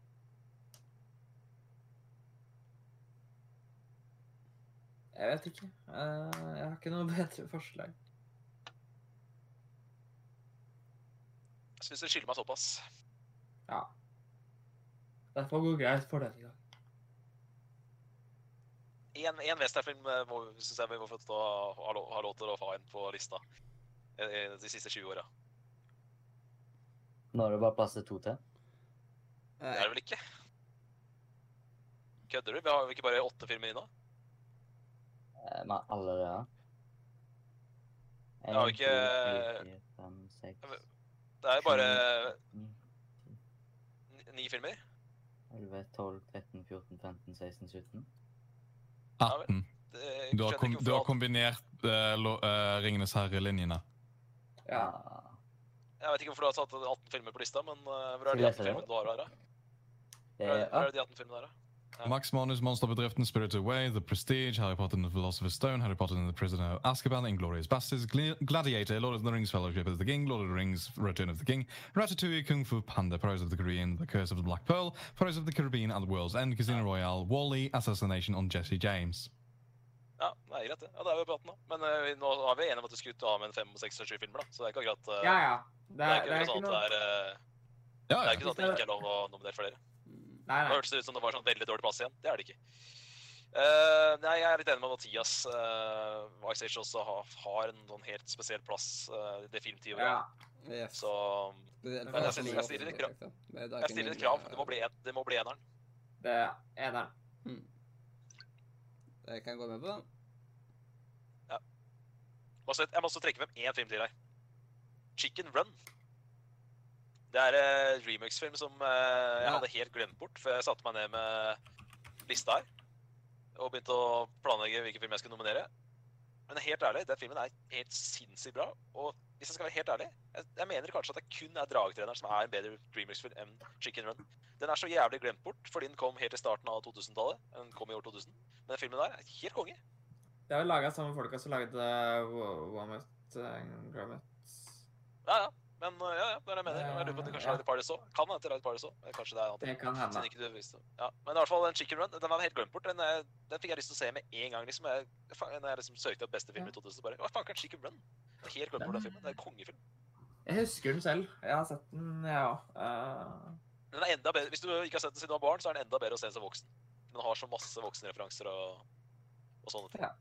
Jeg vet ikke. Eh, jeg har ikke noe bedre forslag. Jeg syns det skylder meg såpass. Ja. Det får gå greit for denne gang. En, en westernfilm eh, må- synes jeg vi må få ta, ha, lov, ha lov til å ha en på lista eh, eh, de siste 20 åra. Nå er det bare plass til to til. Det er det vel ikke? Kødder du? Vi har jo ikke bare åtte filmer inne? Eh, Nei, alle det der. Jeg har En, ikke- to, tre, fire, fem, seks, Det er jo bare Mm. ni, ni- ni filmer. 11, 12, 13, 14, 15, 16, 17. 18. Det- eh, Du skjønner har, kom, ikke hvorfor du har alt- kombinert eh, lo- eh, Ringenes herre-linjene. Ja. Ah, Jeg vet ikke hvorfor du har satt 18 filmer på lista, men eh, hvor er Skal de 18 vi lese det filmene du har her, da? Det Hvor er, er hvor er Up, de 18 filmene her, da? Ja. Max Manus, Monsterbedriften, Spirited Away, The Prestige, Harry Potter and the Philosopher's Stone, Harry Potter and the Prisoner of Azkaban, Inglorious Bastards, Gl Gladiator, Lord of the Rings, Fellowship of the King, Lord of the Rings, Return of the King, Ratatouille, Kung Fu Panda, Pirates of the Caribbean, The Curse of the Black Pearl, Pirates of the Caribbean and the World's End, Casino Royale, Wall-E, Assassination on Jesse James. Ja, det er greit, det. Ja, da er vi på 18 nå. Men eh, vi- nå er vi enige om at du skulle ta med en fem, seks og sju filmer, da. Så det er ikke akkurat eh, ja, ja. Det Det er er, ikke akkurat sånn at noe det er eh, Ja, Det er ja. ikke sånn at det ikke er lov å nominere flere. Nei, Nå nei. hørtes det ut som det var sånn veldig dårlig plass igjen. Det er det ikke. Eh, nei, jeg er litt enig med Mathias. Uh, Ice Age også har, har en sånn helt spesiell plass eh, i det filmtiåret. Ja. Yes. Så Spesielt Men jeg for meg stiller- jeg stiller et også, liksom. Det er jeg ikke stiller min, et krav. eh, Det må bli, en, det må bli eneren. Det er eneren. Jeg kan gå med på den. Og så- Jeg må også trekke frem én film til her. Chicken Run. Det er en remix-film som eh, jeg Ja. hadde helt glemt bort før jeg satte meg ned med lista her. Og begynte å planlegge hvilken film jeg skulle nominere. Men helt ærlig, den filmen er helt sinnssykt bra. Og hvis jeg skal være helt ærlig, jeg, jeg mener kanskje at det kun er 'Dragetreneren' som er en bedre remix-film enn 'Chicken Run'. Den er så jævlig glemt bort, fordi den kom helt i starten av 2000-tallet. Den kom i år 2000. Men den filmen der er helt konge. Det er vel laga samme folka som lagde Womet eh, Grommet. Ja, ja. Men uh, ja, ja, det er det jeg mener. Jeg lurer på om de kanskje Ja. har et Paradise òg. Kan hende Light Paradise òg. Kanskje det er noe. Det kan hende. Siden ikke du visste. Ja. Men i hvert fall den Chicken Run den var helt glemt bort. Den, eh, den fikk jeg lyst til å se med en gang. liksom. Jeg, faen, når jeg liksom søkte opp beste film i 2000, bare Hva faen kan Chicken Run? Jeg har helt glemt bort den filmen. Det er en kongefilm. Jeg husker den selv. Jeg har sett den, jeg òg. Eh, Den er enda bedre. Hvis du ikke har sett den siden du var barn, så er den enda bedre å se den som voksen. Den har så masse voksenreferanser og, og sånne ting. Ja.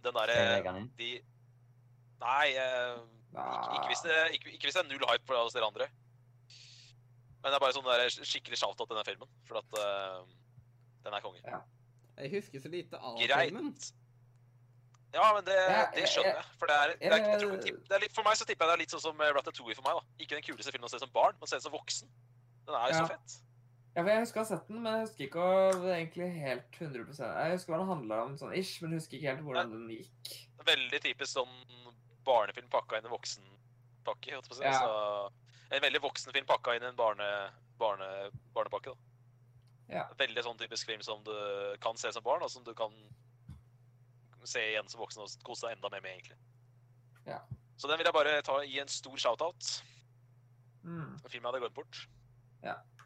Den eh, derre Skal jeg legge den inn? De Nei. eh, Ikke, ikke, hvis det, ikke, ikke hvis det er null hype for oss dere andre. Men det er bare sånn der skikkelig shout out til denne filmen, for at eh, den er konge. Jeg husker så lite av filmen. Greit. Ja, men det, Ja, Eh, det jeg- skjønner jeg. For det er, det er, jeg tror det jeg- tipp- det er litt, for meg så tipper jeg det er litt sånn som eh, Ratatouille for meg. da. Ikke den kuleste filmen å se som barn, men se den som voksen. Den er jo Ja. så fett. Ja, for jeg husker å ha sett den, men jeg husker ikke å, egentlig helt 100 Jeg husker hva den handla om, sånn ish, men jeg husker ikke helt hvordan den gikk. Veldig typisk sånn barnefilm pakka inn i voksenpakke. holdt jeg på å si. Ja. Så, en veldig voksen film pakka inn i en barne, barne, barnepakke. da. Ja. Veldig sånn typisk film som du kan se som barn, og som du kan se igjen som voksen og kose deg enda mer med, egentlig. Ja. Så den vil jeg bare ta i en stor shout-out. Mm. En film jeg hadde glemt bort.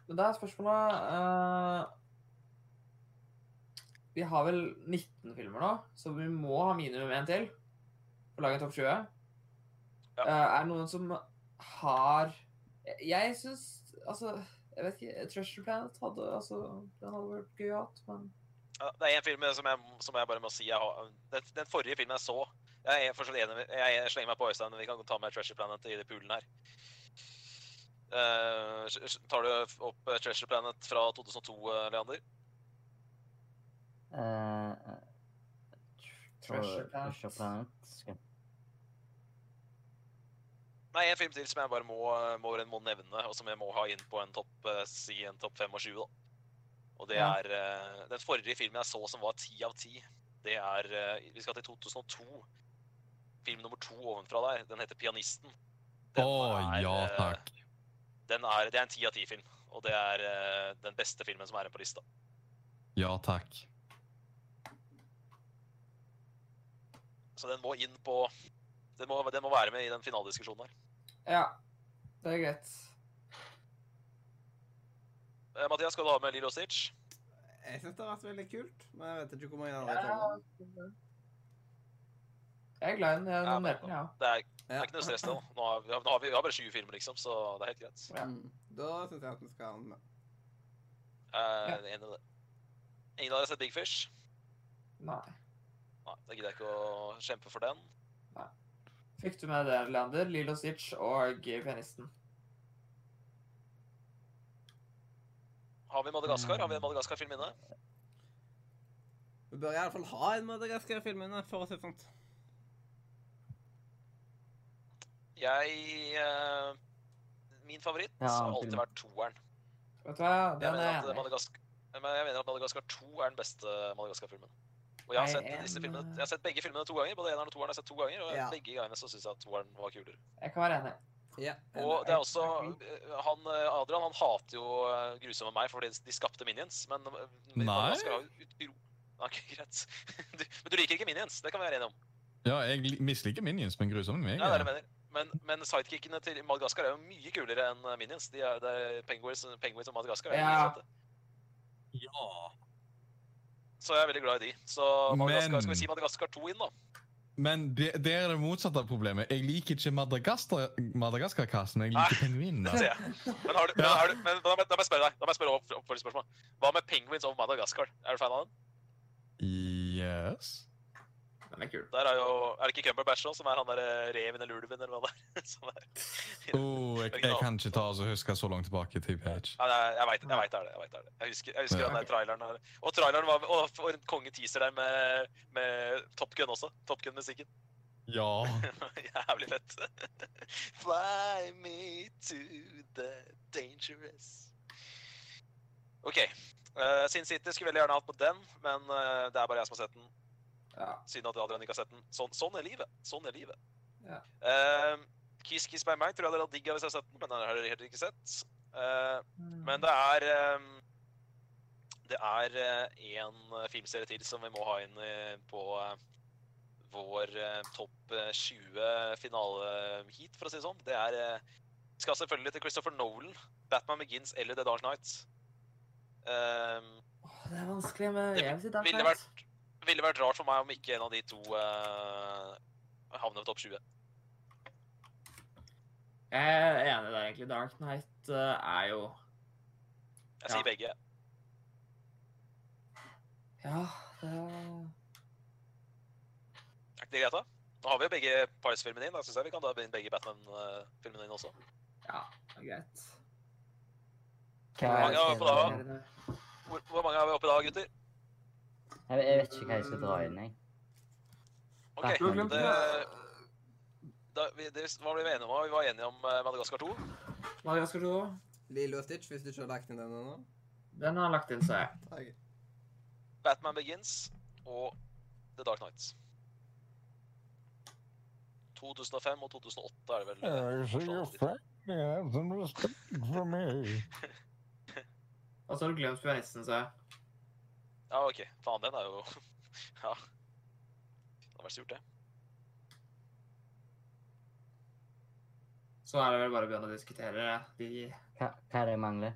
Men da er spørsmålet eh, Vi har vel 19 filmer nå, så vi må ha minimum én til for å lage en topp 20. Ja. Eh, er det noen som har Jeg- Jeg syns Altså, jeg vet ikke Treasure Planet hadde altså, Den hadde vært gøy å ha, men Ja, det er en film som jeg, som jeg bare må si jeg har, den, den forrige filmen jeg så Jeg er fortsatt enig med Jeg er- slenger meg på Øystein, men vi kan ta med Treasure Planet i de poolen her. Eh, s- s- tar du opp eh, Treasure Planet fra 2002, eh, Leander? Eh, eh, Treasure Tr- Planet. Treasure Planet. Skal Nei, en film til som jeg bare må, må, må nevne, og som jeg må ha inn på en topp eh, si en topp 25, da. Og det Ja. er eh, Den forrige filmen jeg så som var 10 av 10, det er eh, Vi skal til 2002. Film nummer to ovenfra der. Den heter 'Pianisten'. Å Den er, Oh, ja eh, takk. den er, det er en 10 av 10 film, og det er eh, den beste filmen som er igjen på lista. Ja takk. Så den må inn på Den må, den må være med i den finalediskusjonen her. ja. Det er greit. Eh, Mathias, skal du ha med Lilo Stitch? Jeg syns det har vært veldig kult, men jeg vet ikke hvor mange andre jeg tar med. Ja. Jeg er glad i den. Jeg Ja, nominerte den, jeg òg. Det er, det Ja. er ikke noe stress, det. da. Nå har vi, nå har vi, vi har bare 20 filmer, liksom, så det er helt greit. Ja. Mm. Da syns jeg at vi skal ha den med. Eh, enig i det. Ingen av dere har sett Big Fish? Nei. Nei, da gidder jeg ikke å kjempe for den. Fikk du med det, Leander? Lilo Stitch og pianisten. Har vi Madagaskar? Har vi en Madagaskar-film inne? Vi bør i alle fall ha en Madagaskar-film inne, for å si det sånn. Jeg eh, Min favoritt Ja, har alltid film. vært toeren. Vet du hva? Jeg Den er mener, jeg at enig i. Madagask- Men jeg mener at Madagaskar 2 er den beste Madagaskar-filmen. Og jeg har, Jeg sett er disse enig. filmene, jeg har sett begge filmene to ganger. Både eneren og toeren har jeg sett to ganger, og Ja. begge gangene så syns jeg at toeren var kulere. Jeg kan være enig. Ja. Og det er også eh, han, eh, Adrian han hater jo eh, grusomme meg fordi de skapte Minions, men eh, Nei. Madagaskar har jo utro... Nei, ok, greit. Du, men du liker ikke Minions, det kan vi være enige om. Ja, jeg li- misliker Minions, men grusomme Ja, det er det meg. jeg mener. Men, men sidekickene til Madagaskar er jo mye kulere enn eh, Minions. De er, det er penguins, penguins og Madagaskar. Er Ja. ja. Så jeg er veldig glad i de. Så Madagaskar, Men- skal vi si Madagaskar 2 inn, da? Men det, det er det motsatte av problemet. Jeg liker ikke Madagaskar- Madagaskar-kassen. Jeg Nei. liker pingvinene. Det ser jeg. Men, har du, men, har du, men da må jeg- da må jeg spørre deg. Da må jeg spørre opp, oppfølgingsspørsmål. Hva med Penguins of Madagaskar? Er du fan av den? Yes. Den er kul. Der er jo Er det ikke Cumberbatch nå, som er han der eh, reven eller ulven eller hva det er? Som er. Oh, jeg, jeg kan ikke ta og så huske så langt tilbake til PH. Ja, nei, jeg veit det er det. Jeg vet det er det. Jeg husker, jeg husker Ja. den der traileren. her. Og traileren var Og for en kongeteaser der med, med Top Gun også. Top Gun-musikken. Ja. Jævlig fett. Fly me to the dangerous. OK. eh, Sin City skulle veldig gjerne hatt på den, men eh, det er bare jeg som har sett den. Ja. Synd at Adrian ikke har sett den. Sånn, sånn er livet. Sånn er livet. Ja. Eh, Kiss Kiss by Mike tror jeg dere hadde digga hvis jeg hadde sett den, men den har dere helt ikke sett. Eh, Mm. men det er eh, Det er én filmserie til som vi må ha inn eh, på eh, vår eh, topp eh, 20 finaleheat, for å si det sånn. Det er eh, Vi skal selvfølgelig til Christopher Nolan, Batman Begins eller The Dark Knight. Eh, Åh, det er vanskelig, men Det jeg vil si Dark ville Knight. vært, ville vært rart for meg om ikke en av de to eh, havner på topp 20. Jeg er enig der, egentlig. Dark Knight eh, er jo Jeg Ja. sier begge. Ja, det er Er ikke det greit, da? Nå har vi jo begge Pars-filmene inn. Da syns jeg vi kan ta inn begge Batman-filmene inn også. Ja, det er greit. Hva Hvor mange er har vi på da? det? Hvor, hvor mange er vi oppe i dag, gutter? Jeg, jeg vet ikke hva jeg skal dra inn, jeg. OK. Du har glemt Det, det. da, vi, det, hva ble vi enige om? Vi var enige om eh, Madagaskar 2. Madagaskar 2. Lilo og Stitch, hvis du ikke har lagt inn den ennå. Den har jeg lagt inn, så jeg. Takk. Batman Begins og The Dark Knights. 2005 og 2008 er det vel. eh, forslagene ditt. Og så har du glemt pianisten, så jeg. Ja, OK. Faen, den er jo Ja. Det hadde vært surt, det. Så er det vel bare å begynne å diskutere de Hva, hva er det jeg mangler?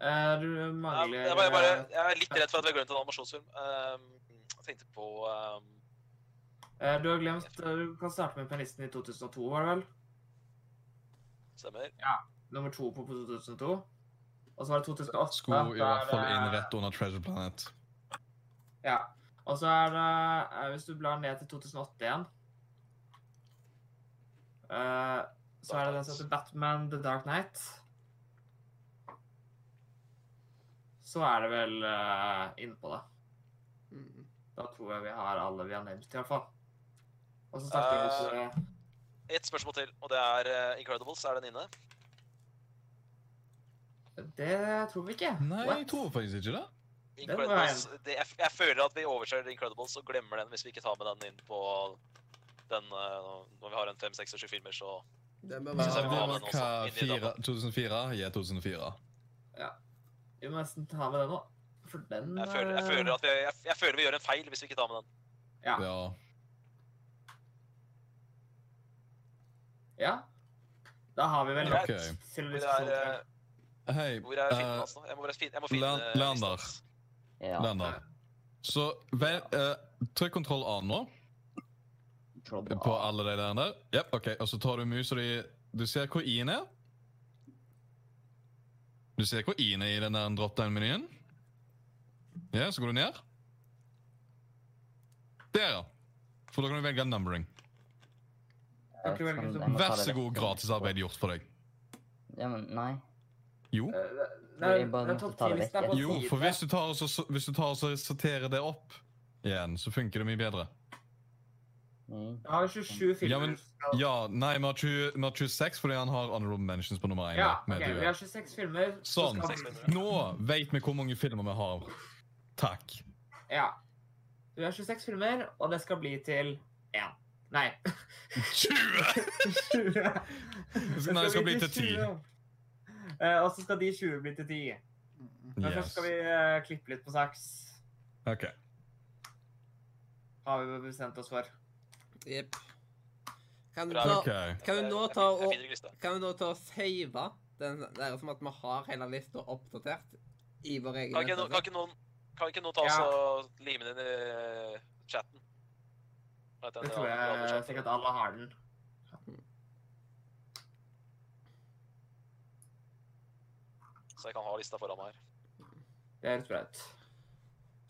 Eh, Du Ja, mangler Jeg, bare, bare, jeg er litt redd for at vi har glemt en animasjonsfilm. Um, jeg tenkte på um, eh, Du har glemt eh, Du kan starte med pianisten i 2002, var det vel? Stemmer. Nummer to på 2002. Og så var det 2008. Skulle i da er hvert fall det- inn rett under Treasure Planet. Ja. Og så er det eh, Hvis du blar ned til 2008 igjen eh, Så er det den som heter Batman The Dark Knight. Så er det vel eh, innpå, da. Mm. Da tror jeg vi har alle vi har nevnt, i hvert fall. Og så snakker vi litt eh, Ett spørsmål til, og det er eh, Incredibles. Er den inne? Det tror vi ikke. Nei, jeg What? tror faktisk ikke det. var Incredibles, det, jeg, jeg føler at vi overser Incredibles og glemmer den hvis vi ikke tar med den inn på den eh, Når vi har en fem, seks og sju filmer, så Den bør Det Synes jeg vi være må ha var den også, hva inn i fire- 2004? Ja, 2004. Vi må nesten ta med den nå. For den eh, Jeg føler, jeg føler, at vi, jeg, jeg føler vi gjør en feil hvis vi ikke tar med den. Ja. Ja. Ja. Da har vi vel nok Ok. til å Hvor diskusjon. er, tror jeg. eh, Hei, hvor er filmen eh, hans nå? Jeg må bare finne, jeg må finne Lan- eh, listen Lander. hans. Ja. Leander. Så vel, eh, trykk kontroll A nå på Trouble. alle de der. der. Jep, ok. Og så tar du mus, og de, du ser hvor I-en er. Du ser hvor I-en er i den der drop-down-menyen. Ja, så går du ned. Der, ja. For da kan du velge numbering. Jeg vet ikke om- jeg må ta Vær det så vekk. god, gratisarbeid gjort for deg. Ja, men nei. Jo. Eh, det- Det Jeg er, bare det er måtte topp ta det 10 listen er vekk, på jeg. Jo, siden. for hvis du tar og så- så- hvis du tar og så sorterer det opp igjen, så funker det mye bedre. Nei. Jeg har 27 filmer. Ja, men- ja, Ja, nei, vi har 20 vi har 26 fordi han har honorable mentions på nummer 1. ok, Vi har 26 filmer. så Sånn. skal- Seks filmer. Nå vet vi hvor mange filmer vi har. Takk. Ja. Vi har 26 filmer, og det skal bli til én. Nei. 20! Nei, det skal bli til 10. 20. Eh, Og så skal de 20 bli til 10. Men først Yes. skal vi eh, klippe litt på saks. Ok. Har vi bestemt oss for. Jepp. Kan, du Bra. ta- Ok. kan vi nå Eh, Jeg- jeg ta fin- jeg og finner lista. Kan vi nå ta og save den der som at vi har hele lista oppdatert i vår egen Kan ikke, no- kan nettleser? ikke noen, kan ikke noen ta oss Ja. og lime den inn i eh, chatten? At den Det tror alle- alle jeg skjønner. sikkert alle har den. Så jeg kan ha lista foran meg her. Det høres bra ut.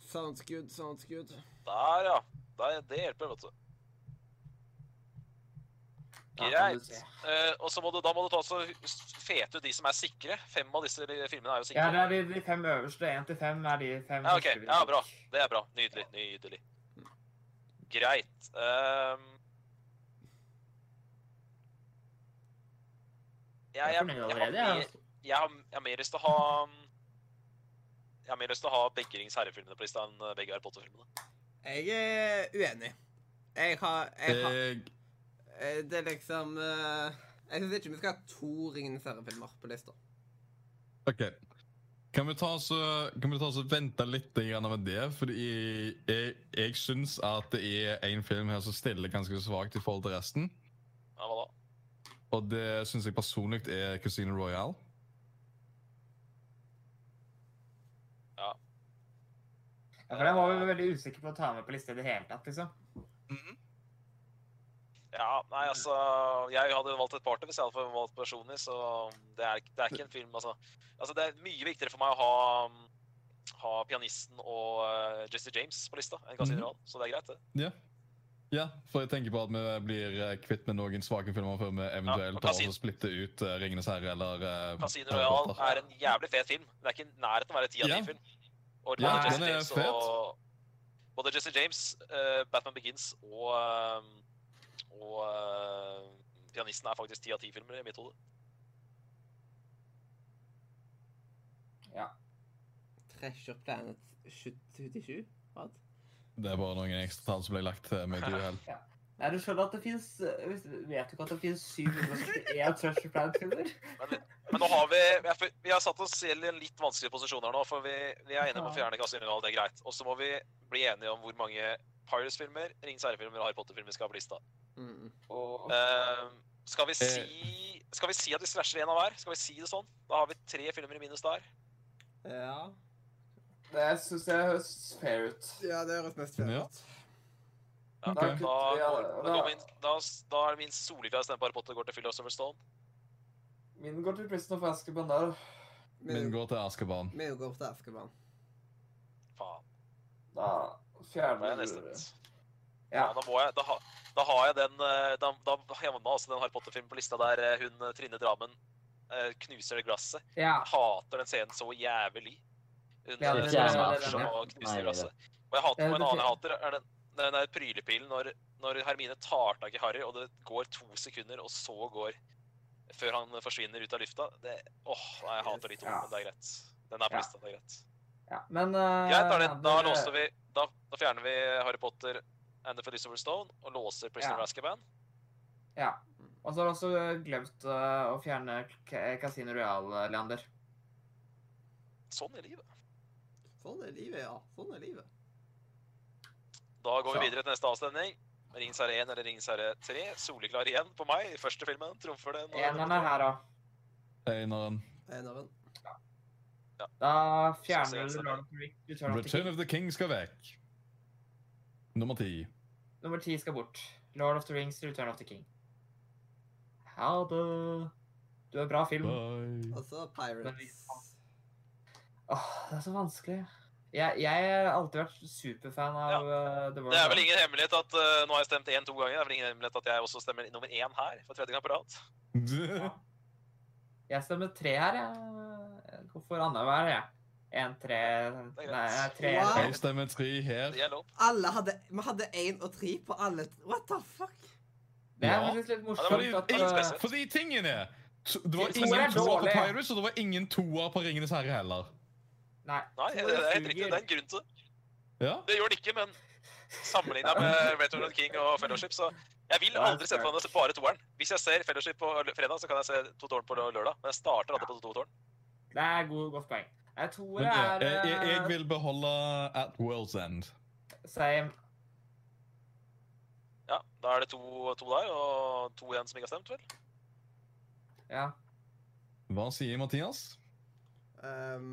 Sounds good, sounds good. Der, ja. Der, det hjelper, vet du. Da kan du Greit. se. Eh, og så må du, da må du ta så fete ut de som er sikre. Fem av disse filmene er jo sikre. Ja, det er de, de fem øverste. Én til fem er de fem. Ja, ok. første vi Ja, fikk. bra. Det er bra. Nydelig. Nydelig. Greit. Ehm, jeg, Jeg er jeg, fornøyd jeg, har allerede. mer, jeg. altså. jeg, har, jeg har mer lyst til å ha Jeg har mer lyst til å ha begge Rings herre-filmene på lista enn eh, begge Harry Potter-filmene. Jeg er uenig. Jeg har, jeg har Jeg, eh, Det er liksom eh, Jeg syns ikke vi skal ha to Ringenes herre-filmer på lista. OK. Kan vi ta oss og- kan vi ta oss og vente litt grann med det? Fordi jeg, jeg syns at det er en film her som stiller ganske svakt i forhold til resten. Ja, hva da? Og det syns jeg personlig er Casino Royale. Ja, for den var vi veldig usikre på å ta med på lista i det hele tatt, liksom. Ja, nei, altså Jeg hadde valgt et party hvis jeg hadde valgt personlig, så det er, det er ikke en film, altså. altså. Det er mye viktigere for meg å ha, um, ha pianisten og uh, Jesse James på lista enn Casino Mhm. Royale, så det er greit, det. Ja, for jeg tenker på at vi blir eh, kvitt med noen svake filmer før vi eventuelt og tar Casino- oss og splitter ut eh, Ringenes herre eller eh, Casino Harry Royale Potter. er en jævlig fet film. Det er ikke i nærheten av å være ti av Ja. ti film. Og både Ja, den Jesse er James fet. og Både Jesse James, eh, Batman Begins og um, og eh, pianisten er faktisk ti av ti filmer i mitt hode. Treasure Planet 77? Hva? Det er bare noen ekstra tall som ble lagt til med et uhell. Nei, du skjønner at det finnes, eh, Vet du ikke at det fins 771 Treasure Planet-filmer? Men nå har vi vi har- Vi har satt oss selv i en litt vanskelig posisjon her nå, for vi, vi er enige om å fjerne Casino Royale, det er greit. Og så må vi bli enige om hvor mange Pirates-filmer, Ringens herre-filmer og Harry Potter-filmer vi skal ha på lista. Mm. Og Eh, skal vi si Skal vi si at vi slasher en av hver? Skal vi si det sånn? Da har vi tre filmer i minus der. Ja. det syns jeg høres fair ut. ja, det høres mest Ja. fett ut. Ja, da, Ok. Da kutter vi, ja, går, og da, da- går min, da, da er det min solifjær stemme på Harry Potter går til Phil Silver Stone. Min går til Prison of Askeban der. Min Vi går til Askeban. vi går til Askeban. Faen, Da da er jeg fjerner nesten du ja, Ja. da, må jeg, da, ha- da har jeg den eh, Da, da havna altså den Harry Potter-filmen på lista der eh, hun eh, Trine Drammen eh, knuser det glasset. ja. Jeg hater den scenen så jævlig. Hun Ja, eh, det- som det- snakker det- det- og det- knuser Nei, glasset. Og jeg hater Det- og en det- annen jeg hater, er den, den der prylepilen når, når Hermine tar tak i Harry, og det går to sekunder, og så går Før han forsvinner ut av lufta. Det, åh, nei, jeg hater de to, Ja. men det er greit. Den er på Ja. lista, det er greit. ja. Men Greit, eh, da, er det, da det- låser vi da, da fjerner vi Harry Potter and the Philosopher's Stone og låser Prisoner Ja. of Azkaban. Ja. Og så har jeg også glemt eh, å fjerne K- Casino Royale, eh, Leander. Sånn er livet. Sånn er livet, ja. Sånn er livet. Da går Så. vi videre til neste avstemning. Rings herre 1 eller Rings herre 3. Soleklar igjen på meg i første filmen. Trumfer den. Eneren er her òg. Eneren. Eneren. Da Så fjerner ses du jeg. Lord of the Rings, Return of the Return King. of the King skal vekk. Nummer ti. Nummer ti skal bort. Lord of the Rings, Return of the King. Ha det. Du er bra film. Åh, Bye. Og så Pirates. det er så vanskelig. Jeg, jeg har alltid vært superfan av eh, The World. Det er vel ingen hemmelighet at eh, nå har jeg stemt én to ganger. Det er vel ingen hemmelighet at jeg også stemmer nummer én her for tredje gang på rad. Jeg stemmer tre her, jeg. Går for annenhver, jeg. En, tre Det er greit. Nei, tre Wow. Jeg stemmer tre her. Det er lov. Alle hadde Vi hadde én og tre på alle t- What the fuck? Det er Ja. faktisk litt Ja, det var morsomt litt- at litt eh, spesielt. Fordi tingen er t- Det var Toer er ingen toer på dårlig. Pirates, og det var ingen toer på Ringenes herre heller. Nei. Nei, det det er helt riktig. suger. Det er en grunn til det. Ja? Det gjør det ikke, men sammenligna med Return of the King og Fellowship, så Jeg vil Ja, det er aldri sette meg ned bare toeren. Hvis jeg ser Fellowship på lø- fredag, så kan jeg se to tårn på lø- lørdag. Men jeg starter alltid på to tårn. Det er god, godt poeng. Nei, toer Men jeg, er jeg, jeg eh, vil beholde At World's End. Same. Ja, da er det to, to der, og to igjen som ikke har stemt, vel? Ja. Hva sier Mathias? Eh, Ehm,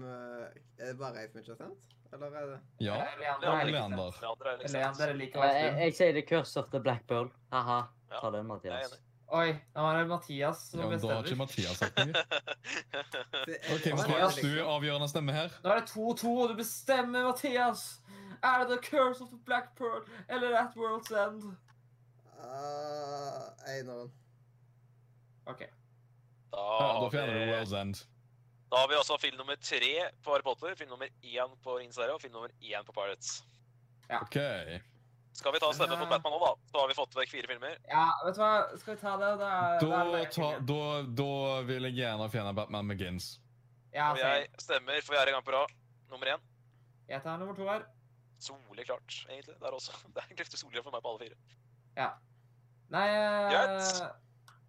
er det bare jeg som ikke har stemt? Eller er det Ja, Leander er og ikke Leander. Leander er stemt. Leander liksom er like Ja, jeg, vanskelig. jeg sier The Curse of the Black Bull. Haha. Ja, Ta den, Jeg er Mathias. enig. Oi, nå er det Mathias Ja, som men da har ikke bestemmer. Mathias sagt noe. det er- OK, det er Mathias, liksom- du er avgjørende stemme her. Nå er det 2-2, og du bestemmer, Mathias! Er det The Curse of the Black Pearl eller At World's End? Ah, Eineren. OK. Da Ja, har da fjerner du vi- World's End. Da har vi også film nummer tre på Harry Potter, film nummer én på Ringens herre og film nummer én på Pirates. OK. Skal vi ta og stemme på Ja. Batman nå, da? Så har vi fått vekk fire filmer. Ja, vet du hva? Skal vi ta det? Da, da er Da, det ta, da, da vil jeg gjerne fjerne Batman McGinns. Ja, Og jeg... jeg stemmer for fjerde gang på rad. Nummer én. jeg tar nummer to her. Soleklart, egentlig. Der også. Det er egentlig soleklart for meg på alle fire. Nei eh, Greit.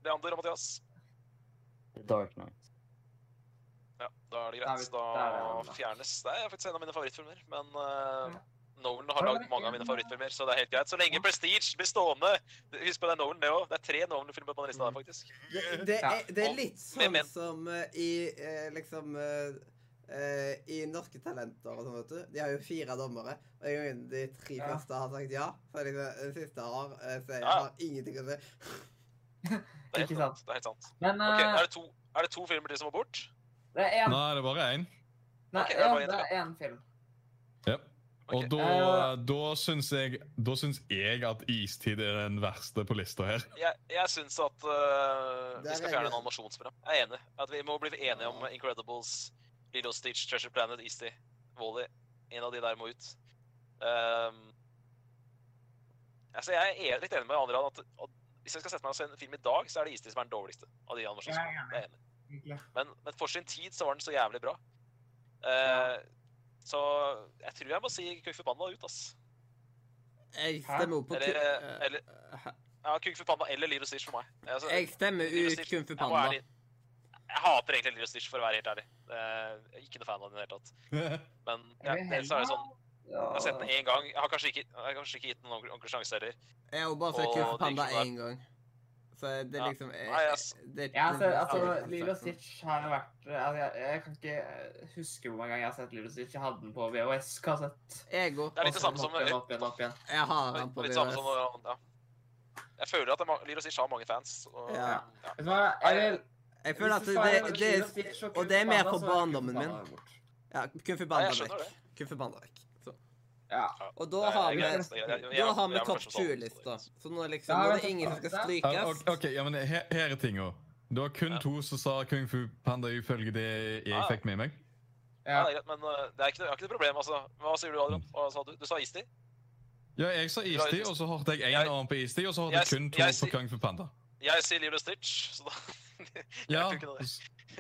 Leander og Mathias. The Dark Knight. Ja, da er det Da er greit. vi- Da da er vi enige, da. fjernes Det er faktisk en av mine favorittfilmer, men eh, Ja. Nolan Da er har lagd det mange av en, mine eh, favorittfilmer, så det er helt greit. Så lenge ja. Prestige blir stående Husk på det er Nolan, det òg. Det er tre Nolan-filmer på den Mm. lista der, faktisk. Det, det, Ja. er, det er Og- litt men- sånn men- som eh, i eh, liksom eh, eh, I Norske Talenter og sånn, vet du. De har jo fire dommere. Og en gang de tre Ja. første har sagt ja, så er liksom den siste har eh, sier Ja. har ingenting å si. Det er helt Ikke sant. Det er helt sant. Men Ok, eh, er det to, er det to filmer til som må bort? det er én. Nei, det er bare én. Nei, ok, det er ja, bare en det er én film. Og Ok. Eh, da, da syns jeg, da syns jeg at Istid er den verste på lista her. Jeg, jeg syns at Der øh, vi skal er fjerne jeg- en animasjonsprogram. Jeg er enig. At vi må bli enige om Incredibles, Lilo Stitch, Treasure Planet, Easty, Wally. En av de der må ut. Ehm, altså jeg er litt enig med andre at, at hvis jeg skal sette meg og se en film i dag, så er det Easty som er den dårligste av de animasjonsprogrammene. Jeg er enig. Egentlig. Men, men for sin tid så var den så jævlig bra. Ja. Eh, Så jeg tror jeg må si Kung Fu Panda ut, ass. Jeg Hæ? stemmer opp på Eller, ku- eh, eller- eh, hæ? Ja, Kung Fu Panda eller Lilo Stitch for meg. Altså, Jeg stemmer Lilo ut Stitch, Kung Fu jeg må Panda. ærlig- Jeg hater egentlig Lilo Stitch, for å være helt ærlig. Eh, Jeg er ikke noe fan av den i det hele tatt. Men ja, vil ellers er det sånn, Ja. jeg har sett den én gang. Jeg har kanskje ikke, jeg har kanskje ikke gitt den noen ordentlig sjanse heller. Jeg har jo bare sett Og Kung Fu det er Panda ikke noe- én gang. Så det er Ja. liksom eh, Nei, jeg s- det- Jeg har det- sett, det- altså, det- Lilo Stitch har vært altså, jeg, jeg kan ikke eh, huske hvor mange ganger jeg har sett Lilo Stitch. Jeg hadde den på VHS-kassett. Jeg òg. Det er litt det samme som Opp igjen, opp igjen, opp igjen. Jeg har han litt, på litt samme som VHS. ja. Jeg føler at det er ma- Lilo Stitch har mange fans. Og, Ja. ja. Vet du hva, jeg vil... Jeg føler at hvis du svarer det, det, Lilo det Stitch og Kung det er Fu mer Panda, for så er Kung Fu barndommen min. Panda bort. Ja, Kung Fu Nei, Panda jeg skjønner vekk. det. Kung Fu Panda vekk. Så. Ja. Og da har Det vi er greit, det er greit. Jeg- Da jeg- har vi jeg er topp først og fremst- 20-lista. Så nå er liksom, Da har nå er vi det topp ingen som skal 20-lista. Ja, strykes. ok, ok, ja, men her, her er tinga. Det var kun Ja. Ah. to som sa Kung Fu Panda ifølge det jeg Ja. fikk med meg. Ja. Ja, det er greit, men eh, det er ikke, noe- jeg har ikke noe problem, altså. Hva sier du, Adrian? Hva sa du? Du sa Isti? Ja, jeg sa Istid, og så hørte jeg én Jeg- annen på Istid, og så hørte jeg- jeg kun to jeg på sier- Kung Fu Panda. Jeg sier Lilo Stitch, så da Ja, Jeg tror ikke det.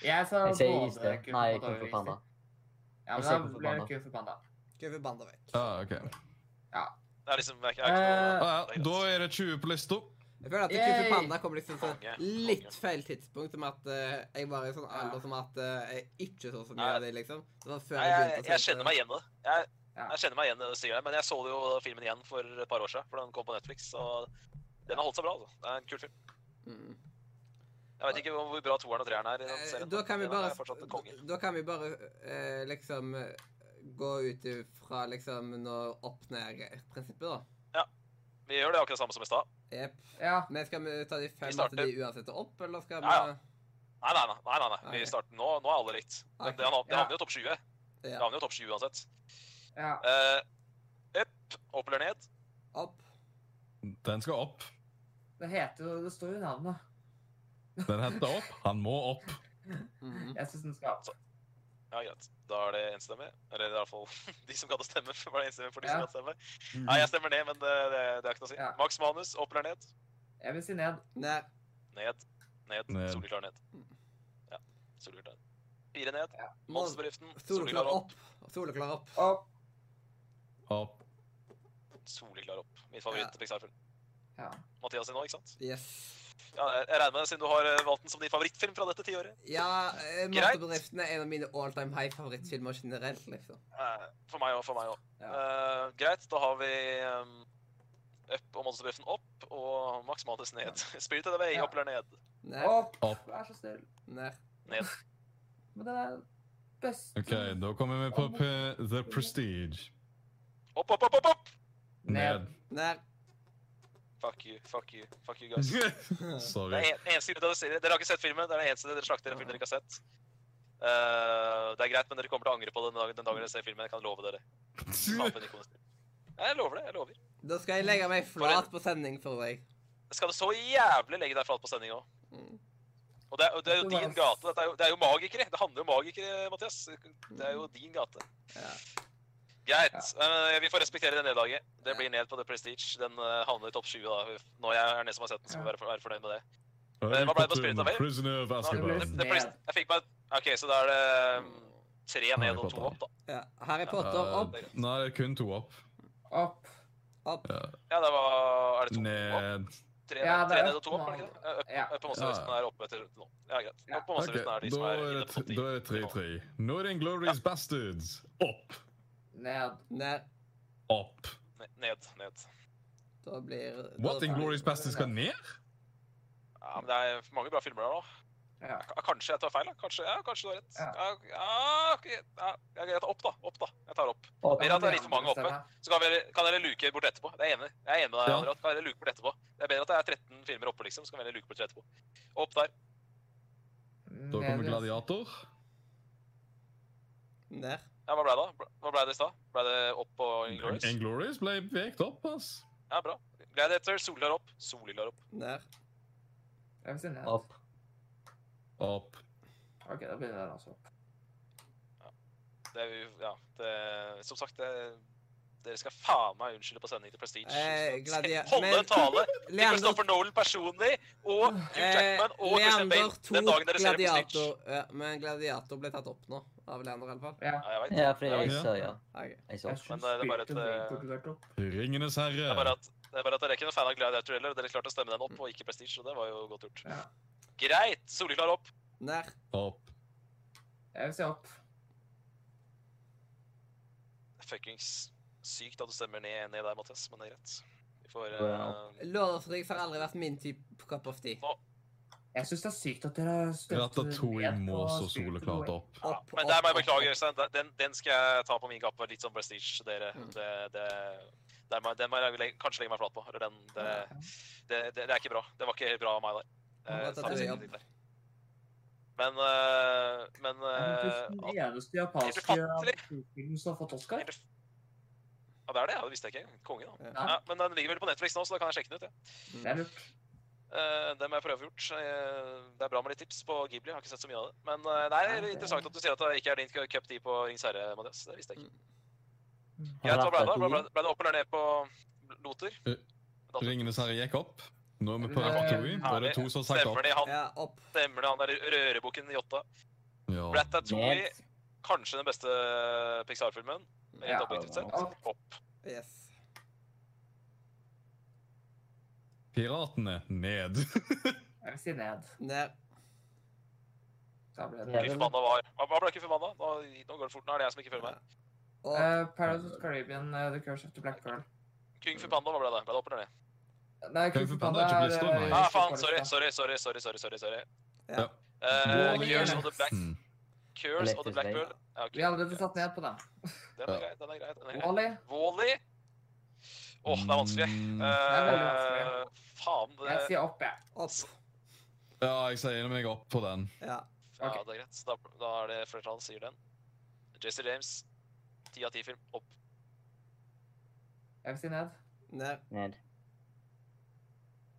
Jeg sa Jeg sier både Istid. Kung Fu Nei, Panda Kung og Fu Istid. Panda. Ja, Jeg men sier da Kung Fu ble Panda. det Kung Fu Panda. Kung Fu Panda vekk. ja, Ah, ok. Det er liksom jeg, jeg, er ikke noe- Eh, Ja, ja, det er greit. da er det 20 på lista. Jeg føler at Kung Fu Yay! Panda kom liksom til Konge, et litt feil tidspunkt, som at eh, jeg var i sånn alder som at eh, jeg ikke så så mye Nei. av det, liksom. Det var før Nei, jeg jeg, begynte å jeg se kjenner på det. meg igjen i det. Jeg, Ja. jeg kjenner meg igjen i det du sier, der, men jeg så jo filmen igjen for et par år siden, for den kom på Netflix. og den har holdt seg bra. altså. Det er en kul film. Mm. Jeg vet ikke hvor bra toeren og treeren er. i den Eh, serien. Da kan vi men den er bare, fortsatt en konge. da kan vi bare eh, liksom eh, gå ut fra liksom når opp ned-prinsippet, da. Vi gjør det akkurat samme som i stad. Jepp. Ja. Men skal vi ta de fem starter. at de uansett er opp, eller skal vi Ja, ja. Nei, nei, nei. nei, nei, nei. Ok. Vi starter nå. Nå er alle likt. Det, Ok. det, havner- det Ja. havner jo topp 20. Det Ja. havner jo topp 20 uansett. ja. Eh, Up, opp eller ned? Opp. Den skal opp. Det heter jo Det står jo i navnet. Den heter opp. Han må opp. Mm. Mhm. Jeg syns den skal opp. Ja, greit. Da er det enstemmig. Eller i hvert fall de som kan stemme. for det er enstemmig for de Ja. som kan stemme. Mhm. Nei, jeg stemmer ned, men det, det, det er ikke noe å si. Ja. Max Manus, opp eller ned? Jeg vil si ned. Ned. Ned. Ned. Ned. Soleklar ned. Ja. Soleklar ned. Fire ned. Nå- Monsterbedriften. Soleklar opp. Soleklar opp. Opp. Opp. Soleklar opp. Min favoritt Ja. Pixar-film. Ja. Mathias sin òg, ikke sant? Yes. Ja, jeg jeg regner med det, siden du har eh, valgt den som din favorittfilm fra dette tiåret. Ja, eh, Greit. Monsterbedriften er en av mine all time high favorittfilmer generelt, liksom. Eh, For meg òg, for meg òg. Ja. Eh, greit, da har vi um, Up og Monsterbedriften opp og Max Manus ned. Spirited Away Ja. opp eller ned? Ned. Opp. Opp. Vær så snill. Ned. Ned. Men det er Best. OK, da kommer vi på P- The Prestige. Opp, opp, opp, opp, opp! Ned. Ned. Fuck you, fuck you, fuck you guys. Det Sorry. er en, eneste grunn til at dere ser det. Dere har ikke sett filmen. Det er det eneste dere slakter en film dere ikke har sett. Eh, det er greit, men dere kommer til å angre på det den dagen, den dagen dere ser filmen. Jeg kan love dere. Kampen i Konstantin. Nei, Jeg lover det. jeg lover. Da skal jeg legge meg flat på sending for deg. Skal du så jævlig legge deg flat på sending òg? Mm. Og det er, og det er jo din gate. Dette er jo, det er jo magikere. Det handler jo om magikere, Mathias. Det er jo din gate. Mm. Ja. Greit. Eh, vi får respektere det nedlaget. Det blir ned på The Prestige. Den eh, havner i topp 20 da. Når jeg er den som har sett den, skal vi være, være fornøyd med det. hva ble det på Spirit of Fate? Prisoner of Nå, Azkaban. The, the Prestige, jeg fikk meg OK, så da er det um, tre Harry ned og to Potter. opp, da. Ja. Harry Potter Eh, opp, Nei, det er kun to opp. Opp. opp. Ja, det var Er det to opp? Ned. Tre, Ja, det tre er ned og to opp opp, var det ikke det? Eh, Ja. Up, up på monsterlisten er oppe etter nå. Ja, greit. Ja. Opp på Ok, monsterlisten er de som er da er inne det på topp t- da er det 10. 3-3. Northern Glorious Bastards. Opp. Ned. Ned. Opp. Ne- Ned, ned. Da blir da What blir- in Glorious Bastards skal ned? Ja, men det er mange bra filmer der nå. Ja. K- Kanskje jeg tar feil, da. Kanskje, ja, kanskje du har rett. Ja. Ja. Ja, ok. ja, ja, greit. Opp, da. Opp, da. Jeg tar opp. Opp. Mer at det er litt for mange oppe. Så kan, vi, kan dere luke bort etterpå. Det er jeg enig. i. Jeg er enig med deg, Ja. Andreas. Kan dere luke bort etterpå. Det er bedre at det er 13 filmer oppe, liksom. Så kan vi heller luke bort etterpå. Opp der. Da kommer Gladiator. Ned. Ja, hva ble det da? Hva ble det i stad? Ble det opp og Inglorious? Inglorious ble vekt opp, ass. Ja, bra. Gladiator, Solhild er opp. Solhild er opp. Ned. Jeg vil si ned. Opp. Opp. OK, da blir det der også. opp. Det er jo Ja, det Som sagt, det dere skal faen meg unnskylde på sending til Prestige. Eh, Gladia- Holde men- en tale til Leander, Christopher Nolan personlig og Hugh eh, Jackman og Christian Leander Bale den dagen tok dere ser det på Stitch. gladiator. Ja, men gladiator ble tatt opp nå. Av Leander, i alle fall. Ja. Ja, jeg vet. Ja, for jeg Ja. sa ja. Ok. Jeg sa Jeg opp. synes det er bare et, spilte veldig eh, populært opp. Ringenes Det er bare herre. at det er bare at dere er ikke noen fan av Gladiator heller, og dere klarte å stemme den opp, og ikke Prestige, og det var jo godt gjort. Ja. Greit! Solli klarer opp. Ned. Opp. Jeg vil si opp. Fuckings sykt at du stemmer ned, ned der, Mathias, men det er greit. Vi får eh, Ja. Lørdagsriks har aldri vært min type cup of tea. Jeg syns det er sykt at dere har støtt Ratatouille må så soleklart opp. ja, Opp, Men der må jeg opp, beklage, opp, Øystein. Den- Den, den skal jeg ta på min kappe. Litt sånn prestige, dere. Mm. Det, det, der må, den må jeg legge, kanskje legge meg flat på. Eller den det, det, det, det er ikke bra. Det var ikke helt bra av meg der. Eh, Ja, da tar takk vi skal jobb. du ha. Men eh, Men Den eh, eneste Helt japanske ufattelig. filmen som har fått Oscar. at- Ja, det er det. Ja, det visste jeg ikke. Konge, da. Ja. Ja, men den ligger vel på Netflix nå, så da kan jeg sjekke den ut. Ja. Det er lurt. Eh, det må jeg prøve gjort. Eh, det er bra med litt tips på Ghibli. Jeg har ikke sett så mye av det. Men eh, det er det- interessant at du sier at det ikke er din cup tea på Rings herre, Mathias. Det visste jeg ikke. Har Greit, hva ble det? da? Ble, ble, Ratatouille. ble det opp eller ned på Loter? Eh, Ringenes herre gikk opp. Nå er vi på Eh, Ratatouille. Da er det to som har sagt Stemmer opp. det, han, Ja, opp. stemmer det, han der rørebukken Jotta. Ja. Ratatouille, Ned. kanskje den beste Pixar-filmen, rent Ja. objektivt sett. Opp. Opp. Yes. Piratene ned. Jeg vil si ned. Ned. Da ble det Ja, Fy det- forbanna var. Hva hva ble ikke forbanna? Nå, nå går det fort. Nå er det jeg som ikke føler meg. Og Eh, Paradise of the Caribbean, eh, The Curse of the Black Girl. Kung for panda, hva ble det? Ble det opp eller ned? Nei, Kung Kung Fu Fu Panda Panda har ikke er blitt eh, stående. Ah, ikke faen, på sorry, lista. sorry, sorry, sorry, sorry, sorry, sorry. Ja. Eh, Dårlig Curse of the Black Mm. Curse of the Black Elektrisk Pearl. Ja, ok. Vi har allerede satt ned på den. Den er grei, den er grei. den er grei. Wall-E. Wall-E. Åh, det er vanskelig. Mm. veldig Eh, faen. Jeg Det, sier opp, jeg. opp. Ja, jeg sier meg opp på den. Ja. ja, Ok. det er greit. Da, da er det flertallet sier den. Jesse James, 10 av 10 film. Opp. Jeg vil si ned. Ned. Ned.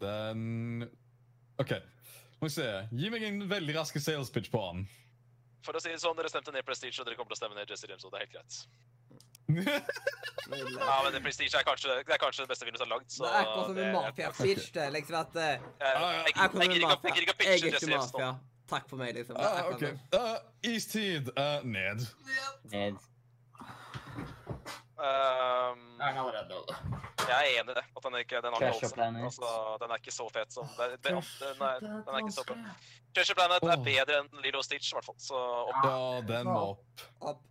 Den OK. Må vi se. Gi meg en veldig rask sales pitch på han. For å si det sånn, dere stemte ned Prestige, og dere kommer til å stemme ned Jesse James, og det er helt greit. Mm. Nydelig. Ja, men det Prestige er kanskje, det er kanskje den beste filmen som er lagd, så eh, Det er akkurat som det- en mafia-pitch. Det er liksom at eh, Jeg, Ja, ja. jeg, jeg, Jeg kommer gidder med ikke å- mafia. jeg gidder ikke Jeg å pitche er Jesse ikke James nå. mafia. Takk for meg, liksom. Det er Ah, akkurat OK. sånn. Ah, istid eh, ned. Ned. Ehm, Er den allerede over? jeg er enig i det. At den ikke den har Treasure ikke Planet. Altså, den er ikke så fet som det, det, den, er, den er ikke så fet. vanskelig. Treasure Planet er Åh. bedre enn Lilo og Stitch, i hvert fall. Så, og, Ja, den må opp. Opp.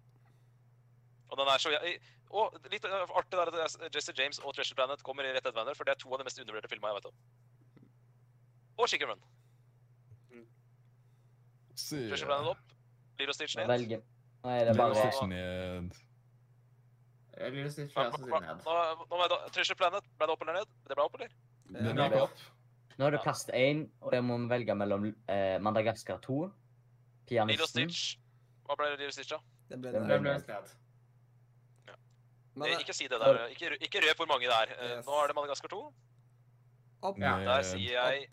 og den er så jeg- og litt eh, artig der at Jesse James og Treasure Planet kommer rett etter hverandre, for det er to av de mest undervurderte filmene jeg vet om. Og Chicken Run. Se. Treasure Planet opp. Lilo og Stitch ned. Velge. Nei, det er Men bare også- Stikke ned. Eller snitt Hva- flere som hva- sier ned. nå- nå må jeg da- Treasure Planet, ble det opp eller ned? Det ble opp, eller? Den Ja. gikk opp. Nå er det plass til én, og jeg må velge mellom eh, Madagaskar 2, Lilo Pianisten Stitch. Hva ble Lilo Stitch, da? Det ble Den det. Det ble sted. Men det- Eh, Ikke si det der. Ikke, rø- ikke røp hvor mange det er. Eh, Yes. Nå er det Madagaskar 2. opp, Ja. Der sier jeg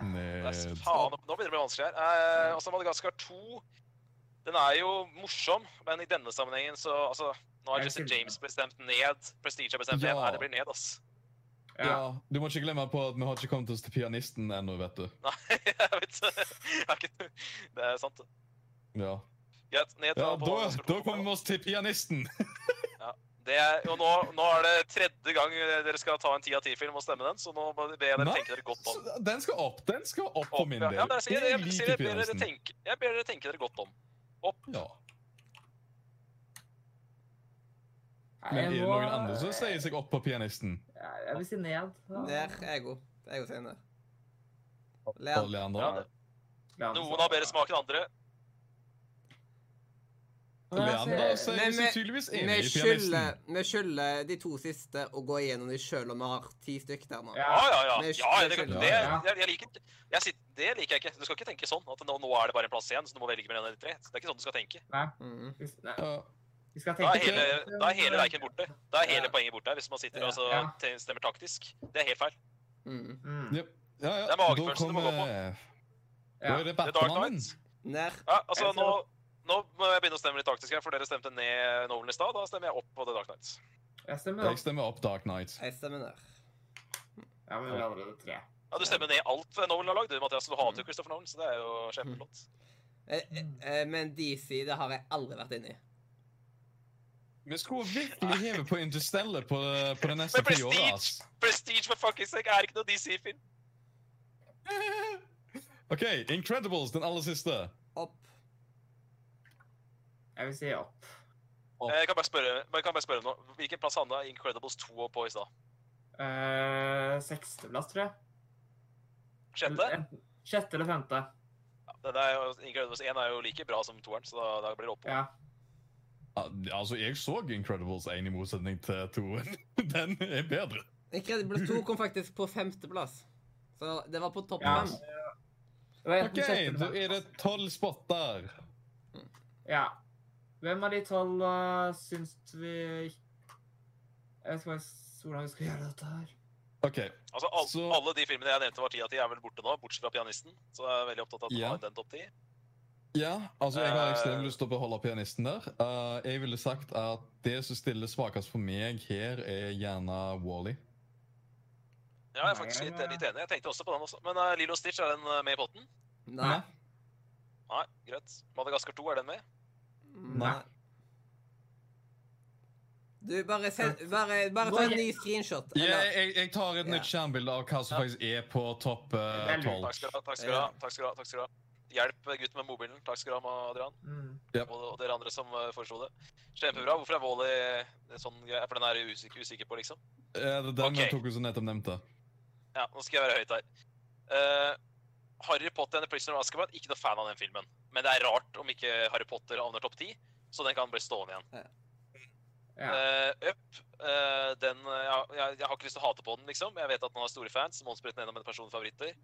opp. Der, s- Ned. faen, nå begynner det å bli vanskelig her. Eh, altså, Madagaskar 2 Den er jo morsom, men i denne sammenhengen så altså, Nå har Jeg Jesse synes det. James bestemt ned. Prestige har bestemt Ja. ned. Nei, det blir ned, ass. Ja, du må ikke glemme på at vi har ikke kommet oss til pianisten ennå, vet du. Nei, jeg vet jeg har ikke, Det er sant. det. Ja, Greit. Ned ja da på da, Madagaskar da 2. kommer vi oss til pianisten! Det er, og nå, nå er det tredje gang eh, dere skal ta en ti av ti-film og stemme den, så nå må- ber jeg dere Nei, tenke dere godt om. Så Den skal opp, den skal opp for min ja, del. ja, men jeg, sier- jeg, liker sier jeg, ber dere pianisten. tenke, jeg ber dere tenke dere godt om. Ja. Nei, Men er jeg det må- noen andre som sier seg opp på pianisten? Ja, Jeg vil si ned. da. Der. Ego. Ego sier ned. For Leon. Leander? Ja, Leander, Noen så- har bedre smak enn andre. Nei, altså, Leander jeg- sier seg men- tydeligvis Vi enig i skylder, pianisten. vi skylder de to siste å gå igjennom de sjøl om vi har ti stykk der nå. Ja. Ja, ja, ja. Men- ja det, det, Ja, det, ja. jeg, jeg liker, ikke- jeg, sit- det liker jeg ikke. Du skal ikke tenke sånn at nå, nå er det bare en plass igjen, så du må velge mellom de tre. Det er ikke sånn du skal tenke. Mhm. Nei, Ja. vi skal Da tenke er hele, da er hele verken borte. Da er hele Ja. poenget borte hvis man sitter og så Ja. te- stemmer taktisk. Det er helt feil. Mhm. Mm. Jep. Ja, ja. Det er magefølelsen du må gå på. Da er Ja. det The Dark Batmanen. Knight. Ned. Ja, altså, Jeg nå, ser nå må jeg begynne å stemme litt taktisk her, for dere stemte ned Nolan i stad. Da stemmer jeg opp på The Dark Knight. Jeg stemmer Jeg opp. stemmer opp Dark Knight. Jeg stemmer ned. Ja, men vi har allerede tre. Ja, Du stemmer ned alt Nolan har lagd. du, Mathias. Du Mm. hater jo Christopher Nolan, så det er jo kjempeflott. Eh, eh, eh, Men DC, det har jeg aldri vært inni. Vi skulle virkelig heve på Interstellar på, på det neste Men tiåret, Prestige! ass. Prestige for fuckings sake er ikke noe DC-film. OK, Incredibles, den aller siste. Opp. Jeg vil si opp. Opp. Eh, Jeg kan bare spørre, jeg kan bare spørre om noe. Hvilken plass handla Incredibles 2 på i stad? Eh, Seksteplass, tror jeg. Sjette? Eller enten- Sjette eller femte. Den er jo, Incredibles 1 er jo like bra som toeren, så da, da blir det oppå. Ja. Ja, Altså, jeg så Incredibles 1 i motsetning til 2-en. Den er bedre. Incredibles 2 kom faktisk på femteplass. Så det var på topp Ja. fem. Det var enten OK, sjette eller da femte. er det tolv spotter. Ja. Hvem av de tolv uh, syns vi Jeg vet ikke hva- hvordan vi skal gjøre dette her. OK. Altså, all, Så- Alle de filmene jeg nevnte var 10 av 10, er vel borte nå, bortsett fra pianisten. Så jeg er veldig opptatt av at Ja. yeah. den topp 10. Ja, altså, jeg har Eh. ekstremt lyst til å beholde pianisten der. Eh, jeg ville sagt at det som stiller svakest for meg her, er gjerne Wally. Ja, jeg er Nei, faktisk jeg litt, må- litt enig. Jeg tenkte også på den også. Men eh, Lilo Stitch, er den eh, med i potten? Nei. Nei, greit. Madagaskar 2, er den med? Nei. Du, bare send Bare, bare ta en ny screenshot. Ja, Eller, jeg, jeg tar et nytt skjermbilde av hva som Ja. faktisk er på topp eh, Det er lurt. tolv. Takk skal du ha. takk skal du ha, takk skal du ha, takk skal du ha. Hjelp eh, gutten med mobilen. Takk skal du ha, Adrian. Mm. Yep. Og, og dere andre som eh, foreslo det. Kjempebra. Hvorfor er Wally eh, sånn greie? For den er jeg usikker, usikker på, liksom. Den Ok. okay. tok vi som nettopp nevnte. Ja, nå skal jeg være høyt her. Eh, Harry Potter and the Prisoner of Azkaban, ikke noe fan av den filmen. Men det er rart om ikke Harry Potter havner topp ti, så den kan bli stående igjen. Ja. Eh, Up, eh, den eh, ja, jeg, jeg har ikke lyst til å hate på den, liksom. Jeg vet at den har store fans. Monsterbritten er en av mine personlige favoritter.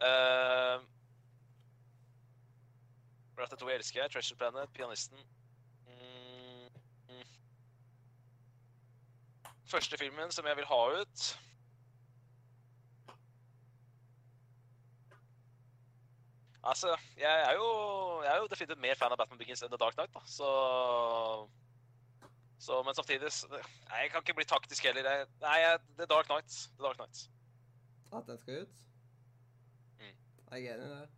Uh, Rat to elsker jeg. Treasure Planet, Pianisten. Mm, mm. Første filmen som jeg vil ha ut Altså, jeg er jo, jeg er jo definitivt mer fan av Batman Begins enn The Dark Knight, da. Så, så Men samtidig s- Nei, jeg kan ikke bli taktisk heller. Jeg, nei, jeg, The Dark Knight. The Dark Knight. At den skal ut? Mm. Jeg er enig i det.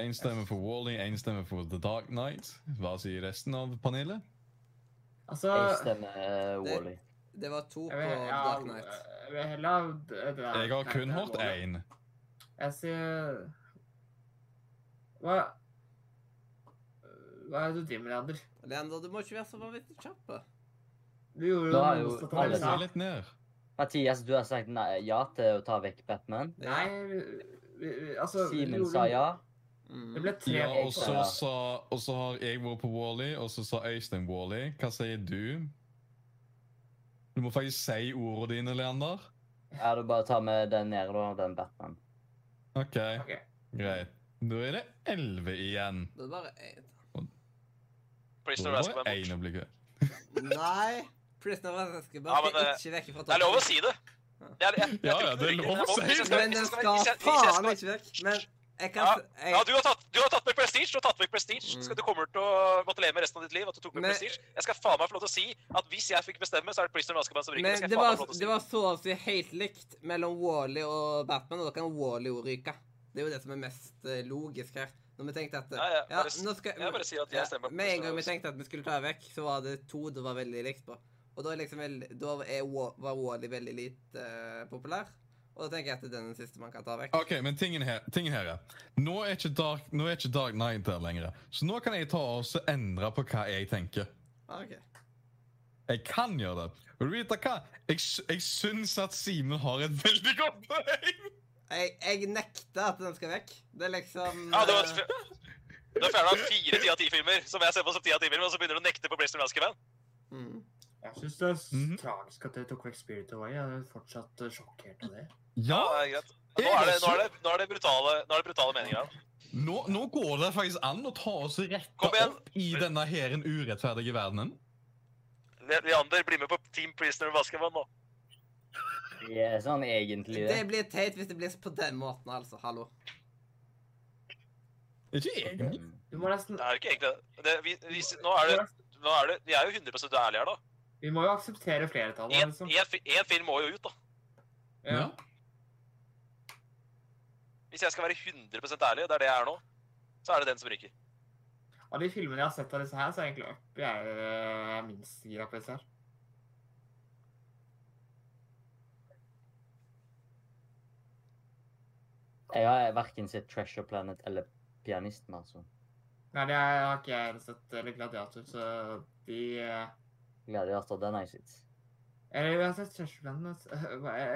Én stemme for Wally, én stemme for The Dark Knight. Hva sier resten av panelet? Jeg Altså stemmer eh, Wally. Det var to på Jeg vil, ja, Dark Knight. jeg vil heller ha d- det der. Jeg har kun Nei, hørt det er dårlig. én. Jeg sier Hva Hva er det du driver med, Leander? Leander, du må ikke være så vanvittig kjapp. da. Du gjorde Da er jo motsatt av Alle alle det du sa. ser litt ned. Mathias, du har sagt nei, ja til å ta vekk Batman. Nei vi, vi, vi- Altså Simen sa ja. Mm. Det ble tre Ja, på og så sa- og så har jeg vært på Wally, og så sa Øystein Wally. Hva sier du? Du må faktisk si ordene dine, Leander. Ja, da bare tar vi den nede, da. Den Batman. OK, Ok. greit. Da er det elleve igjen. Det er bare én. Prisoner Da of var Azkaban det én bort. øyeblikk. Nei! Prisoner of Azkaban Ja, men, skal eh, ikke vekk fra Det er lov å si det. Ja. Det er, jeg, jeg, Ja, tror ja, ikke det er riktig, lov men å jeg må- si hvis jeg det. skal- Men den hvis jeg skal hvis jeg- hvis jeg faen ikke vekk. Men jeg kan jeg, Ja, du har tatt, du har tatt med prestige. Du har tatt med prestige. Mm. Skal- Du kommer til å måtte leve med resten av ditt liv at du tok med Men- prestige. Jeg skal faen meg få lov til å si at hvis jeg fikk bestemme, så er det Prisoner of Azkaban som ryker. Det Men skal det jeg faen meg var, få lov til å si. det var så å si helt likt mellom Wally og Batman, og da kan Wally jo ryke. Det er jo det som er mest eh, logisk her. Når vi tenkte at eh, Ja, ja, bare s- nå skal, jeg bare sier at jeg stemmer på Med en gang vi Christopher tenkte at vi skulle ta vekk, så var det to det var veldig likt på. Og da, liksom, vel- da er, Wa- var Wally veldig lite eh, populær. Og da tenker jeg at det er den siste man kan ta vekk. OK, men tingen her, tingen her er Nå er ikke Dark, nå er ikke Dark Knight der lenger. Så nå kan jeg ta og så endre på hva jeg tenker. Ah, ok. Jeg kan gjøre det. Vil du vite hva? Jeg, sy- jeg syns at Simen har et veldig godt poeng. Jeg, jeg nekter at den skal vekk. Det er liksom Ja, det var eh, Du har fjerna fire ti av ti filmer som jeg ser på som ti av ti filmer, og så begynner du å nekte på Prisoner of Azkaban. mm. Jeg syns det er s- Mhm. tragisk at dere tok vekk Spirit Away. Jeg er fortsatt eh, sjokkert av det. Ja, Ja, det er greit. Nå er det, nå er det, nå er det, brutale, nå er det brutale meninger her. Nå, nå går det faktisk an å ta oss rette Kom igjen. opp i denne her en urettferdige verdenen. Le- Leander, bli med på Team Prisoner of Azkaban nå. Det er sånn Det egentlig det. blir teit hvis det blir på den måten, altså. Hallo. Ikke egentlig. Mm. Vi må nesten Det er jo ikke egentlig det. det. Vi, vi, s- nå er det, nå er det Vi er jo 100 ærlige her, da. Vi må jo akseptere flertallet, En, liksom. en, fi- en film må jo ut, da. Ja. Ja. Hvis jeg skal være 100 ærlig, det er det jeg er nå, så er det den som ryker. Av de filmene jeg har sett av disse her, så er egentlig Up jeg er eh, minst gira på disse her. Jeg har verken sett Treasure Planet eller Pianisten, altså. Nei, det har ikke jeg heller sett, eh, eller Gladiator, så de eh, Gladiator, den har jeg sett. Eller jeg har sett Kjørselsbandet. Jeg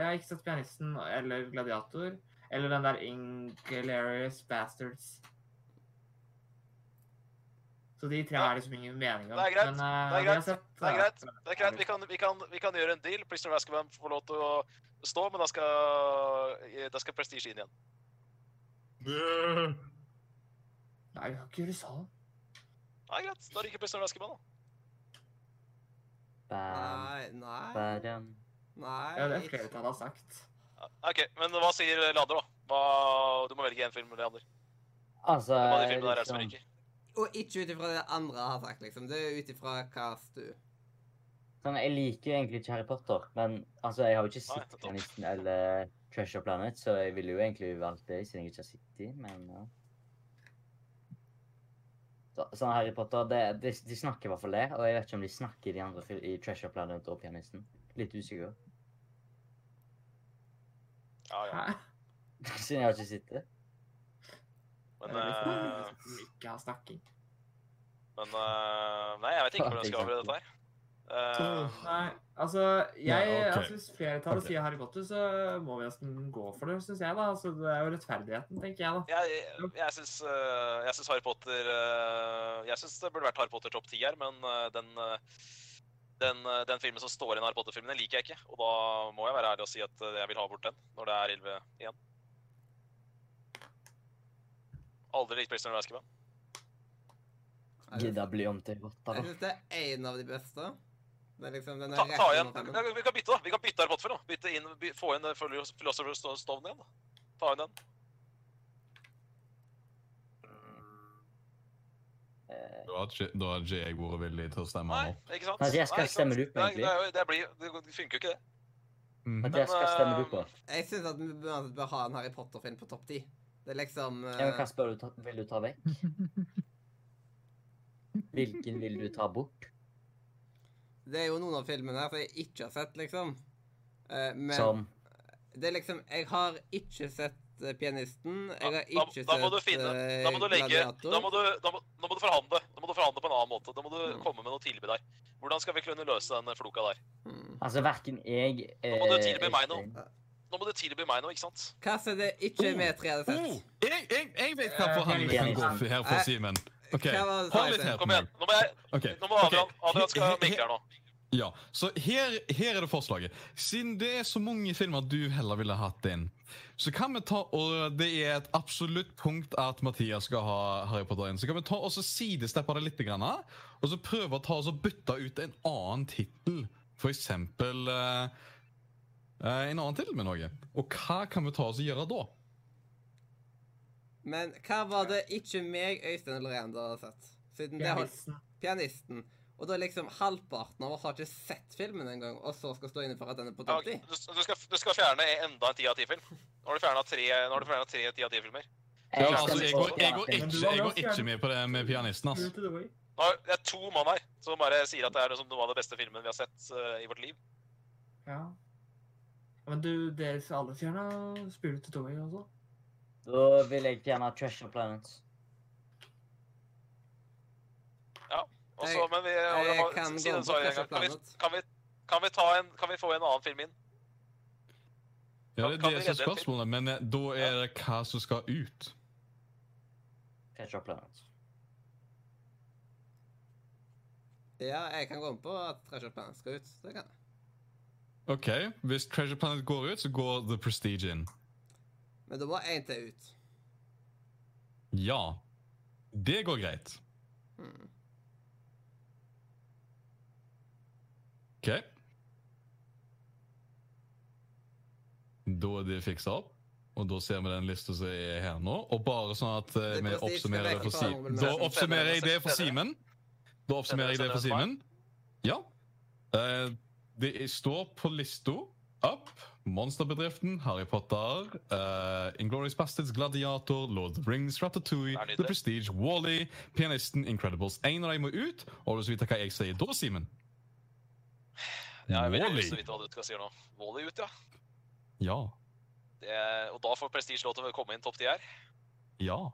har ikke sett Pianisten eller Gladiator. Eller den der Inglorious Bastards. Så de tre Ja. har liksom ingen mening om. Det er greit. Men, eh, Det er vi har greit. sett, Det er eh, greit. Det er greit, vi kan, vi kan, vi kan gjøre en deal. Prisoner of Azkaban får lov til å stå, men da skal, da skal Prestige inn igjen. Nei, vi kan ikke gjøre sånn. Ja, greit. Da ryker Prisoner of Azkaban, da. Bam, Nei, nei, badam. Ja, det nei. er flere altså. ikke- av har sagt. Ja, OK, men hva sier Leander, da? Hva, du må velge én film, Leander. Altså, Hvem av de filmene der er det som liksom, ryker? Og ikke ut ifra det andre har sagt, liksom. Det er ut ifra hva du sånn, jeg liker jo egentlig ikke Harry Potter, men altså, jeg har jo ikke Nei, sett nettopp. Pianisten eller Treasure Planet, så jeg ville jo egentlig valgt det, siden jeg ikke har sett de, men ja. Så, sånn Harry Potter, det, de, de snakker i hvert fall det, og jeg vet ikke om de snakker de andre fil- i Treasure Planet og Pianisten. Litt usikker, Ja, ja. Hæ? siden jeg har ikke sett det. Men, Det er litt eh, komisk at de ikke har snakking. men eh, Nei, jeg vet ikke hvordan jeg skal avgjøre dette her. Eh, Nei, altså, jeg, Nei, ok. altså Hvis flertallet Ok. sier Harry Potter, så må vi nesten gå for det, syns jeg. da. Altså, Det er jo rettferdigheten, tenker jeg, da. jeg jeg syns jeg syns Harry Potter eh, Jeg syns det burde vært Harry Potter topp ti her, men eh, den eh, den, eh, den filmen som står igjen i Harry Potter-filmen, den liker jeg ikke. Og da må jeg være ærlig og si at eh, jeg vil ha bort den når det er 11 igjen. Aldri likt Prisoner of Azkaban. Gidda bli om til rotta, Jeg da. syns det er en av de beste. Det er liksom den er Ta, rett ta under igjen. femmen. Ja, vi kan bytte, da. Vi kan bytte Harry Potter-film. da. Bytte inn, by, få inn eh, Philosopher's Stone igjen. da. Ta inn den. Eh, Da har ikke da hadde ikke jeg vært villig til å stemme Nei, nå. ikke sant? Nei, det skal Nei, ikke jeg sant? stemme det ut på, Nei, egentlig. Det, er jo- det, blir, det funker jo ikke, det. Mhm. Mathias, hva stemmer du på? eh, Jeg syns at vi bør, bør ha en Harry Potter-film på topp ti. Det er liksom eh, Ja, men hva spør du ta, vil du ta vekk? Hvilken vil du ta bort? Det er jo noen av filmene her som jeg ikke har sett, liksom. Eh, men Som det er liksom Jeg har ikke sett eh, Pianisten. Ja, Jeg har da- ikke da må du sett finne- eh, Da må du legge Gladiator. da må du, da må, da må du forhandle. Da må du forhandle på en annen måte. Da må du Mm. komme med noe tilbud der. Hvordan skal vi kunne løse den floka der? Mm. Altså, verken jeg eh, må du tilby meg Øystein- Nå må du tilby meg noe, ikke sant? Hva som det ikke Oh, vi tre hadde Oh, sett? jeg, Jeg, jeg vet hva forhandling Eh, kan gå for her for eh, Simen. OK, hva var det hold litt Simen? her på Kom igjen. meg. Nå må, jeg, Ok, nå må Adrian, ok. Adrian skal minke her nå. Ja, så her, her er det forslaget. Siden det er så mange filmer du heller ville hatt inn, så kan vi ta og Det er et absolutt punkt at Mathias skal ha Harry Potter inn. Så kan vi ta og så sidesteppe det litt, grann, og så prøve å ta oss og bytte ut en annen tittel. For eksempel eh, eh, en annen tittel med noe. Og hva kan vi ta oss og gjøre da? Men hva var det ikke meg, Øystein eller Reander hadde sett? Siden det holdt Pianisten. pianisten. Og da liksom halvparten av oss har ikke sett filmen engang, og så skal stå inne for at den er på Ja, topp ti? du, du, skal, du skal fjerne enda en ti av ti-film. Nå har du fjerna tre nå har du fjernet tre ti av ti-filmer. Ja, Jeg altså, stemmer jeg, på går, jeg, går Men du ikke, var jeg jo går ikke fjern- med på det med pianisten. ass. Ut i det way. Nå er det er to mann her som bare sier at det er liksom noe av det beste filmen vi har sett eh, i vårt liv. Ja. Men du, dere skal alle fjerna Spirit to Doorway også. Da vil jeg gjerne ha Treasure Planet. Og så, Jeg- men vi, jeg Adrian, kan si gå den på sorry en Treasure gang. Kan vi, Planet. kan, vi, kan, vi ta en, kan vi få en annen film inn? Ja, det, Kan- kan det er vi redde så en til? spørsmålet, men eh, da er det hva som skal ut. Treasure Planet. Ja, jeg kan gå med på at Treasure Planet skal ut. Det kan jeg. Ok, Hvis Treasure Planet går ut, så går The Prestige inn. Men da må én til ut. Ja. Det går greit. Hmm. OK. Da er det fiksa opp, og da ser vi den lista som er her nå. Og bare sånn at eh, The vi Prestige skal oppsummerer det sånn vekk for fra Simen. Marvel Da Madness. oppsummerer jeg det for Simen. Da oppsummerer jeg det for Simen. Ja. Eh, det er- står på lista opp Monsterbedriften, Harry Potter, uh, Inglourious Bastards, Gladiator, Lord of the Rings, Ratatouille, Det er nydelig. The Prestige, Wally, Pianisten, Incredibles. En av dem må ut, og du skal vite hva jeg sier da, Simen. Ja, jeg vil Wall-E. lyst til å vite hva du skal si nå. Wall-E ut, ja. Ja. Det, er- og da får Prestige lov til å komme inn topp ti her. Ja.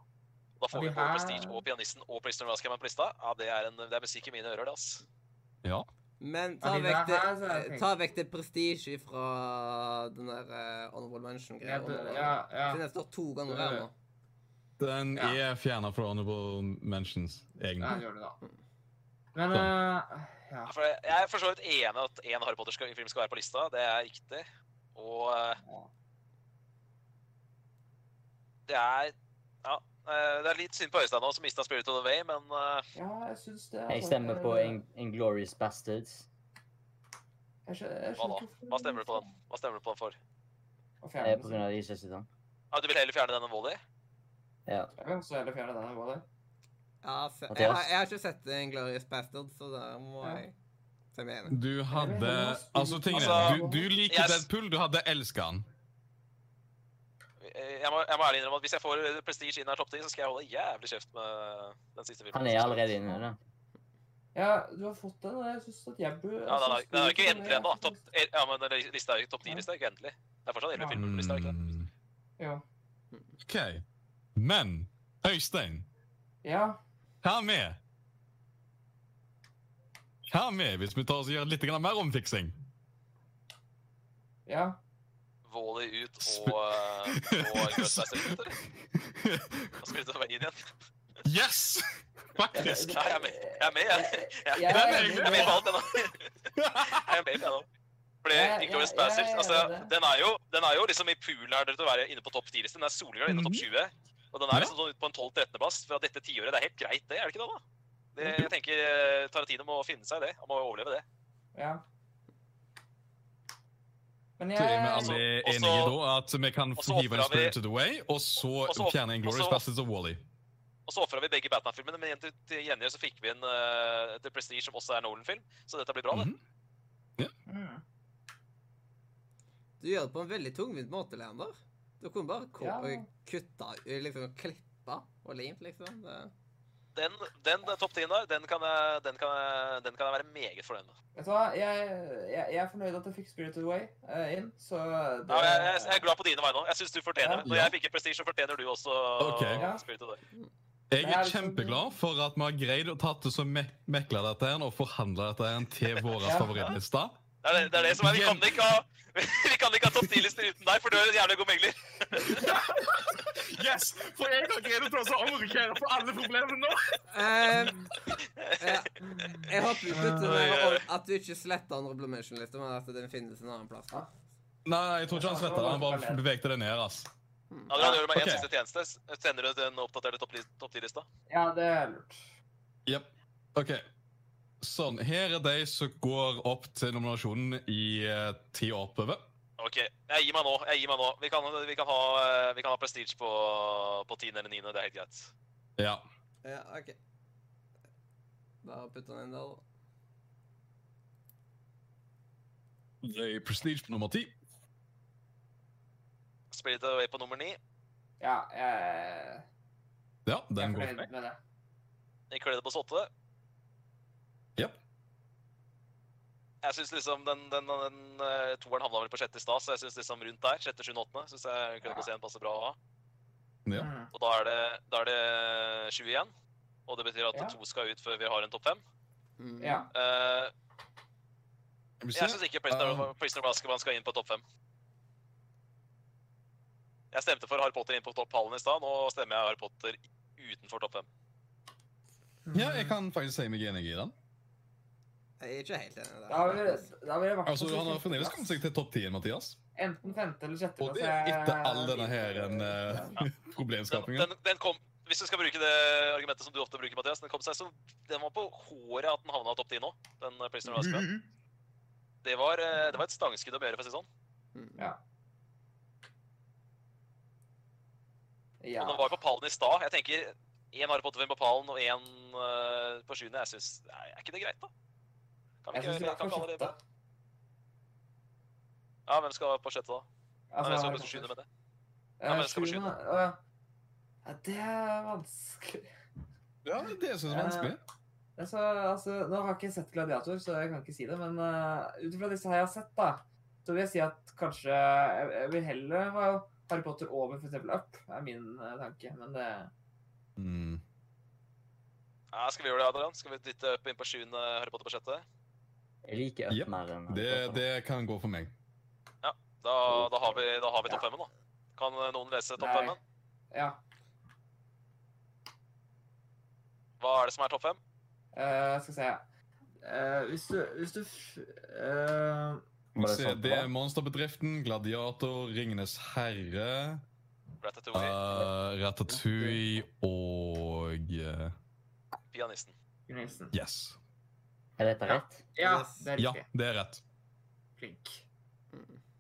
Da får Ja, vi de både her- Prestige og pianisten og Prisoner of Azkaban på lista. Ja, det er, en, det er musikk i mine ører, det, ass. Ja. Men ta Ja, de vekk der det, her, så er det ta vekk det prestige fra den der eh, Honorable Ja, Mention-greia. det- ja, Siden ja. jeg står to ganger her nå. Den Ja. er fjerna fra Honorable Mentions, ja, egentlig. gjør det, da. Mm. Men eh, ja. Ja, For jeg jeg er for så vidt enig i at én Harry Potter-film skal være på lista. Det er riktig. Og eh, det er Ja. eh, Det er litt synd på Øystein nå, som mista Spirit of the Way, men eh, ja, jeg syns det. Jeg stemmer på In Inglorious Bastards. hva da? Hva stemmer du på den? Hva stemmer du på den for? Eh, på grunn av de ikke sitter den. Ja, du vil heller fjerne denne Wally? Ja. Så heller fjerne den. hva det? Ja, se, jeg, Mathias? har, jeg har ikke sett Glorious Bastard, så der må Ja. jeg se meg enig. Du hadde Altså, tingen er, du, Altså, du liker jeg s- Deadpool, du hadde elska han. Eh, Jeg må, jeg må ærlig innrømme at hvis jeg får eh, Prestige inn her topp ti, så skal jeg holde jævlig kjeft med eh, den siste filmen. Han er allerede inne i den. Ja, du har fått den, og jeg syns at jeg burde Ja, den er, den er jo ikke endelig ennå. da. Topp- Ja, men den lista er jo topp ti-lista, ikke endelig. Det er fortsatt elleve filmer på lista, ikke det? Mm. Ja. OK. Men Øystein, ja. hva med Hva med hvis vi tar oss og gjør litt grann mer omfiksing? Ja. Mm. Wally ut Sp- og, eh, og Ghostbusters ut, eller? Og spilte meg inn igjen. Yes! Faktisk. Nei, jeg er med. Jeg er med, jeg. Jeg Jeg jeg er er med enig. jeg er med på alt, jeg nå. Jeg er med, jeg nå. Fordi Ja, ja, Inglourious ja, Basterds, ja, altså, ja, det. den er jo, den er jo liksom i poolen her til å være inne på topp 10-listen. Den er soleklar inne på topp 20. Og den Ja. er liksom sånn ut på en 12.-13.-plass fra dette tiåret. Det er helt greit, det, er det ikke det, da? Det, jeg tenker eh, Tarantino må finne seg i det. Han må overleve det. ja. Men Så er vi jeg Ehm, Altså, alle og så- enige da at vi kan og så hive en ofrer vi- spirit to the way, og så så- fjerne Inglourious og så- Bastards og Wally. Og så ofra vi begge Batman-filmene, men igjen til, til gjengjeld så fikk vi en eh, The Prestige, som også er Nolan-film. Så dette blir bra, det. Mhm. Mm. Du gjør det på en veldig tungvint måte, Leander. Du kunne bare ko- Ja. kutta liksom klippa og limt, liksom. Det. Den, den eh, topp 10 der, den kan, jeg, den, kan jeg, den kan jeg være meget fornøyd med. Vet du hva, jeg, jeg, jeg er fornøyd at jeg fikk Spirited Away eh, inn, så det, Ja, jeg, jeg, jeg er glad på dine vegne òg. Jeg syns du fortjener det. Når Ja. jeg fikk en prestige, så fortjener du også Ok. Ja. Spirit of the Day. Jeg Det er er liksom- kjempeglad for at vi har greid å tatt det som me mekla dette her og forhandla dette her til vår Ja. favorittliste. Det er det, det er det som er Vi kan ikke ha Vi kan ikke ha topp 10-lister uten deg, for du er en jævlig god megler. Yes! For jeg har greid å ta seg av Rikere for alle problemene nå. Eh, eh, jeg håper vi slutter med å- at du ikke sletter andre Blue Mention-lister, men at den finnes en annen plass. da. Nei, nei, jeg tror ikke han svetta. Han bare bevegte det ned. ass. Hmm. Adrian, gjør du meg en Ok. siste tjeneste. S- Sender du den oppdaterte topp 10-lista? Ja, det er lurt. Jep. OK. Sånn. Her er de som går opp til nominasjonen i eh, ti år oppover. OK, jeg gir meg nå. jeg gir meg nå. Vi kan, vi kan ha, eh, vi kan ha prestige på, på 10 eller 9, det er helt greit. Ja. Ja, OK. Bare putt den inn der, da. De prestige på nummer ti. Spirit Away på nummer 9. Ja, jeg, Ja, jeg er den går fornøyd for meg. med det. Incredibles 8. Jep. Jeg syns liksom den, den, den, eh, toeren havna vel på sjette i stad, så jeg syns liksom rundt der, sjette, sjuende, åttende, syns jeg Incredibles 1 passer bra å ha. Ja. Mm. Og da er det, da er det 20 igjen. Og det betyr at Ja. to skal ut før vi har en topp fem. Mm. Ja. Eh, Skal vi se. jeg syns ikke Prisoner, Um. Prisoner of Azkaban skal inn på topp fem. Jeg stemte for Harry Potter inn på topphallen i stad. Nå stemmer jeg Harry Potter utenfor topp fem. Ja, jeg kan faktisk si meg enig i den. Jeg er ikke helt enig i det. Da vil, da vil jeg i hvert fall Altså, si Han har femteplass. fremdeles kommet seg til topp 10, Mathias. Enten femte eller sjette. Og det plass, er jeg- etter all denne her en, eh, Den, problemskapingen. den, den kom, hvis du skal bruke det argumentet som du ofte bruker, Mathias, den kom seg så Den var på håret at den havna topp ti nå, den eh, Prisoner of Uhuh. Azkaban. Det var, eh, det var et stangskudd å bære, for å si det sånn. Mm. Ja. Ja. Og den var på pallen i stad. Jeg tenker én Harry Potter-film på pallen og én eh, på sjuende. Jeg synes, nei, Er ikke det greit, da? Kan vi Jeg ikke, synes det er kan for ikke alle det sjette. Ja, hvem skal på sjette, da? Nei, Altså, hvem skal Harry på Potter. sjuende med det? Eh, men jeg skal på sjuende, å, ja. Ja, det er vanskelig. Ja, det synes jeg er vanskelig. Altså, altså, nå har jeg ikke sett Gladiator, så jeg kan ikke si det. Men uh, ut ifra disse her jeg har sett, da, så vil jeg si at kanskje Jeg, jeg vil heller ha Harry Potter over for eksempel Up, er min eh, tanke. Men det Mm. Ja, skal vi gjøre det, Adrian? Skal vi dytte opp inn på sjuende Harry Potter på sjette? Jeg liker Up Jep, mer enn Det, det kan gå for meg. Da, da har vi, da har vi topp femmen, da. Kan eh, noen lese topp Nei. femmen? Ja. Hva er det som er topp fem? eh, skal vi se Eh, Hvis du Hvis du f- eh, Det, Se, sånn? det er Monsterbedriften, Gladiator, Ringenes herre, Ratatouille, uh, Ratatouille og eh, pianisten. Gunnar Nilsen. Yes. Er dette Ja. rett? Ja, Yes. det er Ja, riktig. det er rett. Flink.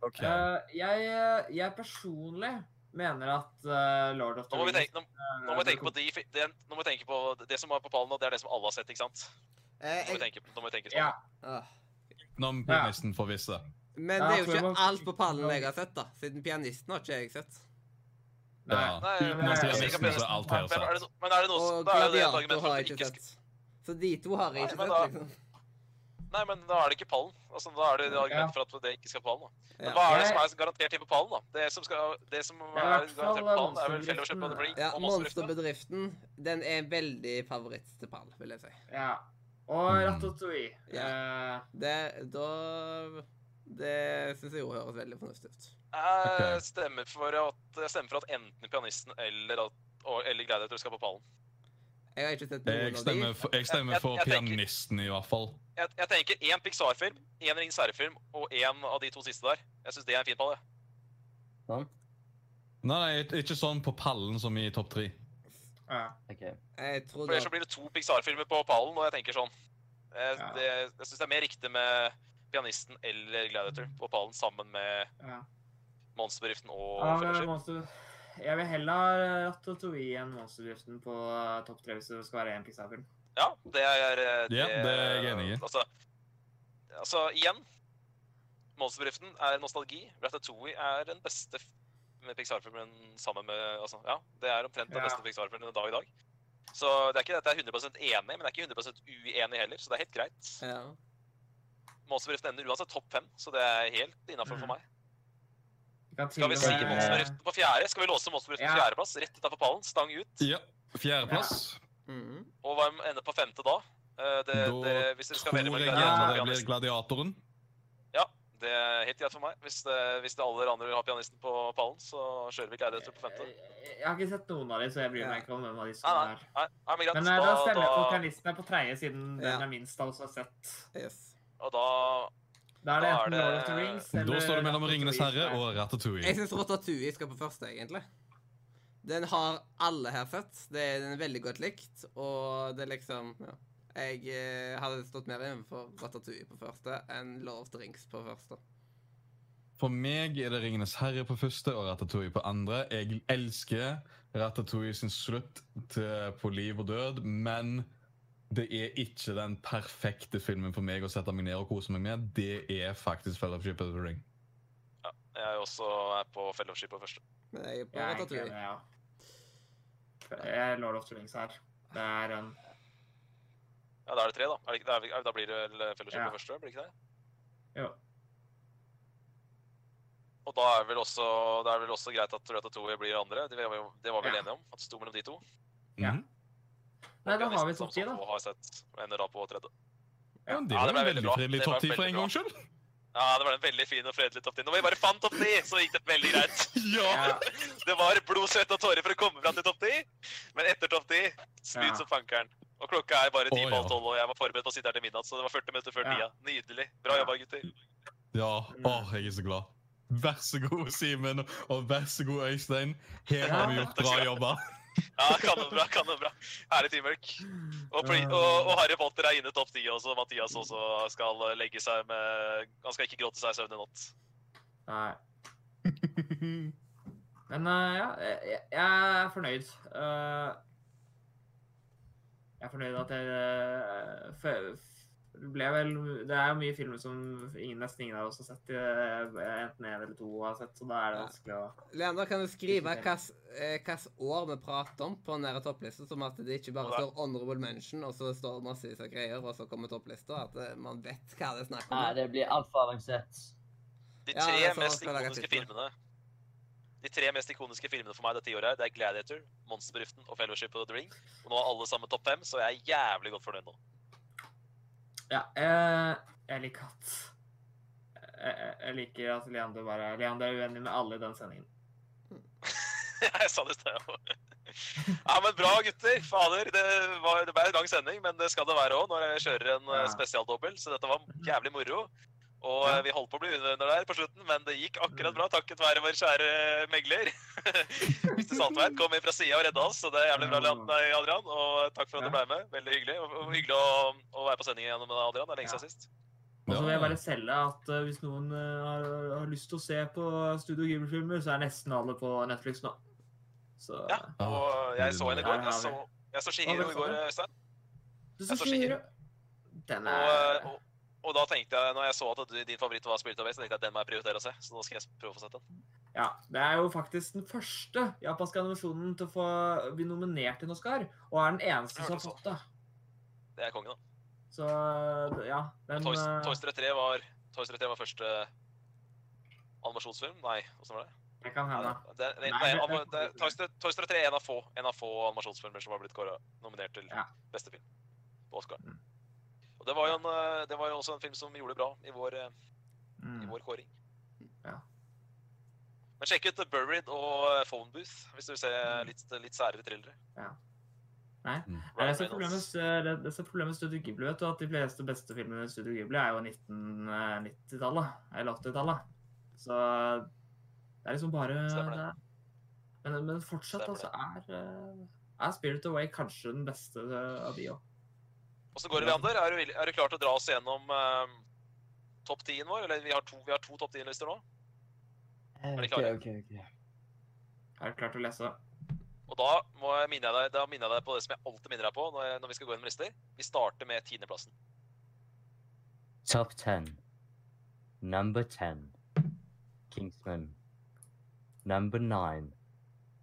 Ok. Eh, jeg, jeg personlig mener at eh, Lord of the Nå må vi tenke, Rings, nå, eh, nå må vi bør tenke på de fi- det, Nå må vi tenke på det som er på pallen, og det er det som alle har sett, ikke sant? Nå Eh, må vi jeg, tenke, nå må vi tenke sånn. Ja. ah. Nå må pianisten få visse. Men Ja, det er jo tror jeg ikke må- alt på pallen jeg har sett, da. Siden pianisten har ikke jeg sett. Nei. Ja. Nei, Utenom men- pianisten så er alt her Men er det, sett. no- men er det noe som Og da er det et gladiator argument for har at jeg du ikke ikke sett. Så de to har jeg Nei, ikke men sett, da- liksom. skal- Nei, men da er det ikke pallen. Altså, da er det et Ja. argument for at det ikke skal på pallen. da. Men Ja. hva er det Jeg- som er garantert inn på pallen, da? Det som, skal, det som Ja, i er hvert fall garantert på pallen, er vel monsterbedriften. Fellowship of the Ring Ja, og Monsterbedriften. Monsterbedriften den er veldig favoritt til pall, vil jeg si. Ja. Og Mm. Ratatouille. Eh, Det, da, det syns jeg jo høres veldig fornuftig ut. Jeg Ok. stemmer for at, jeg stemmer for at enten pianisten eller, at, og- eller Gladiator skal på pallen. Jeg har ikke sett Jeg noen av de. stemmer for, jeg stemmer for Jeg- jeg- jeg tenker- pianisten, i hvert fall. Jeg, jeg tenker én Pixar-film, én Ringens herre-film og én av de to siste der. Jeg syns det er en fin pall, jeg. Sånn? Nei, nei, ikke sånn på pallen som i topp tre. ja. Ok. Jeg tror For ellers så da blir det to Pixar-filmer på pallen, og jeg tenker sånn Jeg, Ja. det, jeg syns det er mer riktig med pianisten eller Gladiator på pallen sammen med ja. Monsterbedriften og Ja, men Fellowship. Ah, monster... Jeg vil heller ha eh, Ratatouille E enn Monsterdriften på eh, topp tre hvis det skal være en Pixar-film. Ja, det er eh, Ja, det er jeg enig i. Altså, altså igjen Monsterbedriften er nostalgi. Ratatouille er den beste f- med Pixar-filmen sammen med altså, Ja, det er omtrent den Ja. beste Pixar-filmen en dag i dag. Så det er ikke dette er 100 enig, men det er ikke 100 uenig heller, så det er helt greit. ja. Monsterbedriften ender uansett topp fem, så det er helt innafor Mm. for meg. Vi kan til Skal vi og si med- Monsterbedriften på fjerde? Skal vi låse Monsterbedriften på Ja. fjerdeplass? Rett utafor pallen, stang ut. Ja. Fjerdeplass. Mhm. Og hva ender på femte da? Eh, Det, Da det, hvis dere skal Tror velge jeg mellom gjerne Gladiator og det blir Pianisten. Gladiatoren. Det er helt greit for meg. Hvis, det, hvis det alle andre vil ha pianisten på pallen, så kjører vi ikke Eidestrøm på femte. Jeg, Eh, jeg har ikke sett noen av dem, så jeg bryr Ja. meg ikke om hvem av de Nei, som Ah, nei. er Nei, nei, men greit. Sånn Men eh, da stemmer jeg på da, pianisten er på tredje, siden Ja. den er minst av oss har sett. Yes. og da Da Da er er det enten Lord of the det- Rings eller Da står det mellom Ratatouille Ringenes som herre er- og Ratatouille. Jeg syns Rotatui skal på første, egentlig. Den har alle her sett. Det er den er veldig godt likt, og det er liksom ja. Jeg eh, hadde stått mer innenfor Ratatouille på første enn Love Drinks på første. For meg er det Ringenes herre på første og Ratatouille på andre. Jeg elsker Ratatouille sin slutt til på liv og død, men det er ikke den perfekte filmen for meg å sette meg ned og kose meg med. Det er faktisk Fellowship of the Ring. jeg er jo også er på fellowship på første. Men jeg er på Jeg er egentlig Ratatouille. enig, ja. Jeg er Lord of the Rings her. Det er en Ja, da er det tre, da. Er det, ikke- da, er vi, da blir det vel fellowship Ja. på første, blir det ikke det? Jo. Og da er vel også, da er vel også greit at Ratatouille blir andre. Det var, jo- det var vel Ja. enige om? At det sto mellom de to? Ja. Mhm. Nei, da har vi Pianisten topp ti, som da. så få Har sett, ender da på tredje. Ja, men det Ja, var det ble en veldig veldig bra. fredelig Det ble topp 10 for en veldig gangs skyld. Ja, det var en veldig fin og fredelig topp 10. Når vi bare fant topp 10, så gikk det veldig greit. Ja. Det var blod, svette og tårer for å komme fram til topp 10, men etter topp 10 spyd Ja. som fankeren. Og klokka er bare ti Å, på halv ja. tolv, og jeg var forberedt på å sitte her til midnatt, så det var 40 minutter før Ja. tida. Nydelig. Bra Ja. jobba, gutter. Ja, åh, jeg er så glad. Vær så god, Simen, og vær så god, Øystein. Her har vi gjort bra jobba. Ja, kanonbra, kanonbra. Herlig teamwork. Og, pli- og, og Harry Potter er inne i topp 10 også. Mathias også skal legge seg med Han skal ikke gråte seg i søvn i natt. Nei. Men eh, ja, jeg, jeg er fornøyd. Eh, jeg er fornøyd at jeg eh, fø- f- ble vel Det er jo mye filmer som ingen, nesten ingen av oss har sett. eh, Enten én eller to har sett, så da er det Ja. vanskelig å Leander, kan du skrive Ikke hvilket år vi prater om på den der topplista, som at det ikke bare Ja. står 'honorable mention', og så står det massevis av greier, og så kommer topplista? At eh, man vet hva det er snakk Nei, om? det blir altfor avansert. De Ja, tre det er sånn man mest skal lage ikoniske filmer. filmene De tre mest ikoniske filmene for meg det tiåret her, det er Gladiator, Monsterbedriften og Fellowship of the Ring. Og nå har alle sammen topp fem, så jeg er jævlig godt fornøyd nå. Ja. eh, jeg liker at jeg, jeg- jeg liker at Leander bare Leander er uenig med alle i den sendingen. jeg sa det i sted. jeg også. Ja, men bra, gutter. Fader, det, var, det ble en lang sending, men det skal det være òg når jeg kjører en Ja. eh, spesialdobbel, så dette var jævlig moro. Og Ja. eh, vi holdt på å bli under der på slutten, men det gikk akkurat bra takket være vår kjære megler. Mr. Saltveit kom inn fra sida og redda oss, så det er jævlig bra, Leon- nei, Adrian. Og eh, takk for at du ble med. Veldig hyggelig. Og, og hyggelig å, å være på sending igjen med deg, Adrian. Det er lenge siden sist. Og så vil jeg Ja. bare selge at eh, hvis noen eh, har, har lyst til å se på Studio Ghibli-filmer, så er nesten alle på Netflix nå. Så eh, Ja. Og jeg så henne i går. Der har Jeg så, vi. jeg så Shihiro i går, Øystein. Du Jeg så så Shihiro. Den Og, eh, er og, og da tenkte jeg, når jeg så at du- din favoritt var Spirit Away, så tenkte jeg at den må jeg prioritere å se. Så nå skal jeg prøve å få sett den. Ja. Det er jo faktisk den første japanske animasjonen til å få bli nominert til en Oscar, og er den eneste som har fått det. Det er kongen, da. Så ja, Og den Toy, eh, Toy Story 3 var, Toy Story 3 var første animasjonsfilm? Nei, åssen var det? Det kan Nei, hende. det, det, Nei, nei, det- anima- det- det, Toy, Story, Toy Story 3 er en av få, en av få animasjonsfilmer som har blitt kåret, nominert til Ja. beste film på Oscar. Mm. Og det var, jo en, eh, det var jo også en film som gjorde det bra i vår eh, i Mm. vår kåring. Ja. Men sjekk ut The Buried og Phone Booth hvis du vil se litt, litt særere thrillere. Mm. Ja. Nei, Mm. Det er Ryan det som er problemet Reynolds. med- det er det som er problemet med Studio Ghibli, vet du, at de fleste beste filmene med Studio Ghibli er jo 1990-tallet, eller 80-tallet. Så det er liksom bare Stemmer det. det er- Men, men fortsatt, Stemmer altså, er, eh, er Spirit Away kanskje den beste eh, av de òg. Åssen går det, Leander? Er du, villig- er du klar til å dra oss gjennom eh, topp 10-en vår? Eller vi har to, vi har to topp 10-lister nå. Ok, klare? Eh, ok, ok. Er du klar til å lese? Og da, må jeg minne deg, da minner jeg deg på det som jeg alltid minner deg på når, jeg, når vi skal gå gjennom lister. Vi starter med tiendeplassen. Top 10. Number 10. Kingsman. Number 9.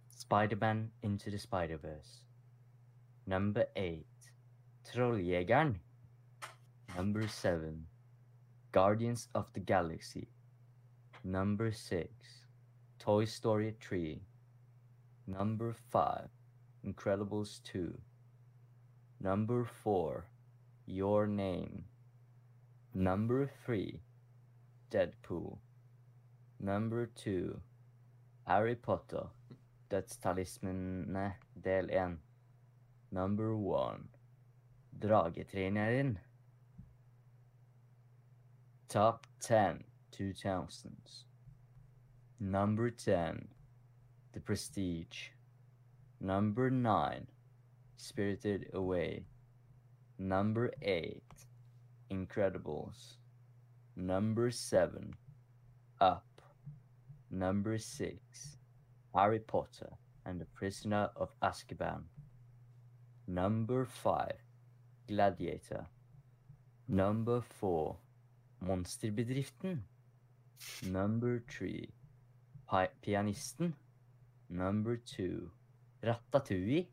Spider-Man Into the Spider-Verse. Number 8. Trolljägaren. Number 7. Guardians of the Galaxy. Number 6. Toy Story 3. Number 5. Incredibles 2. Number 4. Your Name. Number three, Deadpool. Number two, Harry Potter. Dødstalismene del én. Number one, Dragetreneren. Top 10 2000s. Number 10, The Prestige. Number 9, Spirited Away. Number 8, Incredibles. Number 7, Up. Number 6, Harry Potter and the Prisoner of Azkaban. Number 5, Gladiator. Number 4, Monsterbedriften. Number 3, Pi Pianisten. Number 2, Ratatouille.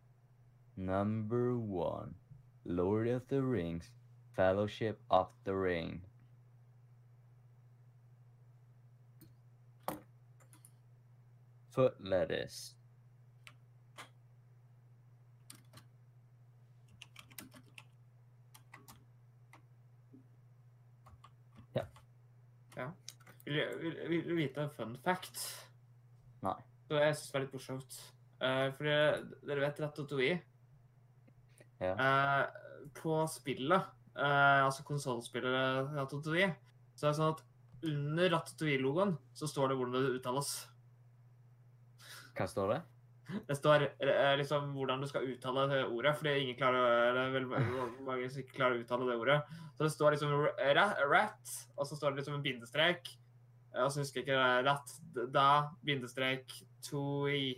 Number 1, Lord of the Rings, Fellowship of the Ring. Foot lettuce. Vil, vil, vil du vite en fun fact? Nei. Så jeg synes det er litt morsomt. Eh, for dere, dere vet Ratatouille? Eh, på spillet, eh, altså konsollspillet Ratatouille, så er det sånn at under Ratatouille-logoen så står det hvordan det uttales. Hva står det? Det står eh, liksom hvordan du skal uttale det ordet, fordi ingen klarer, det er vel mange som ikke klarer å uttale det ordet. Så det står liksom ra rat, og så står det liksom en bindestrek. eh, Og så husker jeg ikke det er rat, d- da, bindestrek, toi.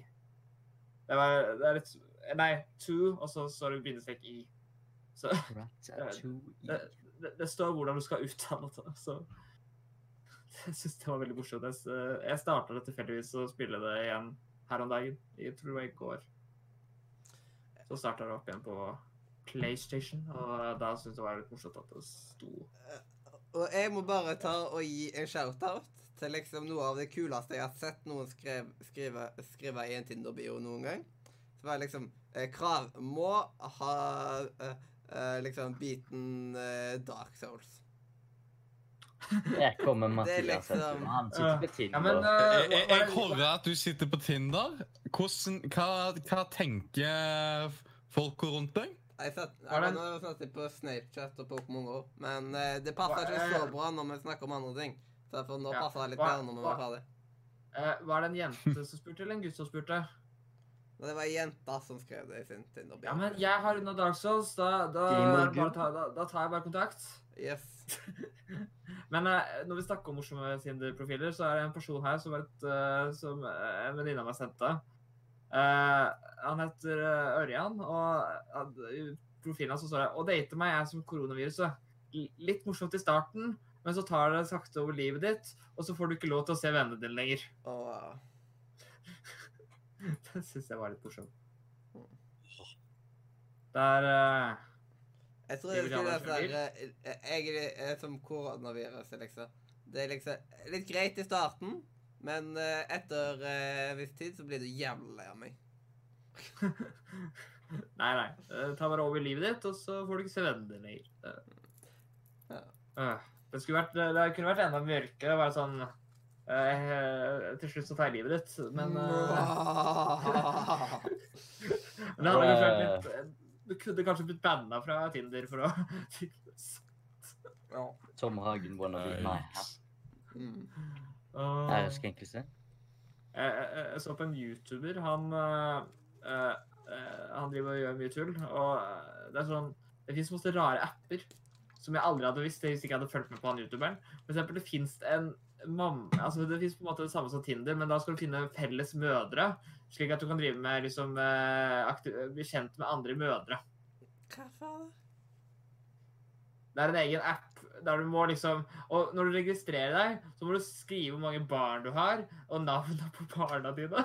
Det, var, det er litt Nei, to, og så står det bindestrek i. Så det, Ratatouille. det, det står hvordan du skal uttale det. Så jeg syns det var veldig morsomt. Jeg, s- eh, jeg starta det tilfeldigvis å spille det igjen her om dagen. Jeg tror det var i går. Så starta det opp igjen på PlayStation, og da syntes jeg det var litt morsomt at det sto Og jeg må bare ta og gi en shout-out til liksom noe av det kuleste jeg har sett noen skrev, skrive, skrive i en Tinder-bio noen gang. Så var det liksom eh, Krav må ha eh, eh, liksom beaten eh, Dark Souls. Der kommer Det er Mathias. liksom- vet du, Han sitter på Ja, men Tinder. eh, Jeg, hva- hva er jeg, jeg det- hører at du sitter på Tinder. Hvordan, hva, hva tenker folka rundt deg? Jeg satt, jeg var Var det- nå snakket på Snapchat og Pokémon GO, men eh, det Hva- passer ikke så eh, bra når vi snakker om andre ting. Så derfor nå Ja. passer det litt Hva- bedre når vi var hva- ferdig. eh, var det en jente som spurte, eller en gutt som spurte? Men det var ei jente som skrev det i sin Tinder-bio. Ja, men jeg har unna Dark Souls. Da, da, I morgen. bare ta, da, da tar jeg bare kontakt. Yes. Men eh, når vi snakker om morsomme Tinder-profiler, så er det en person her som, er et, eh, som eh, en venninne av meg sendte. Eh, han heter eh, Ørjan, og han- i profilen hans så står det «Å date meg er som koronaviruset. L- Litt morsomt i starten, men så tar det sakte over livet ditt, og så får du ikke lov til å se vennene dine lenger. Og eh, Det syns jeg var litt morsomt. Det er eh, jeg tror Det jeg vil skulle jeg ha være sånn eh, Jeg er- er som koronaviruset, liksom. Det er liksom litt greit i starten, men eh, etter eh, en viss tid så blir du jævlig lei av meg. Nei, nei. Eh, Ta bare over livet ditt, og så får du ikke se vennene dine lenger. Eh. Eh, Det, skulle vært, det kunne vært enda mørkere. Bare sånn eh, Til slutt så tar jeg livet ditt. Men eh, men det hadde kanskje vært litt Du kunne kanskje blitt banna fra Tinder for å Ja. Tom Hagen wannabe. Nei. Mm. Åh. Æreskrenkelse. Jeg, jeg, jeg så på en YouTuber. Han, eh, eh, eh, han driver og gjør mye tull. Og eh, det er sånn Det fins masse rare apper som jeg aldri hadde visst hvis jeg ikke hadde fulgt med på han youtuberen. For eksempel, det fins en mam- Altså, det fins på en måte det samme som Tinder, men da skal du finne felles mødre. Slik at du kan drive med liksom eh, akti- bli kjent med andre mødre. Hva faen? Det er en egen app der du må liksom Og når du registrerer deg, så må du skrive hvor mange barn du har, og navnene på barna dine.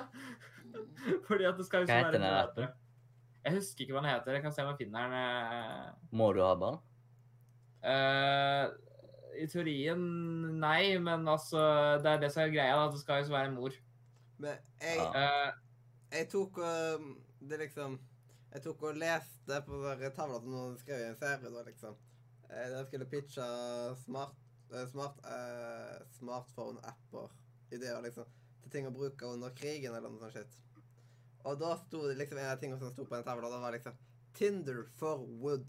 Fordi at det skal liksom Hva heter være den en appen? møte. Jeg husker ikke hva den heter. Jeg kan se om jeg finner den. eh. Må du ha barn? Eh, I teorien nei, men altså Det er det som er greia, da, at det skal liksom være en mor. Men jeg Ja. Eh, Jeg tok og Det liksom Jeg tok og leste på den der tavla som noen skrev i en serie, da, liksom. Eh, Der jeg skulle pitche smart Det er smart eh, smartphone-apper. Ideer liksom, til ting å bruke under krigen eller noe sånt. shit. Og da sto det liksom en av tingene som sto på den tavla, det var liksom Tinder for wood.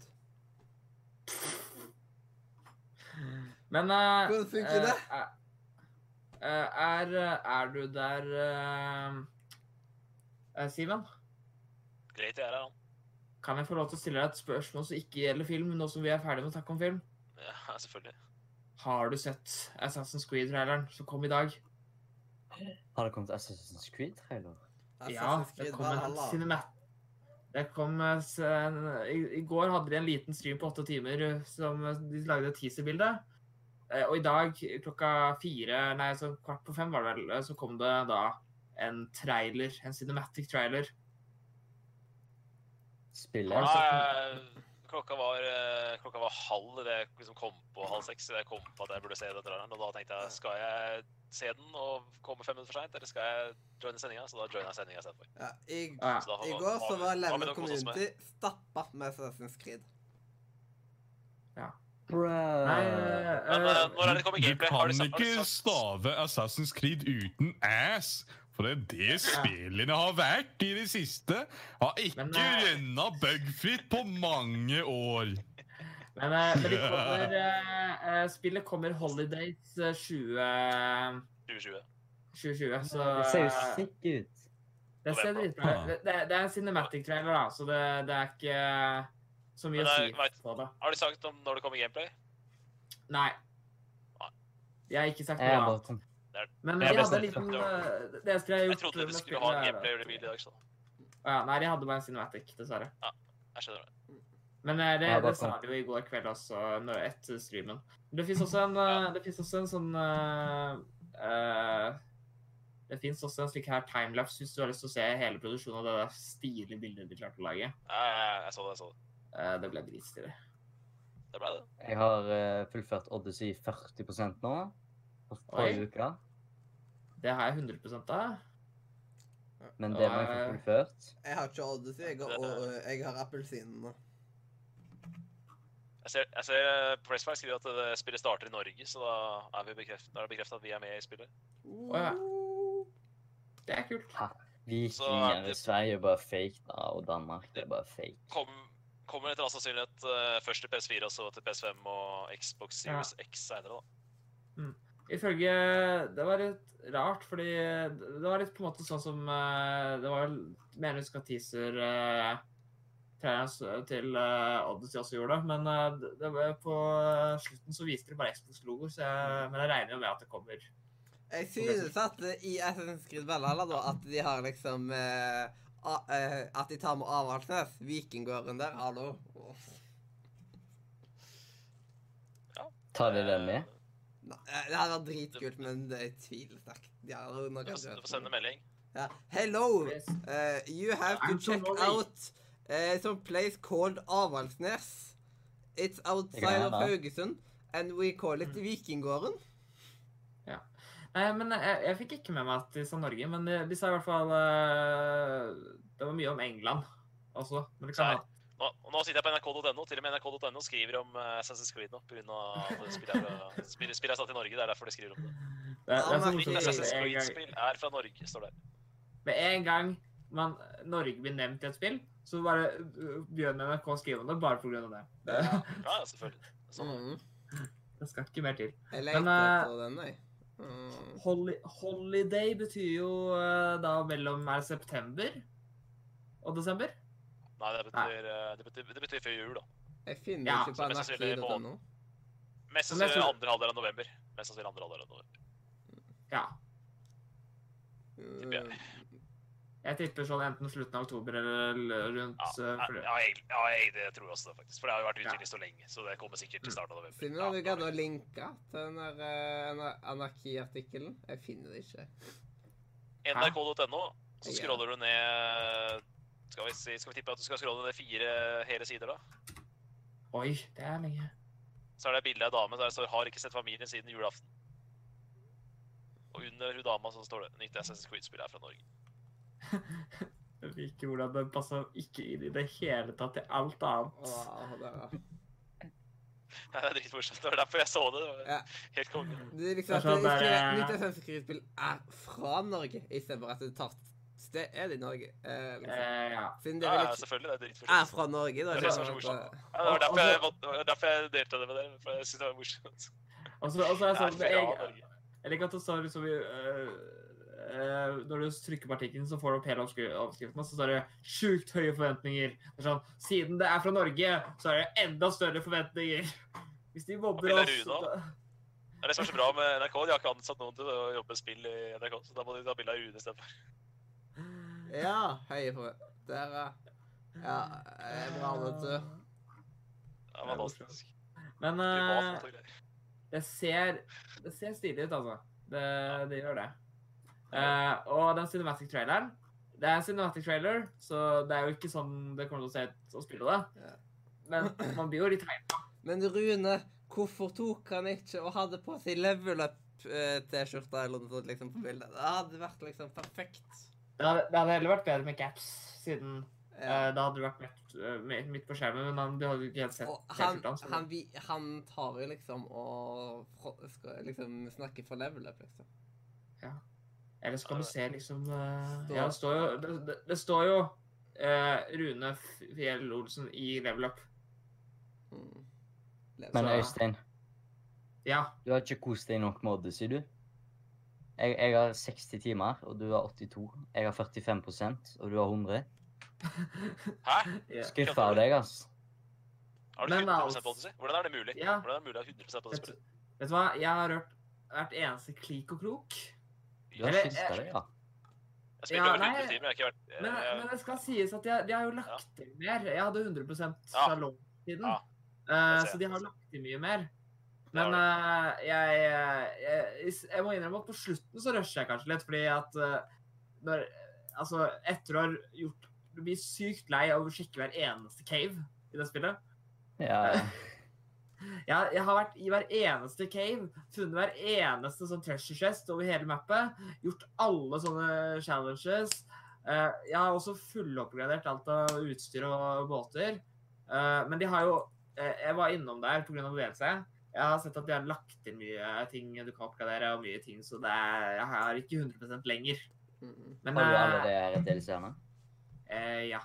Men eh, Hvordan funker det? eh, eh, er, er du der eh, eh, Simen? Greit, jeg er her, han. Kan jeg få lov til å stille deg et spørsmål som ikke gjelder film, nå som vi er ferdig med å snakke om film? Ja, selvfølgelig. Har du sett Assassin's Creed-traileren som kom i dag? Har det kommet Assassin's Creed trailer? Ja, Assassin's det Creed kom en Valhalla. cinemat... Det kom eh, s- en- i, I går hadde de en liten stream på åtte timer eh, som eh, de lagde et teaserbilde. Eh, Og i dag klokka fire, nei, så kvart på fem var det vel, eh, så kom det da en trailer, en cinematic trailer. Spiller? Har du sett Nei, klokka var, eh, klokka var halv det jeg liksom kom på halv seks. Det jeg kom på at jeg burde se den traileren. Og da tenkte jeg skal jeg se den og komme fem minutter for seint, eller skal jeg joine sendinga? Så da joina jeg sendinga istedenfor. Ja, i, Ja. Så da har I vi- går har så vi- var har vi noe Lemme å kose oss med. Community stappa med Assassin's Creed. Nei, Bruh. eh, Men eh, når er det kommer Du gameplay? Har kan de sagt- har de ikke sagt- stave Assassin's Creed uten ass. For det er det spillene har vært i det siste. Har ikke Men, eh, rønna bugfritt på mange år. Men, eh, men de kommer, eh, eh, spillet kommer Holidays eh, 20, 2020. 2020, så eh, Det ser jo sick ut. Det ser dritbra ut. Det, det, det er en cinematic trailer, da, så det, det er ikke eh, så mye Men å det er- si på det. Har de sagt om når det kommer gameplay? Nei. Jeg har ikke sagt Jeg noe bare annet. kom- jeg Men ble jeg hadde en snilt, liten det var- eh, Det skulle jeg Jeg gjort trodde vi med skulle ha en spillet, gameplay er- review i dag, så Ja, nei, jeg hadde bare en cinematic, dessverre. jeg skjønner det. Men eh, det, Ja, det da sa kom- de jo i går kveld også, nå etter streamen. Det fins også, en, eh, det finnes også en sånn eh, eh, Det fins også en slik her timelapse hvis du har lyst til å se hele produksjonen av det der stilige bildet de klarte å lage. Ja, ja, ja, jeg så det. jeg så Det Eh, det ble dritstilig. Det ble det. Jeg har eh, fullført Odyssey 40 nå. For Oi. forrige uke. Det har jeg 100 av. Men det må jeg få Nei. fullført. Jeg har ikke Odyssey, jeg har, og, øh, jeg har appelsinene. Jeg ser, jeg ser eh, Pressfire skriver at det spillet starter i Norge, så da er, vi bekreft, da er det bekreftet at vi er med i spillet. ja. Det er kult. Så er Vikinger i det- Sverige er bare fake, da. Og Danmark det er bare fake. Kom, kommer etter all sannsynlighet eh, først til PS4, og så til PS5 og Xbox Series X senere, da. Ifølge Det var litt rart, fordi det var litt på en måte sånn som eh, Det var vel Mener jeg husker at teaser eh, traileren s- til eh, Odyssey også gjorde det, men eh, det- det var på eh, slutten så viste de bare Xbox-logoer, så jeg Men jeg regner jo med at det kommer. Jeg synes at øh, i Assassin's Creed Valhalla da, at de har liksom øh, a- øh, At de tar med Avaldsnes. Vikinggården der, hallo. Tar de den Eh, med? Nei, Det hadde vært dritkult, men det er tvilsterkt. De har jo nok Du får, du får sende melding. Ja. Hello, Yes. uh, you have to I'm so check worried. out uh, some place called Avaldsnes. It's outside hende, of da. Haugesund, and we call Mm. it Vikinggården. Nei, men eh, jeg, jeg fikk ikke med meg at de sa Norge, men de, de sa i hvert fall eh, Det var mye om England også. Men det kan Nei. Nå, og nå sitter jeg på nrk.no. Til og med nrk.no skriver om eh, Assassin's Creed nå, pga. spillet er fra- spill- spillet er satt i Norge. Det er derfor de skriver om det. det, det er så Nei, Nytt morsomt. Assassin's med en gang- Creed-spill er fra Norge, står det. Med en gang man, Norge blir nevnt i et spill, så bare øh, begynner NRK å skrive om det bare pga. det. Det, Ja. Ja, ja, selvfølgelig. Sånn. Mm. det skal ikke mer til. Jeg leter eh, etter den, jeg. Mm. Holi, holiday betyr jo øh, da mellom er det september og desember. Nei, det betyr, eh, det, betyr, det betyr før jul, da. Jeg finner Ja, ikke så på mest sannsynlig på- nrk.no. Mest Men jeg sannsynlig tror- andre halvdel av november. Mest sannsynlig andre halvdel av november. Ja. tipper jeg. Mm. Jeg tipper sånn enten slutten av oktober eller l- Ja, rundt øh, ja, for det. ja, jeg, ja jeg, det tror jeg også, det, faktisk. For det har jo vært ute i Ja. Mm. lista lenge. Så det kommer sikkert til starten av november. Siden Ja, Eh, du da gadd blir å det- linke til den der eh, anar- anarkiartikkelen. Jeg finner det ikke. NRK.no, så Ja. scroller du ned skal vi, si, skal vi tippe at du skal scrolle ned fire hele sider, da? Oi, det er lenge. Så er det bilde av ei dame der det står 'Har ikke sett familien siden julaften'. Og under hun dama så står det 'Nytt Assassin's Creed-spill er fra Norge'. Jeg vet ikke hvordan det passer ikke inn i det hele tatt til alt annet. Åh, der, ja. Ja, det er dritmorsomt. Det var derfor jeg så det. det var Ja. Helt konge. Det er liksom at Kanskje det at det skriver, er- nytt FN-skrivespill er fra Norge, istedenfor at det er tatt sted er det i Norge. Eh, liksom. Eh, ja. Siden Ja, det ja, vel selvfølgelig. Det er ikke er dritmorsomt. fra Norge, da. Det er det som er så morsomt. Ja, det var derfor jeg, valgte- det var derfor jeg delte det med dere. For jeg synes det var morsomt. Og så, og så er det sånn, Det er fra jeg, Norge. jeg liker at det står liksom i, eh, eh, Når du trykker på artikkelen, så får du opp hele overskri- overskriften, og så står det 'sjukt høye forventninger'. Det er sånn, Siden det er fra Norge, så er det enda større forventninger. Hvis de mobber Vil jeg oss rune da, Det er det som er så bra med NRK. De har ikke ansatt noen til å jobbe med spill i NRK, så da må de ta bilde av Rune istedenfor. Ja, høye forventninger. Der, ja. Ja, eh, bra, vet du. Ja, men fantastisk. Men Privat eh, og greier. det, ser, det ser stilig ut, altså. Det, det gjør det. Eh, og den cinematic traileren Det er en cinematic trailer, så det er jo ikke sånn det kommer til å se ut å spille det. Men man blir jo litt hei. Men Rune, hvorfor tok han ikke og hadde på seg level up-T-skjorta eller noe sånt liksom på bildet? Det hadde vært liksom perfekt. Det hadde, det hadde heller vært bedre med caps, siden Ja. eh, da hadde det vært midt, eh, midt- midt på skjermen. Men han, du hadde jo ikke helt sett Og han, T-skjorta hans. så- han, vi- han tar jo liksom og fra- skal liksom snakke for level up, liksom. Eller så kan du se liksom eh, Står- Ja, det står jo Det, det, det står jo eh, Rune Fjell Olsen i level up. Mm. Level Men up. Så- Øystein, Ja. du har ikke kost deg nok med Odyssey, du. Jeg, jeg har 60 timer, og du har 82. Jeg har 45 og du har 100. Hæ? ja. Skuffa av deg, ass. Har du Men 100 på altså- Odyssey? Hvordan er det mulig? Ja. Hvordan er det mulig å ha 100 på det Vet, spillet? vet du hva? Jeg har hørt hvert eneste klik og krok. Du har Eller, skuffa eh, deg, ja. Jeg spilte Ja, over 100 nei. timer, jeg har ikke vært Men, jeg- men det skal sies at de, de har jo lagt til mer. Jeg hadde 100 Ja. fra longtiden. Ja. Eh, Det ser så jeg. de har lagt til mye mer. Det har Men eh, jeg, eh, jeg, jeg må innrømme at på slutten så rusher jeg kanskje litt, fordi at eh, når, Altså, etter å ha gjort Du blir sykt lei av å sjekke hver eneste cave i det spillet. ja. ja. Jeg, jeg har vært i hver eneste cave, funnet hver eneste sånn treasure chest over hele mappet, gjort alle sånne challenges. Eh, jeg har også fulloppgradert alt av utstyr og båter. Eh, men de har jo eh, Jeg var innom der pga. bevegelse. Jeg har sett at de har lagt til mye ting du kan oppgradere, og mye ting, så det er, jeg har ikke 100 lenger. Mm. Men Har du alle eh, de her DLC-ene? eh, ja.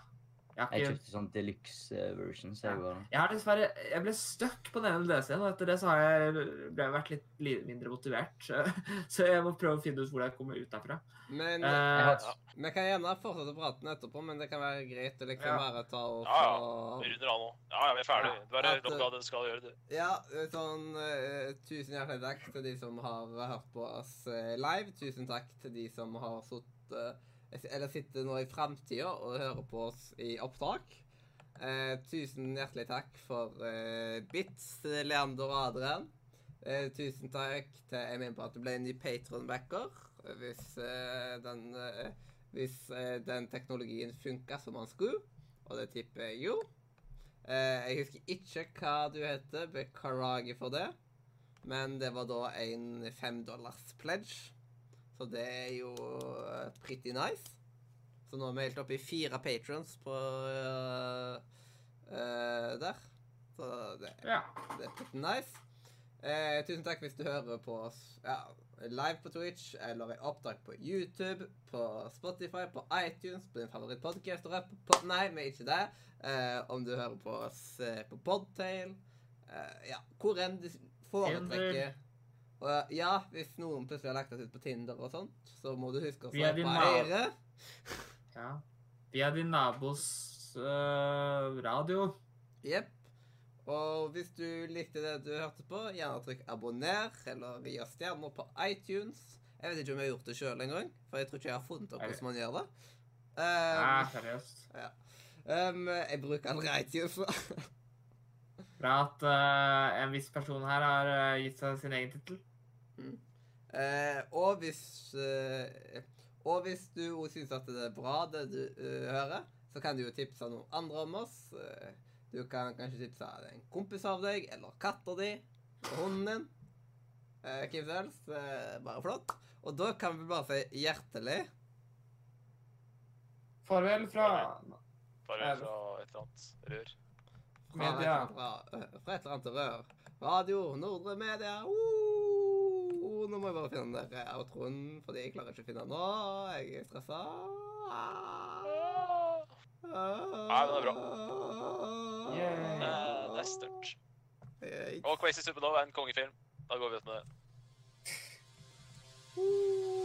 Jeg har Jeg ikke kjøpte sånn deluxe eh, version, så jeg går Jeg har dessverre Jeg ble stuck på den ene DC-en, og etter det så har jeg ble jeg vært litt li- mindre motivert. Så så jeg må prøve å finne ut hvor jeg kommer ut derfra. Men Jeg Eh, har- vi kan gjerne fortsette praten etterpå, men det kan være greit å liksom Ja. bare ta og Ja, få Runder av nå. Ja, ja, vi er ferdig. Ja. Du bare At, lukk eh, av det du skal gjøre, du. Ja, sånn eh, Tusen hjertelig takk til de som har hørt på oss eh, live. Tusen takk til de som har sittet Eller sitter nå i framtida og hører på oss i opptak. Eh, tusen hjertelig takk for eh, Bits, Leander og Adrian. Eh, tusen takk til Jeg mener på at du ble en ny patronbacker. Hvis, eh, den, eh, hvis eh, den teknologien funka som man skulle. Og det tipper jeg jo. Eh, jeg husker ikke hva du heter. Beklager for det. Men det var da en femdollars pledge. Så det er jo eh, pretty nice. Så nå er vi helt oppe i fire patrons på eh, eh, der. Så det, ja. det er pretty nice. Eh, tusen takk hvis du hører på oss ja, live på Twitch eller i opptak på YouTube, på Spotify, på iTunes, på din favorittpodkast og app på Nei, vi er ikke der. Eh, om du hører på oss eh, på Podtail eh, Ja, hvor enn du foretrekker. Tinder. Og ja, hvis noen plutselig har lagt oss ut på Tinder og sånt, så må du huske å Vi er din nabo. svare. ja. Via din nabos øh, radio. Jepp. Og hvis du likte det du hørte på, gjerne trykk abonner, eller gi oss stjerner på iTunes. Jeg vet ikke om jeg har gjort det sjøl engang, for jeg tror ikke jeg har funnet opp Er det- hvordan man gjør det. Nei, Um, Ah, seriøst. um, jeg bruker aldri iTunes. da. Fra at øh, en viss person her har øh, gitt seg sin egen tittel. Eh, og hvis eh, Og hvis du også syns at det er bra, det du eh, hører, så kan du jo tipse noen andre om oss. Eh, du kan kanskje tipse en kompis av deg, eller katta di, eller hunden din. Eh, hvem som helst. Eh, bare flott. Og da kan vi bare si hjertelig Farvel fra Bare fra et eller annet rør. fra et Media. eller annet ra- fra eh, et eller annet rør. Radio Nordre Media. Uh, nå må jeg bare finne den der eh, outroen, fordi jeg klarer ikke å finne den nå. Jeg er stressa. Ah. Nei, den er bra. Eh, det er sterkt. Og Crazy Supernova er en kongefilm. Da går vi ut med det. Uh.